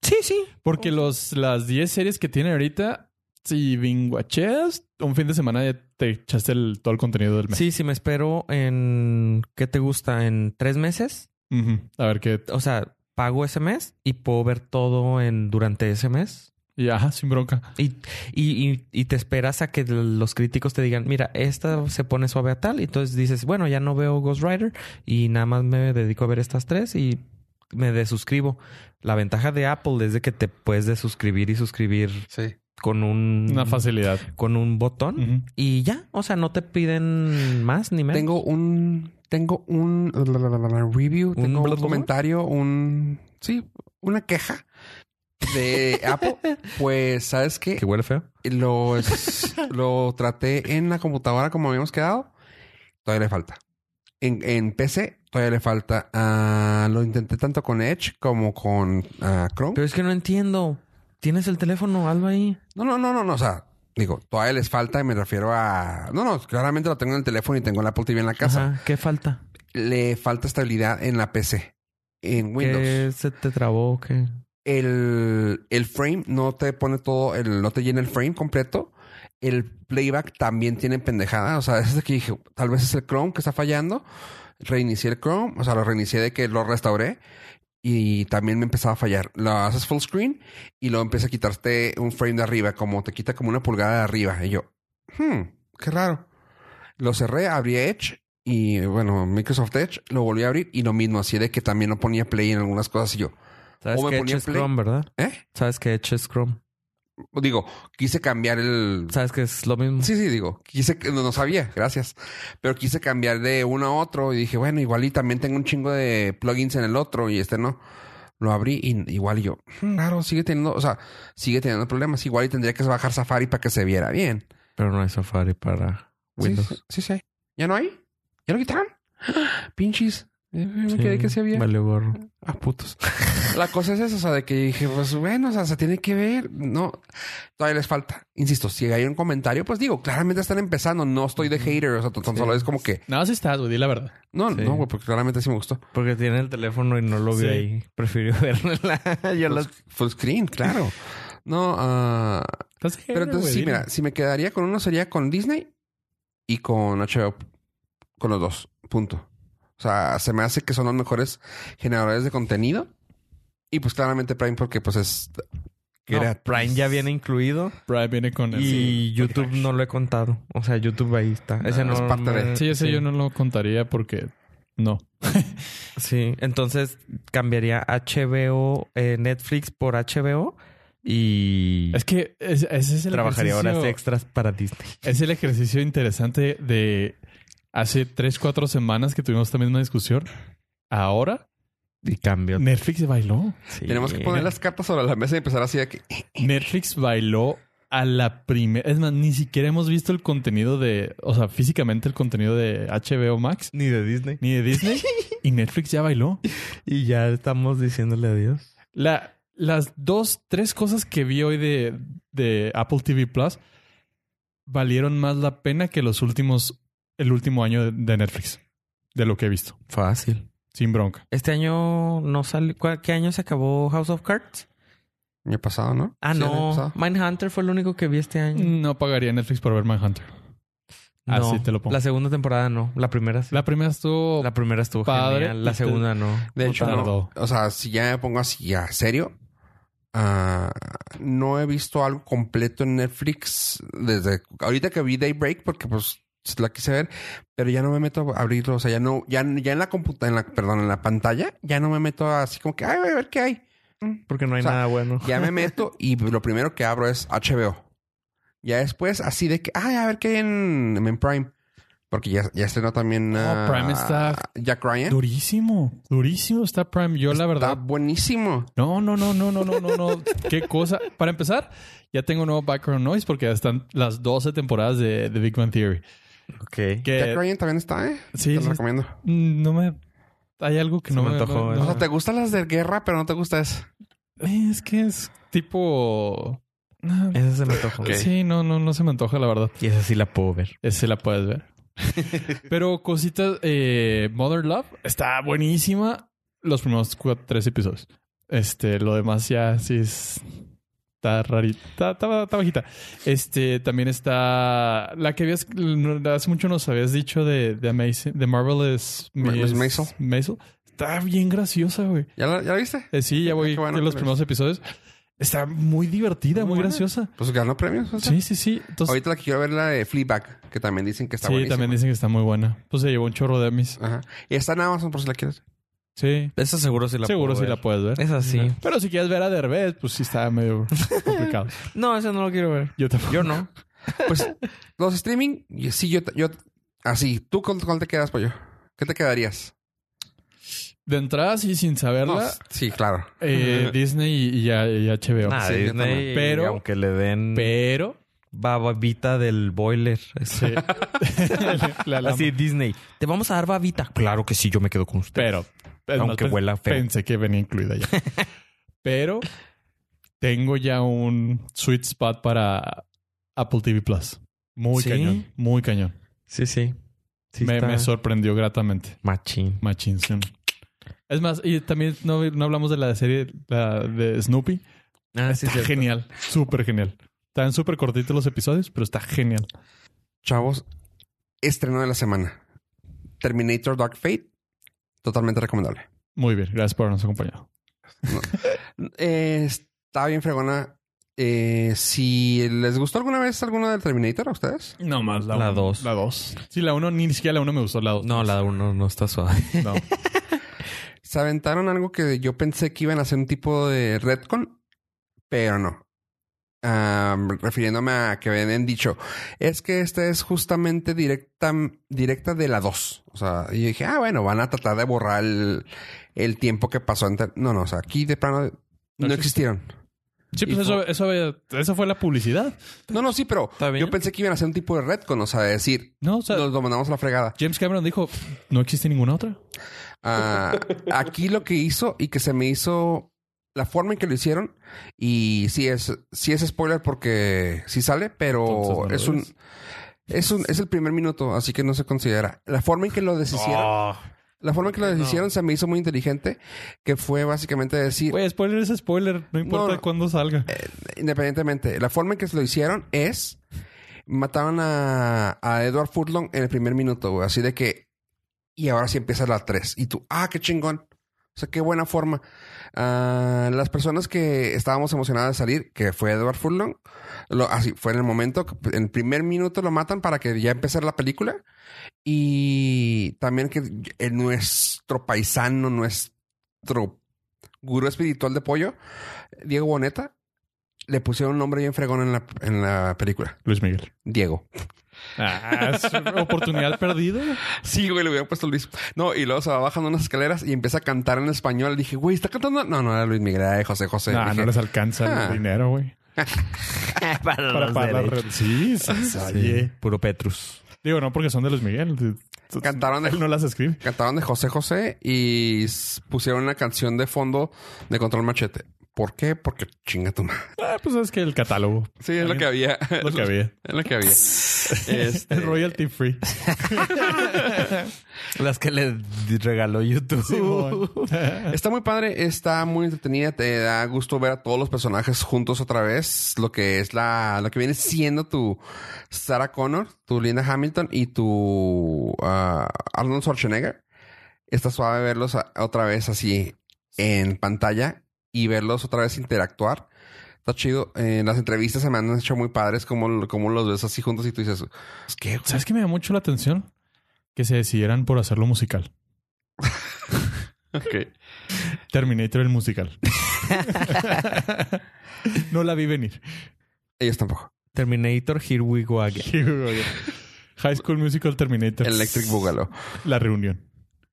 Speaker 3: sí, sí.
Speaker 2: Porque los, las 10 series que tiene ahorita, si binguacheas, un fin de semana ya te echaste el- todo el contenido del mes.
Speaker 3: Sí, sí, me espero en. ¿Qué te gusta? ¿En tres meses?
Speaker 2: Ujú. A ver qué.
Speaker 3: O sea, pago ese mes y puedo ver todo en durante ese mes.
Speaker 2: y ajá, sin bronca.
Speaker 3: Y, y, y- y te esperas a que los críticos te digan, mira, esta se pone suave a tal. Y entonces dices, bueno, ya no veo Ghost Rider y nada más me dedico a ver estas tres y me desuscribo. La ventaja de Apple es de que te puedes desuscribir y suscribir
Speaker 1: Sí.
Speaker 3: con un,
Speaker 2: Una facilidad.
Speaker 3: con un botón.
Speaker 2: Ujú.
Speaker 3: Y ya, o sea, no te piden más ni menos.
Speaker 1: Tengo un. Tengo un. la, la, la, la, la, review. Tengo un
Speaker 3: blog?
Speaker 1: comentario. Un. Sí, una queja de Apple. Pues, ¿sabes qué?
Speaker 3: Que huele feo.
Speaker 1: Lo, es- lo traté en la computadora como habíamos quedado. Todavía le falta. En, en PC, todavía le falta. Ah, lo intenté tanto con Edge como con ah, Chrome.
Speaker 3: Pero es que no entiendo. Tienes el teléfono, algo ahí.
Speaker 1: No, no, no, no, no. O sea, digo, todavía les falta y me refiero a. No, no, claramente lo tengo en el teléfono y tengo el Apple TV en la casa.
Speaker 3: Ajá, ¿Qué falta?
Speaker 1: le falta estabilidad en la PC. En Windows.
Speaker 3: ¿Qué se te trabó? o ¿Qué?
Speaker 1: El, el frame no te pone todo, el, no te llena el frame completo. El playback también tiene pendejada. O sea, <laughs> es de que dije, tal vez es el Chrome que está fallando. Reinicié el Chrome, o sea, lo reinicié de que lo restauré. Y también me empezaba a fallar. Lo haces full screen y luego empieza a quitarte un frame de arriba, como te quita como una pulgada de arriba. Y yo, hmm, qué raro. Lo cerré, abrí Edge y bueno, Microsoft Edge, lo volví a abrir y lo mismo, así de que también no ponía play en algunas cosas y yo,
Speaker 3: ¿Sabes
Speaker 1: O me
Speaker 3: que
Speaker 1: ponía
Speaker 3: Edge es
Speaker 1: play.
Speaker 3: Chrome, verdad?
Speaker 1: ¿eh?
Speaker 3: ¿Sabes que Edge es Chrome?
Speaker 1: Digo, quise cambiar el.
Speaker 3: ¿Sabes que es lo mismo?
Speaker 1: Sí, sí, digo, quise, no, no sabía, gracias. Pero quise cambiar de uno a otro y dije, bueno, igual y también tengo un chingo de plugins en el otro y este no. Lo abrí y igual y yo, "Mm, claro, sigue teniendo, o sea, sigue teniendo problemas. Igual y tendría que bajar Safari para que se viera bien.
Speaker 3: Pero no hay Safari para
Speaker 1: Sí,
Speaker 3: Windows.
Speaker 1: Sí, sí, sí. ¿Ya no hay? ¿Ya lo quitaron? Pinches. Eh, Me quedé que se había.
Speaker 3: Vale, gorro.
Speaker 1: Ah, putos.
Speaker 3: <laughs>
Speaker 1: La cosa es esa, o sea, de que dije, pues bueno, o sea, se tiene que ver. No, todavía les falta. Insisto, si hay un comentario, pues digo, claramente están empezando. No estoy de hater, o sea, tan tan
Speaker 3: Sí.
Speaker 1: solo es como que,
Speaker 2: No, sí estás, güey, di la verdad.
Speaker 1: no,
Speaker 3: Sí.
Speaker 1: no, güey, porque claramente sí me gustó.
Speaker 3: Porque tiene el teléfono y no lo vio
Speaker 2: Sí.
Speaker 3: ahí. Prefirió <laughs> verla. Yo
Speaker 1: Full,
Speaker 3: las...
Speaker 1: full screen, claro. No, ah,
Speaker 2: Estás
Speaker 1: pero entonces sí, mira, si me quedaría con uno sería con Disney y con HBO, con los dos, punto. O sea, se me hace que son los mejores generadores de contenido y pues claramente Prime porque pues es
Speaker 3: No, Prime ya viene incluido.
Speaker 2: Prime viene con el-
Speaker 3: Y YouTube no lo he contado. O sea, YouTube ahí está. Ese
Speaker 1: No,
Speaker 3: no
Speaker 1: Ah, es parte de-
Speaker 2: Sí, ese yo no lo contaría porque no.
Speaker 3: Sí, entonces cambiaría HBO, eh, Netflix por HBO Y
Speaker 2: Es que es- ese es el
Speaker 3: trabajaría horas
Speaker 2: ejercicio-
Speaker 3: extras para Disney.
Speaker 2: Es el ejercicio interesante de hace tres, cuatro semanas que tuvimos esta misma discusión. Ahora,
Speaker 3: Y cambio.
Speaker 2: Netflix bailó.
Speaker 3: Sí.
Speaker 1: Tenemos que poner las cartas sobre la mesa y empezar así de que "Eh,
Speaker 2: Netflix bailó a la primera. Es más, ni siquiera hemos visto el contenido de, o sea, físicamente el contenido de HBO Max
Speaker 3: Ni de Disney.
Speaker 2: ni de Disney. y Netflix ya bailó.
Speaker 3: Y ya estamos diciéndole adiós.
Speaker 2: La, las dos, tres cosas que vi hoy de, de Apple TV Plus valieron más la pena que los últimos, el último año de- de Netflix, de lo que he visto,
Speaker 3: Fácil.
Speaker 2: sin bronca.
Speaker 3: Este año no salió. ¿cuál- ¿Qué año se acabó House of Cards?
Speaker 1: año pasado, ¿no?
Speaker 3: Ah,
Speaker 1: Sí, el año
Speaker 3: no.
Speaker 1: pasado.
Speaker 3: Mindhunter fue el único que vi este año.
Speaker 2: No pagaría Netflix por ver Manhunter.
Speaker 3: No,
Speaker 2: Mm. Así te lo pongo.
Speaker 3: La segunda temporada no. La primera sí.
Speaker 2: La primera estuvo.
Speaker 3: La primera estuvo
Speaker 2: Padre,
Speaker 3: genial. La
Speaker 2: este-
Speaker 3: segunda no.
Speaker 1: De hecho,
Speaker 2: Puta,
Speaker 1: no.
Speaker 2: tardó.
Speaker 1: o sea, si ya me pongo así ya serio, ah, no he visto algo completo en Netflix desde ahorita que vi Daybreak porque pues la quise ver, pero ya no me meto a abrirlo, o sea, ya no ya, ya en la computa en la perdón, en la pantalla, ya no me meto así como que ay, voy a ver qué hay.
Speaker 3: Porque no hay
Speaker 1: O sea,
Speaker 3: nada bueno.
Speaker 1: Ya me meto y lo primero que abro es HBO. Ya después así de que ay, a ver qué hay en, en Prime. Porque ya, ya estrenó también
Speaker 2: Oh,
Speaker 1: ah,
Speaker 2: Prime está
Speaker 1: Jack Ryan.
Speaker 2: Durísimo. Durísimo está Prime. Yo, la
Speaker 1: Está
Speaker 2: verdad.
Speaker 1: buenísimo.
Speaker 2: No, no, no, no, no, no, no, no.
Speaker 3: <laughs>
Speaker 2: Qué cosa. Para empezar, ya tengo nuevo background noise porque ya están las 12 temporadas de, de Big Bang Theory.
Speaker 3: Ok.
Speaker 2: Que
Speaker 1: Jack Ryan también está, ¿eh?
Speaker 2: sí,
Speaker 1: te lo
Speaker 2: sí,
Speaker 1: recomiendo.
Speaker 2: mm, no me. Hay algo que
Speaker 3: Se
Speaker 2: no
Speaker 3: me
Speaker 2: me
Speaker 3: antojó,
Speaker 2: no-
Speaker 3: ¿eh?
Speaker 1: O
Speaker 2: no-
Speaker 1: sea, te gustan las de guerra, pero no te gusta esa.
Speaker 2: Eh, Es que es tipo. Ah,
Speaker 3: Esa se me antojó.
Speaker 2: Sí, no, no, no se me antoja, la verdad.
Speaker 3: Y esa sí la puedo ver.
Speaker 2: Ese la
Speaker 1: <laughs>
Speaker 2: puedes ver. Pero cositas, eh, Mother Love está buenísima. Los primeros cuatro, tres episodios. Este, lo demás ya sí es. Está rarita, está, está- está bajita. Este, también está la que habías, hace mucho nos habías dicho de, de Amazing, de Marvelous
Speaker 1: Ma-
Speaker 2: Miss
Speaker 1: Maisel.
Speaker 2: Maisel. Está bien graciosa, güey.
Speaker 1: ¿Ya la, ya la viste?
Speaker 2: Eh, sí, ya voy
Speaker 1: <laughs> Qué bueno
Speaker 2: en los
Speaker 1: que la-
Speaker 2: primeros episodios. Está muy divertida,
Speaker 1: Muy
Speaker 2: muy,
Speaker 1: buena.
Speaker 2: graciosa.
Speaker 1: Pues ganó premios. o sea.
Speaker 2: Sí, sí, sí. Entonces,
Speaker 1: Ahorita la que quiero ver es la de Fleabag, que también dicen que está
Speaker 2: sí,
Speaker 1: buenísima.
Speaker 2: también dicen que está muy buena. Pues se llevó un chorro de mis.
Speaker 1: Ajá. Y está en Amazon por si la quieres.
Speaker 2: Sí.
Speaker 3: Esa seguro sí la
Speaker 2: Seguro
Speaker 3: puedo
Speaker 2: sí
Speaker 3: ver.
Speaker 2: la puedes ver.
Speaker 3: Esa sí.
Speaker 2: Pero si quieres ver a Derbez, pues sí está
Speaker 3: <laughs>
Speaker 2: medio complicado.
Speaker 3: No, esa no la quiero ver.
Speaker 2: Yo tampoco.
Speaker 3: Yo no.
Speaker 1: Pues los streaming, y sí, yo, yo así. ¿Tú con cuál te quedas, pollo? ¿Qué te quedarías?
Speaker 2: De entrada, sí, sin
Speaker 1: No,
Speaker 2: saberla,
Speaker 1: s- sí, claro.
Speaker 2: eh, Disney y, y a- y HBO.
Speaker 3: Nada,
Speaker 1: Sí, yo
Speaker 3: Ah, Disney,
Speaker 1: también.
Speaker 2: Pero-
Speaker 3: aunque le den
Speaker 2: Pero.
Speaker 3: babita del boiler.
Speaker 2: Sí.
Speaker 3: <laughs>
Speaker 2: La lama.
Speaker 3: Así, Disney. ¿Te vamos a dar babita? Claro que sí, yo me quedo con usted.
Speaker 2: Pero. es
Speaker 3: Aunque
Speaker 2: pen-
Speaker 3: huela feo.
Speaker 2: pues, Pensé que venía incluida
Speaker 3: <laughs>
Speaker 2: ya. Pero tengo ya un sweet spot para Apple TV Plus. Muy
Speaker 3: ¿Sí?
Speaker 2: cañón. Muy cañón.
Speaker 3: Sí, sí. Sí
Speaker 2: me,
Speaker 3: está
Speaker 2: me sorprendió gratamente.
Speaker 3: Machín.
Speaker 2: Machín, sí. Es más, y también no, no hablamos de la serie la de Snoopy.
Speaker 3: Ah, sí,
Speaker 2: Está
Speaker 3: cierto.
Speaker 2: genial, súper genial. Están súper cortitos los episodios, pero está genial.
Speaker 1: Chavos, estreno de la semana. Terminator Dark Fate. Totalmente recomendable.
Speaker 2: Muy bien, gracias por habernos acompañado.
Speaker 1: Eh, está bien fregona. Eh, si les gustó alguna vez alguno del Terminator a ustedes.
Speaker 2: No más,
Speaker 3: la La uno. dos.
Speaker 2: La 2. Sí, la 1, ni siquiera la 1 me gustó, la 2.
Speaker 3: No, la uno no está suave.
Speaker 2: <laughs> No.
Speaker 1: Se aventaron algo que yo pensé que iban a hacer un tipo de retcon, pero no. Am, refiriéndome a que habían dicho, es que esta es justamente directa, directa de la 2. O sea, y dije, ah, bueno, van a tratar de borrar el, el tiempo que pasó. Entre... No, no, o sea, aquí de plano no,
Speaker 2: existe.
Speaker 1: existieron.
Speaker 2: Sí, pues
Speaker 1: Y
Speaker 2: eso, eso, esa fue la publicidad.
Speaker 1: No, no, sí, pero
Speaker 3: <laughs> ¿Está bien?
Speaker 1: yo pensé que iban a hacer un tipo de retcon, o sea, de decir,
Speaker 2: No, o sea,
Speaker 1: nos lo mandamos a la fregada.
Speaker 2: James Cameron dijo, no existe ninguna otra.
Speaker 1: Ah, aquí lo que hizo y que se me hizo la forma en que lo hicieron y sí es sí es spoiler porque sí sale,
Speaker 2: Entonces,
Speaker 1: pero
Speaker 2: no lo
Speaker 1: Oh, es un
Speaker 2: ves.
Speaker 1: es un es el primer minuto, así que no se considera. La forma en que lo deshicieron,
Speaker 3: Ah.
Speaker 1: la forma en que lo deshicieron se me hizo muy inteligente, que fue básicamente decir
Speaker 2: Güey, spoiler es spoiler, no importa
Speaker 1: no.
Speaker 2: cuándo salga.
Speaker 1: independientemente, la forma en que se lo hicieron es mataron a, a Edward Furlong en el primer minuto, güey. Así de que. Y ahora sí empieza la 3. Y tú, ah, qué chingón. O sea, qué buena forma. Ah, las personas que estábamos emocionadas de salir, que fue Edward Furlong, lo- así fue en el momento, que en el primer minuto lo matan para que ya empezara la película. Y también que el- nuestro paisano, nuestro gurú espiritual de pollo, Diego Boneta, Le pusieron un nombre bien fregón en la, en la película.
Speaker 2: Luis Miguel.
Speaker 1: Diego.
Speaker 2: Ah, es <laughs> una oportunidad perdida.
Speaker 1: Sí, güey, le hubiera puesto Luis. No, y luego se va bajando unas escaleras y empieza a cantar en español. Dije, güey, ¿está cantando? No, no era Luis Miguel, era de José José.
Speaker 2: Nah,
Speaker 1: Dije,
Speaker 2: no les alcanza
Speaker 1: Ah.
Speaker 2: el dinero, güey.
Speaker 3: <laughs> para
Speaker 2: Para
Speaker 3: los
Speaker 2: pagar la
Speaker 3: derechos.
Speaker 2: renta. Sí, sí, sí.
Speaker 1: Ah,
Speaker 3: Oye, Puro Petrus.
Speaker 2: Digo, no porque son de Luis Miguel.
Speaker 1: Cantaron de-
Speaker 2: Él no las escribe.
Speaker 1: Cantaron de José José y s- pusieron una canción de fondo de Control Machete. ¿Por qué? Porque chinga tu madre.
Speaker 2: Ah, pues es que el catálogo.
Speaker 1: Sí, es lo que había.
Speaker 2: Es lo que había.
Speaker 1: Es lo que había. Este,
Speaker 2: <laughs> El
Speaker 1: <laughs>
Speaker 2: royalty free.
Speaker 3: Las que le d- regaló YouTube.
Speaker 2: Simón.
Speaker 1: <laughs> Está muy padre, está muy entretenida, te da gusto ver a todos los personajes juntos otra vez, lo que es la, lo que viene siendo tu Sarah Connor, tu Linda Hamilton y tu ah, Arnold Schwarzenegger. Está suave verlos a- otra vez así en pantalla y verlos otra vez interactuar. Está chido. Eh, las entrevistas se me han hecho muy padres, como, como los ves así juntos y tú dices, "Es que, güey".
Speaker 2: ¿Sabes qué me da mucho la atención? Que se decidieran por hacerlo musical. Terminator el musical. <laughs> no la vi venir. <laughs>
Speaker 1: Ellos tampoco.
Speaker 3: Terminator, Here We Go Again.
Speaker 2: High School Musical Terminator.
Speaker 1: Electric Boogaloo.
Speaker 2: La reunión.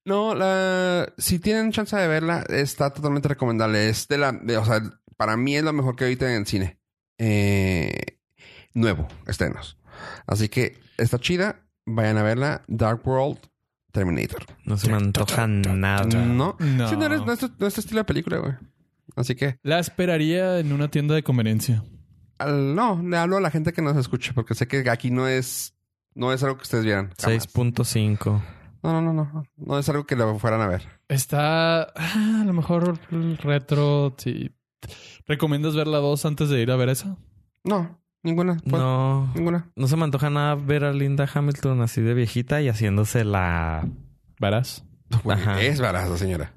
Speaker 1: No, la, si tienen chance de verla, está totalmente recomendable. Es de la, de- o sea, para mí es lo mejor que ahorita en el cine. Eh, nuevo, estrenos. Así que está chida. Vayan a verla. Dark World Terminator.
Speaker 3: No se me antoja nada.
Speaker 1: No,
Speaker 2: No.
Speaker 1: Sí, no, eres- no es, tu- no es tu estilo de película, güey. Así que,
Speaker 2: La esperaría en una tienda de conveniencia.
Speaker 1: al- no, le hablo a la gente que nos escucha, porque sé que aquí no es, no es algo que ustedes vieran. jamás.
Speaker 3: 6.5.
Speaker 1: No, no, no, no. No es algo que lo fueran a ver.
Speaker 2: Está ah, a lo mejor el retro. Sí. ¿Recomiendas ver la 2 antes de ir a ver esa?
Speaker 1: No, ninguna. pues,
Speaker 3: No.
Speaker 1: Ninguna.
Speaker 3: No se me antoja nada ver a Linda Hamilton así de viejita y haciéndose la...
Speaker 2: Verás.
Speaker 3: Ajá.
Speaker 1: Es barato, señora.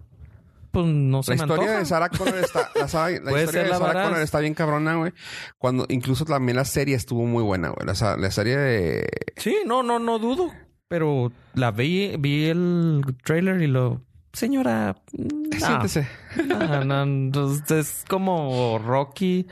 Speaker 3: Pues no se
Speaker 1: La
Speaker 3: me
Speaker 1: historia
Speaker 3: antoja.
Speaker 1: de Sarah Connor está, la, Sarah- la
Speaker 3: <laughs> Puede
Speaker 1: historia
Speaker 3: ser
Speaker 1: de
Speaker 3: la
Speaker 1: Sarah
Speaker 3: varas.
Speaker 1: Connor está bien cabrona, güey. Cuando incluso también la serie estuvo muy buena, güey. La, sa- la serie de
Speaker 3: Sí, no, no, no dudo. Pero la vi, vi el trailer y lo...
Speaker 1: <laughs>
Speaker 3: Señora... No,
Speaker 1: siéntese.
Speaker 3: no, no, no, es como Rocky,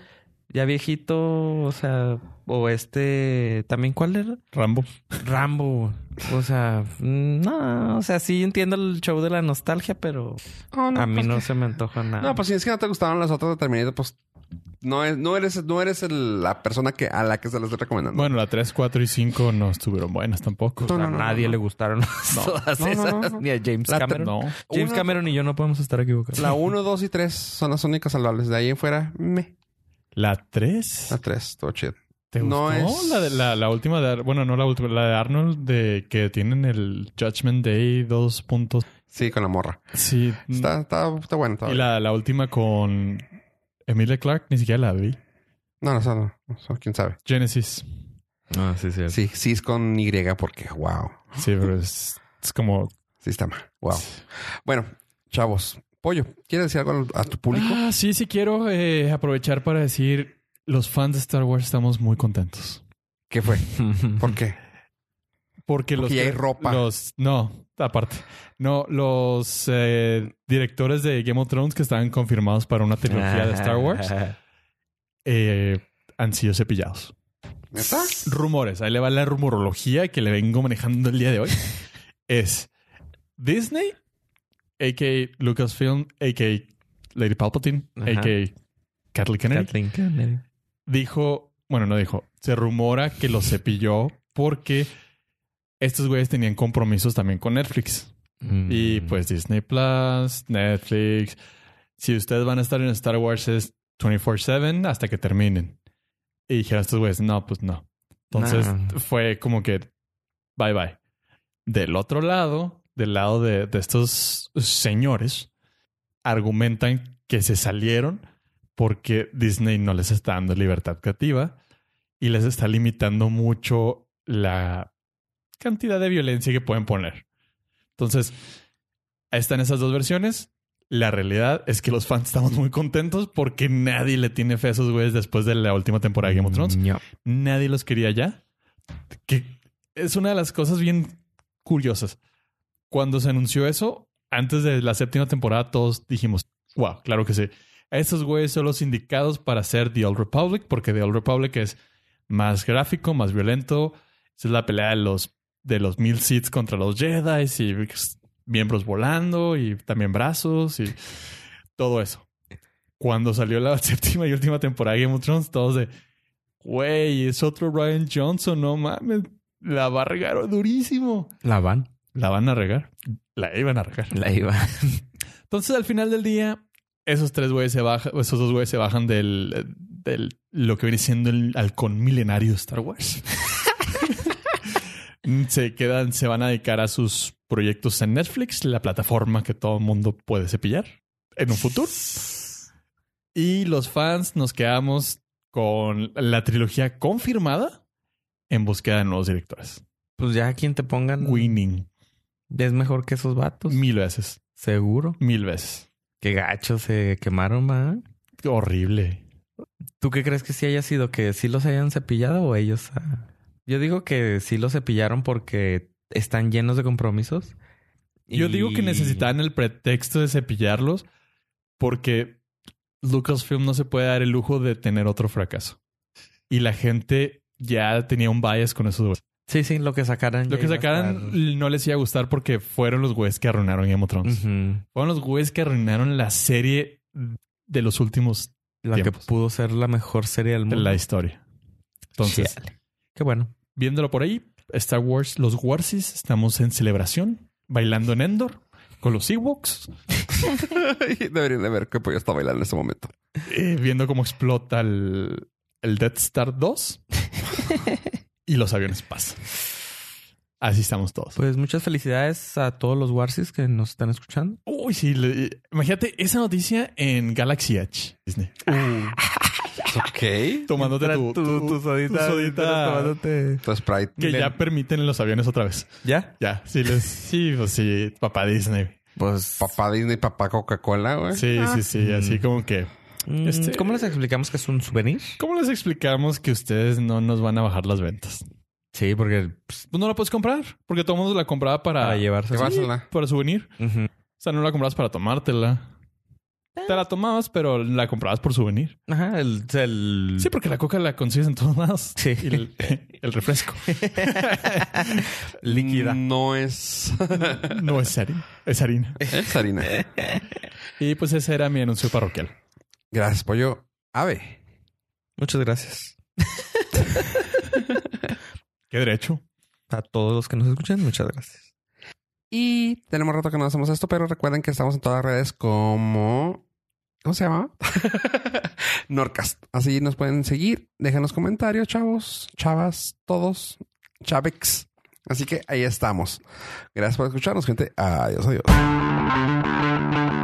Speaker 3: ya viejito, o sea... O este... ¿También cuál era?
Speaker 2: Rambo.
Speaker 3: Rambo. O sea, no, o sea, sí entiendo el show de la nostalgia, pero
Speaker 1: Oh,
Speaker 3: a mí
Speaker 1: pues,
Speaker 3: no
Speaker 1: que-
Speaker 3: se me antoja nada.
Speaker 1: No, pues si es que no te gustaron las otras de Terminator, pues no, es- no eres, no eres el- la persona que, a la que se las estoy recomendando.
Speaker 2: Bueno, la 3, 4 y 5 no estuvieron buenas tampoco.
Speaker 1: No,
Speaker 3: a
Speaker 1: no, no, <laughs>
Speaker 3: nadie
Speaker 1: no, no.
Speaker 3: le gustaron
Speaker 1: No,
Speaker 3: todas
Speaker 1: no,
Speaker 3: esas,
Speaker 1: no, no.
Speaker 3: ni a James
Speaker 1: La
Speaker 3: Cameron.
Speaker 2: No.
Speaker 3: James
Speaker 1: Uno-
Speaker 3: Cameron y yo no podemos estar equivocados.
Speaker 1: La 1, 2 y 3 son las únicas salvables. De ahí en fuera, me.
Speaker 2: La 3.
Speaker 1: La 3, todo chido.
Speaker 2: ¿Te
Speaker 1: No
Speaker 2: gustó?
Speaker 1: es-
Speaker 2: La, de- la, la última de... Ar- Bueno, no la última. La de Arnold de que tienen el Judgment Day 2 puntos.
Speaker 1: Sí, con la morra.
Speaker 2: Sí.
Speaker 3: Mm.
Speaker 1: Está, está, está bueno. está
Speaker 2: Y
Speaker 1: bueno.
Speaker 2: la, la última con Emilia Clark ni siquiera la vi.
Speaker 1: No, no, no, no, no, quién sabe.
Speaker 2: Genesis.
Speaker 3: Ah,
Speaker 1: <laughs>
Speaker 3: sí, sí.
Speaker 1: Sí, sí es con Y porque, wow.
Speaker 2: Sí, pero es, es como...
Speaker 1: Sí está mal. Wow. Bueno, chavos. Pollo, ¿quieres decir algo al- a tu público?
Speaker 2: Ah, sí, sí quiero eh, aprovechar para decir... Los fans de Star Wars estamos muy contentos.
Speaker 1: ¿Qué fue? ¿Por qué?
Speaker 2: Porque los...
Speaker 1: Porque ya hay ropa.
Speaker 2: Los, no, aparte. No, los eh, directores de Game of Thrones que estaban confirmados para una trilogía de Star Wars eh, han sido cepillados.
Speaker 1: <laughs> ¿Neta?
Speaker 2: rumores, ahí le va la rumorología que le vengo manejando el
Speaker 1: <laughs>
Speaker 2: día de hoy, es Disney, a.k.a. Lucasfilm, a.k.a. Lady Palpatine,
Speaker 3: Ajá.
Speaker 2: a.k.a. Kathleen Kennedy,
Speaker 3: Kathleen Kennedy.
Speaker 2: dijo, bueno, no dijo, se rumora que los cepilló porque estos güeyes tenían compromisos también con Netflix. Y
Speaker 3: Mm.
Speaker 2: pues Disney Plus, Netflix. Si ustedes van a estar en Star Wars es 24-7 hasta que terminen. Y dijeron estos güeyes, no, pues no. Entonces
Speaker 3: Nah.
Speaker 2: fue como que bye bye. Del otro lado, del lado de, de estos señores, argumentan que se salieron porque Disney no les está dando libertad creativa y les está limitando mucho la cantidad de violencia que pueden poner. Entonces, ahí están esas dos versiones. La realidad es que los fans estamos muy contentos porque nadie le tiene fe a esos güeyes después de la última temporada de Game of Thrones.
Speaker 3: Mm, No.
Speaker 2: Nadie los quería ya. Que es una de las cosas bien curiosas. Cuando se anunció eso, antes de la séptima temporada, todos dijimos, wow, claro que sí. Esos güeyes son los indicados para hacer The Old Republic, porque The Old Republic es más gráfico, más violento. Esa es la pelea de los, de los mil seats contra los Jedi y miembros volando y también brazos y todo eso. Cuando salió la <laughs> séptima y última temporada de Game of Thrones, todos de, güey, es otro Ryan Johnson, no mames, la va a regar durísimo.
Speaker 3: La van.
Speaker 2: La van a regar. La iban a regar.
Speaker 3: La iba.
Speaker 2: Entonces, al final del día, esos tres güeyes se bajan, esos dos güeyes se bajan del, del lo que viene siendo el halcón milenario de Star Wars. <laughs> se quedan, se van a dedicar a sus proyectos en Netflix, la plataforma que todo el mundo puede cepillar en un futuro. Y los fans nos quedamos con la trilogía confirmada en búsqueda de nuevos directores.
Speaker 3: Pues ya quien te pongan
Speaker 2: Winning.
Speaker 3: es mejor que esos vatos.
Speaker 2: Mil veces.
Speaker 3: Seguro.
Speaker 2: Mil veces.
Speaker 3: Qué gacho se quemaron, va.
Speaker 2: Horrible.
Speaker 3: ¿Tú qué crees que sí haya sido? ¿Que sí los hayan cepillado o ellos? ah? Yo digo que sí los cepillaron porque están llenos de compromisos.
Speaker 2: Yo digo que
Speaker 3: Y-
Speaker 2: necesitan el pretexto de cepillarlos porque Lucasfilm no se puede dar el lujo de tener otro fracaso. Y la gente ya tenía un bias con esos güeyes.
Speaker 3: Sí, sí, lo que sacaran.
Speaker 2: Lo
Speaker 3: ya
Speaker 2: que
Speaker 3: iba a
Speaker 2: sacaran
Speaker 3: estar-
Speaker 2: no les iba a gustar porque fueron los güeyes que arruinaron Game of Thrones.
Speaker 3: Ujú.
Speaker 2: Fueron los güeyes que arruinaron la serie de los últimos
Speaker 3: La
Speaker 2: Tiempos.
Speaker 3: que pudo ser la mejor serie del
Speaker 2: de
Speaker 3: mundo.
Speaker 2: la historia. Entonces,
Speaker 3: Chale. Qué bueno.
Speaker 2: viéndolo por ahí, Star Wars, los Warsis, estamos en celebración, bailando en Endor con los Ewoks.
Speaker 1: Deberían de ver que pues está bailando en ese momento.
Speaker 2: eh, viendo cómo explota el, el Death Star <laughs> 2 y los aviones pasan. Así estamos todos.
Speaker 3: Pues muchas felicidades a todos los Warsis que nos están escuchando.
Speaker 2: Uy, sí. le- imagínate esa noticia en Galaxy Edge, Disney. Mm.
Speaker 1: Ok.
Speaker 2: Tomándote tu, tu- tu sodita
Speaker 1: Tu sprite.
Speaker 2: que ya permiten los aviones otra vez.
Speaker 3: ¿Ya?
Speaker 2: Ya, sí, les, sí, pues sí, papá Disney.
Speaker 3: Pues.
Speaker 1: Papá Disney, papá Coca-Cola, güey. Ah.
Speaker 2: Sí, sí, sí, así como que...
Speaker 3: mm,
Speaker 2: este-
Speaker 3: ¿Cómo les explicamos que es un souvenir?
Speaker 2: ¿Cómo les explicamos que ustedes no nos van a bajar las ventas?
Speaker 3: Sí, porque.
Speaker 2: Pues no la puedes comprar, porque todo el mundo la compraba para,
Speaker 3: para llevarse.
Speaker 1: Que Llevársela.
Speaker 2: para souvenir.
Speaker 3: Ujú.
Speaker 2: O sea, no la comprabas para tomártela. Te la tomabas, pero la comprabas por souvenir.
Speaker 3: Ajá, el. el-
Speaker 2: Sí, porque la coca la consigues en todos lados.
Speaker 3: Sí.
Speaker 2: Y el, el refresco.
Speaker 3: <laughs> Líquida.
Speaker 1: No es. <laughs>
Speaker 2: No es harina. Es harina.
Speaker 1: es
Speaker 2: <laughs>
Speaker 1: harina.
Speaker 2: Y pues ese era mi anuncio parroquial.
Speaker 1: Gracias, pollo. Ave.
Speaker 3: Muchas gracias.
Speaker 2: Qué derecho.
Speaker 3: A todos los que nos escuchan, muchas gracias.
Speaker 1: Y tenemos rato que no hacemos esto, pero recuerden que estamos en todas las redes como. ¿Cómo se llama? Norcast. Así nos pueden seguir. Déjanos comentarios, chavos, chavas, todos, chavex. Así que ahí estamos. Gracias por escucharnos, gente. Adiós, adiós.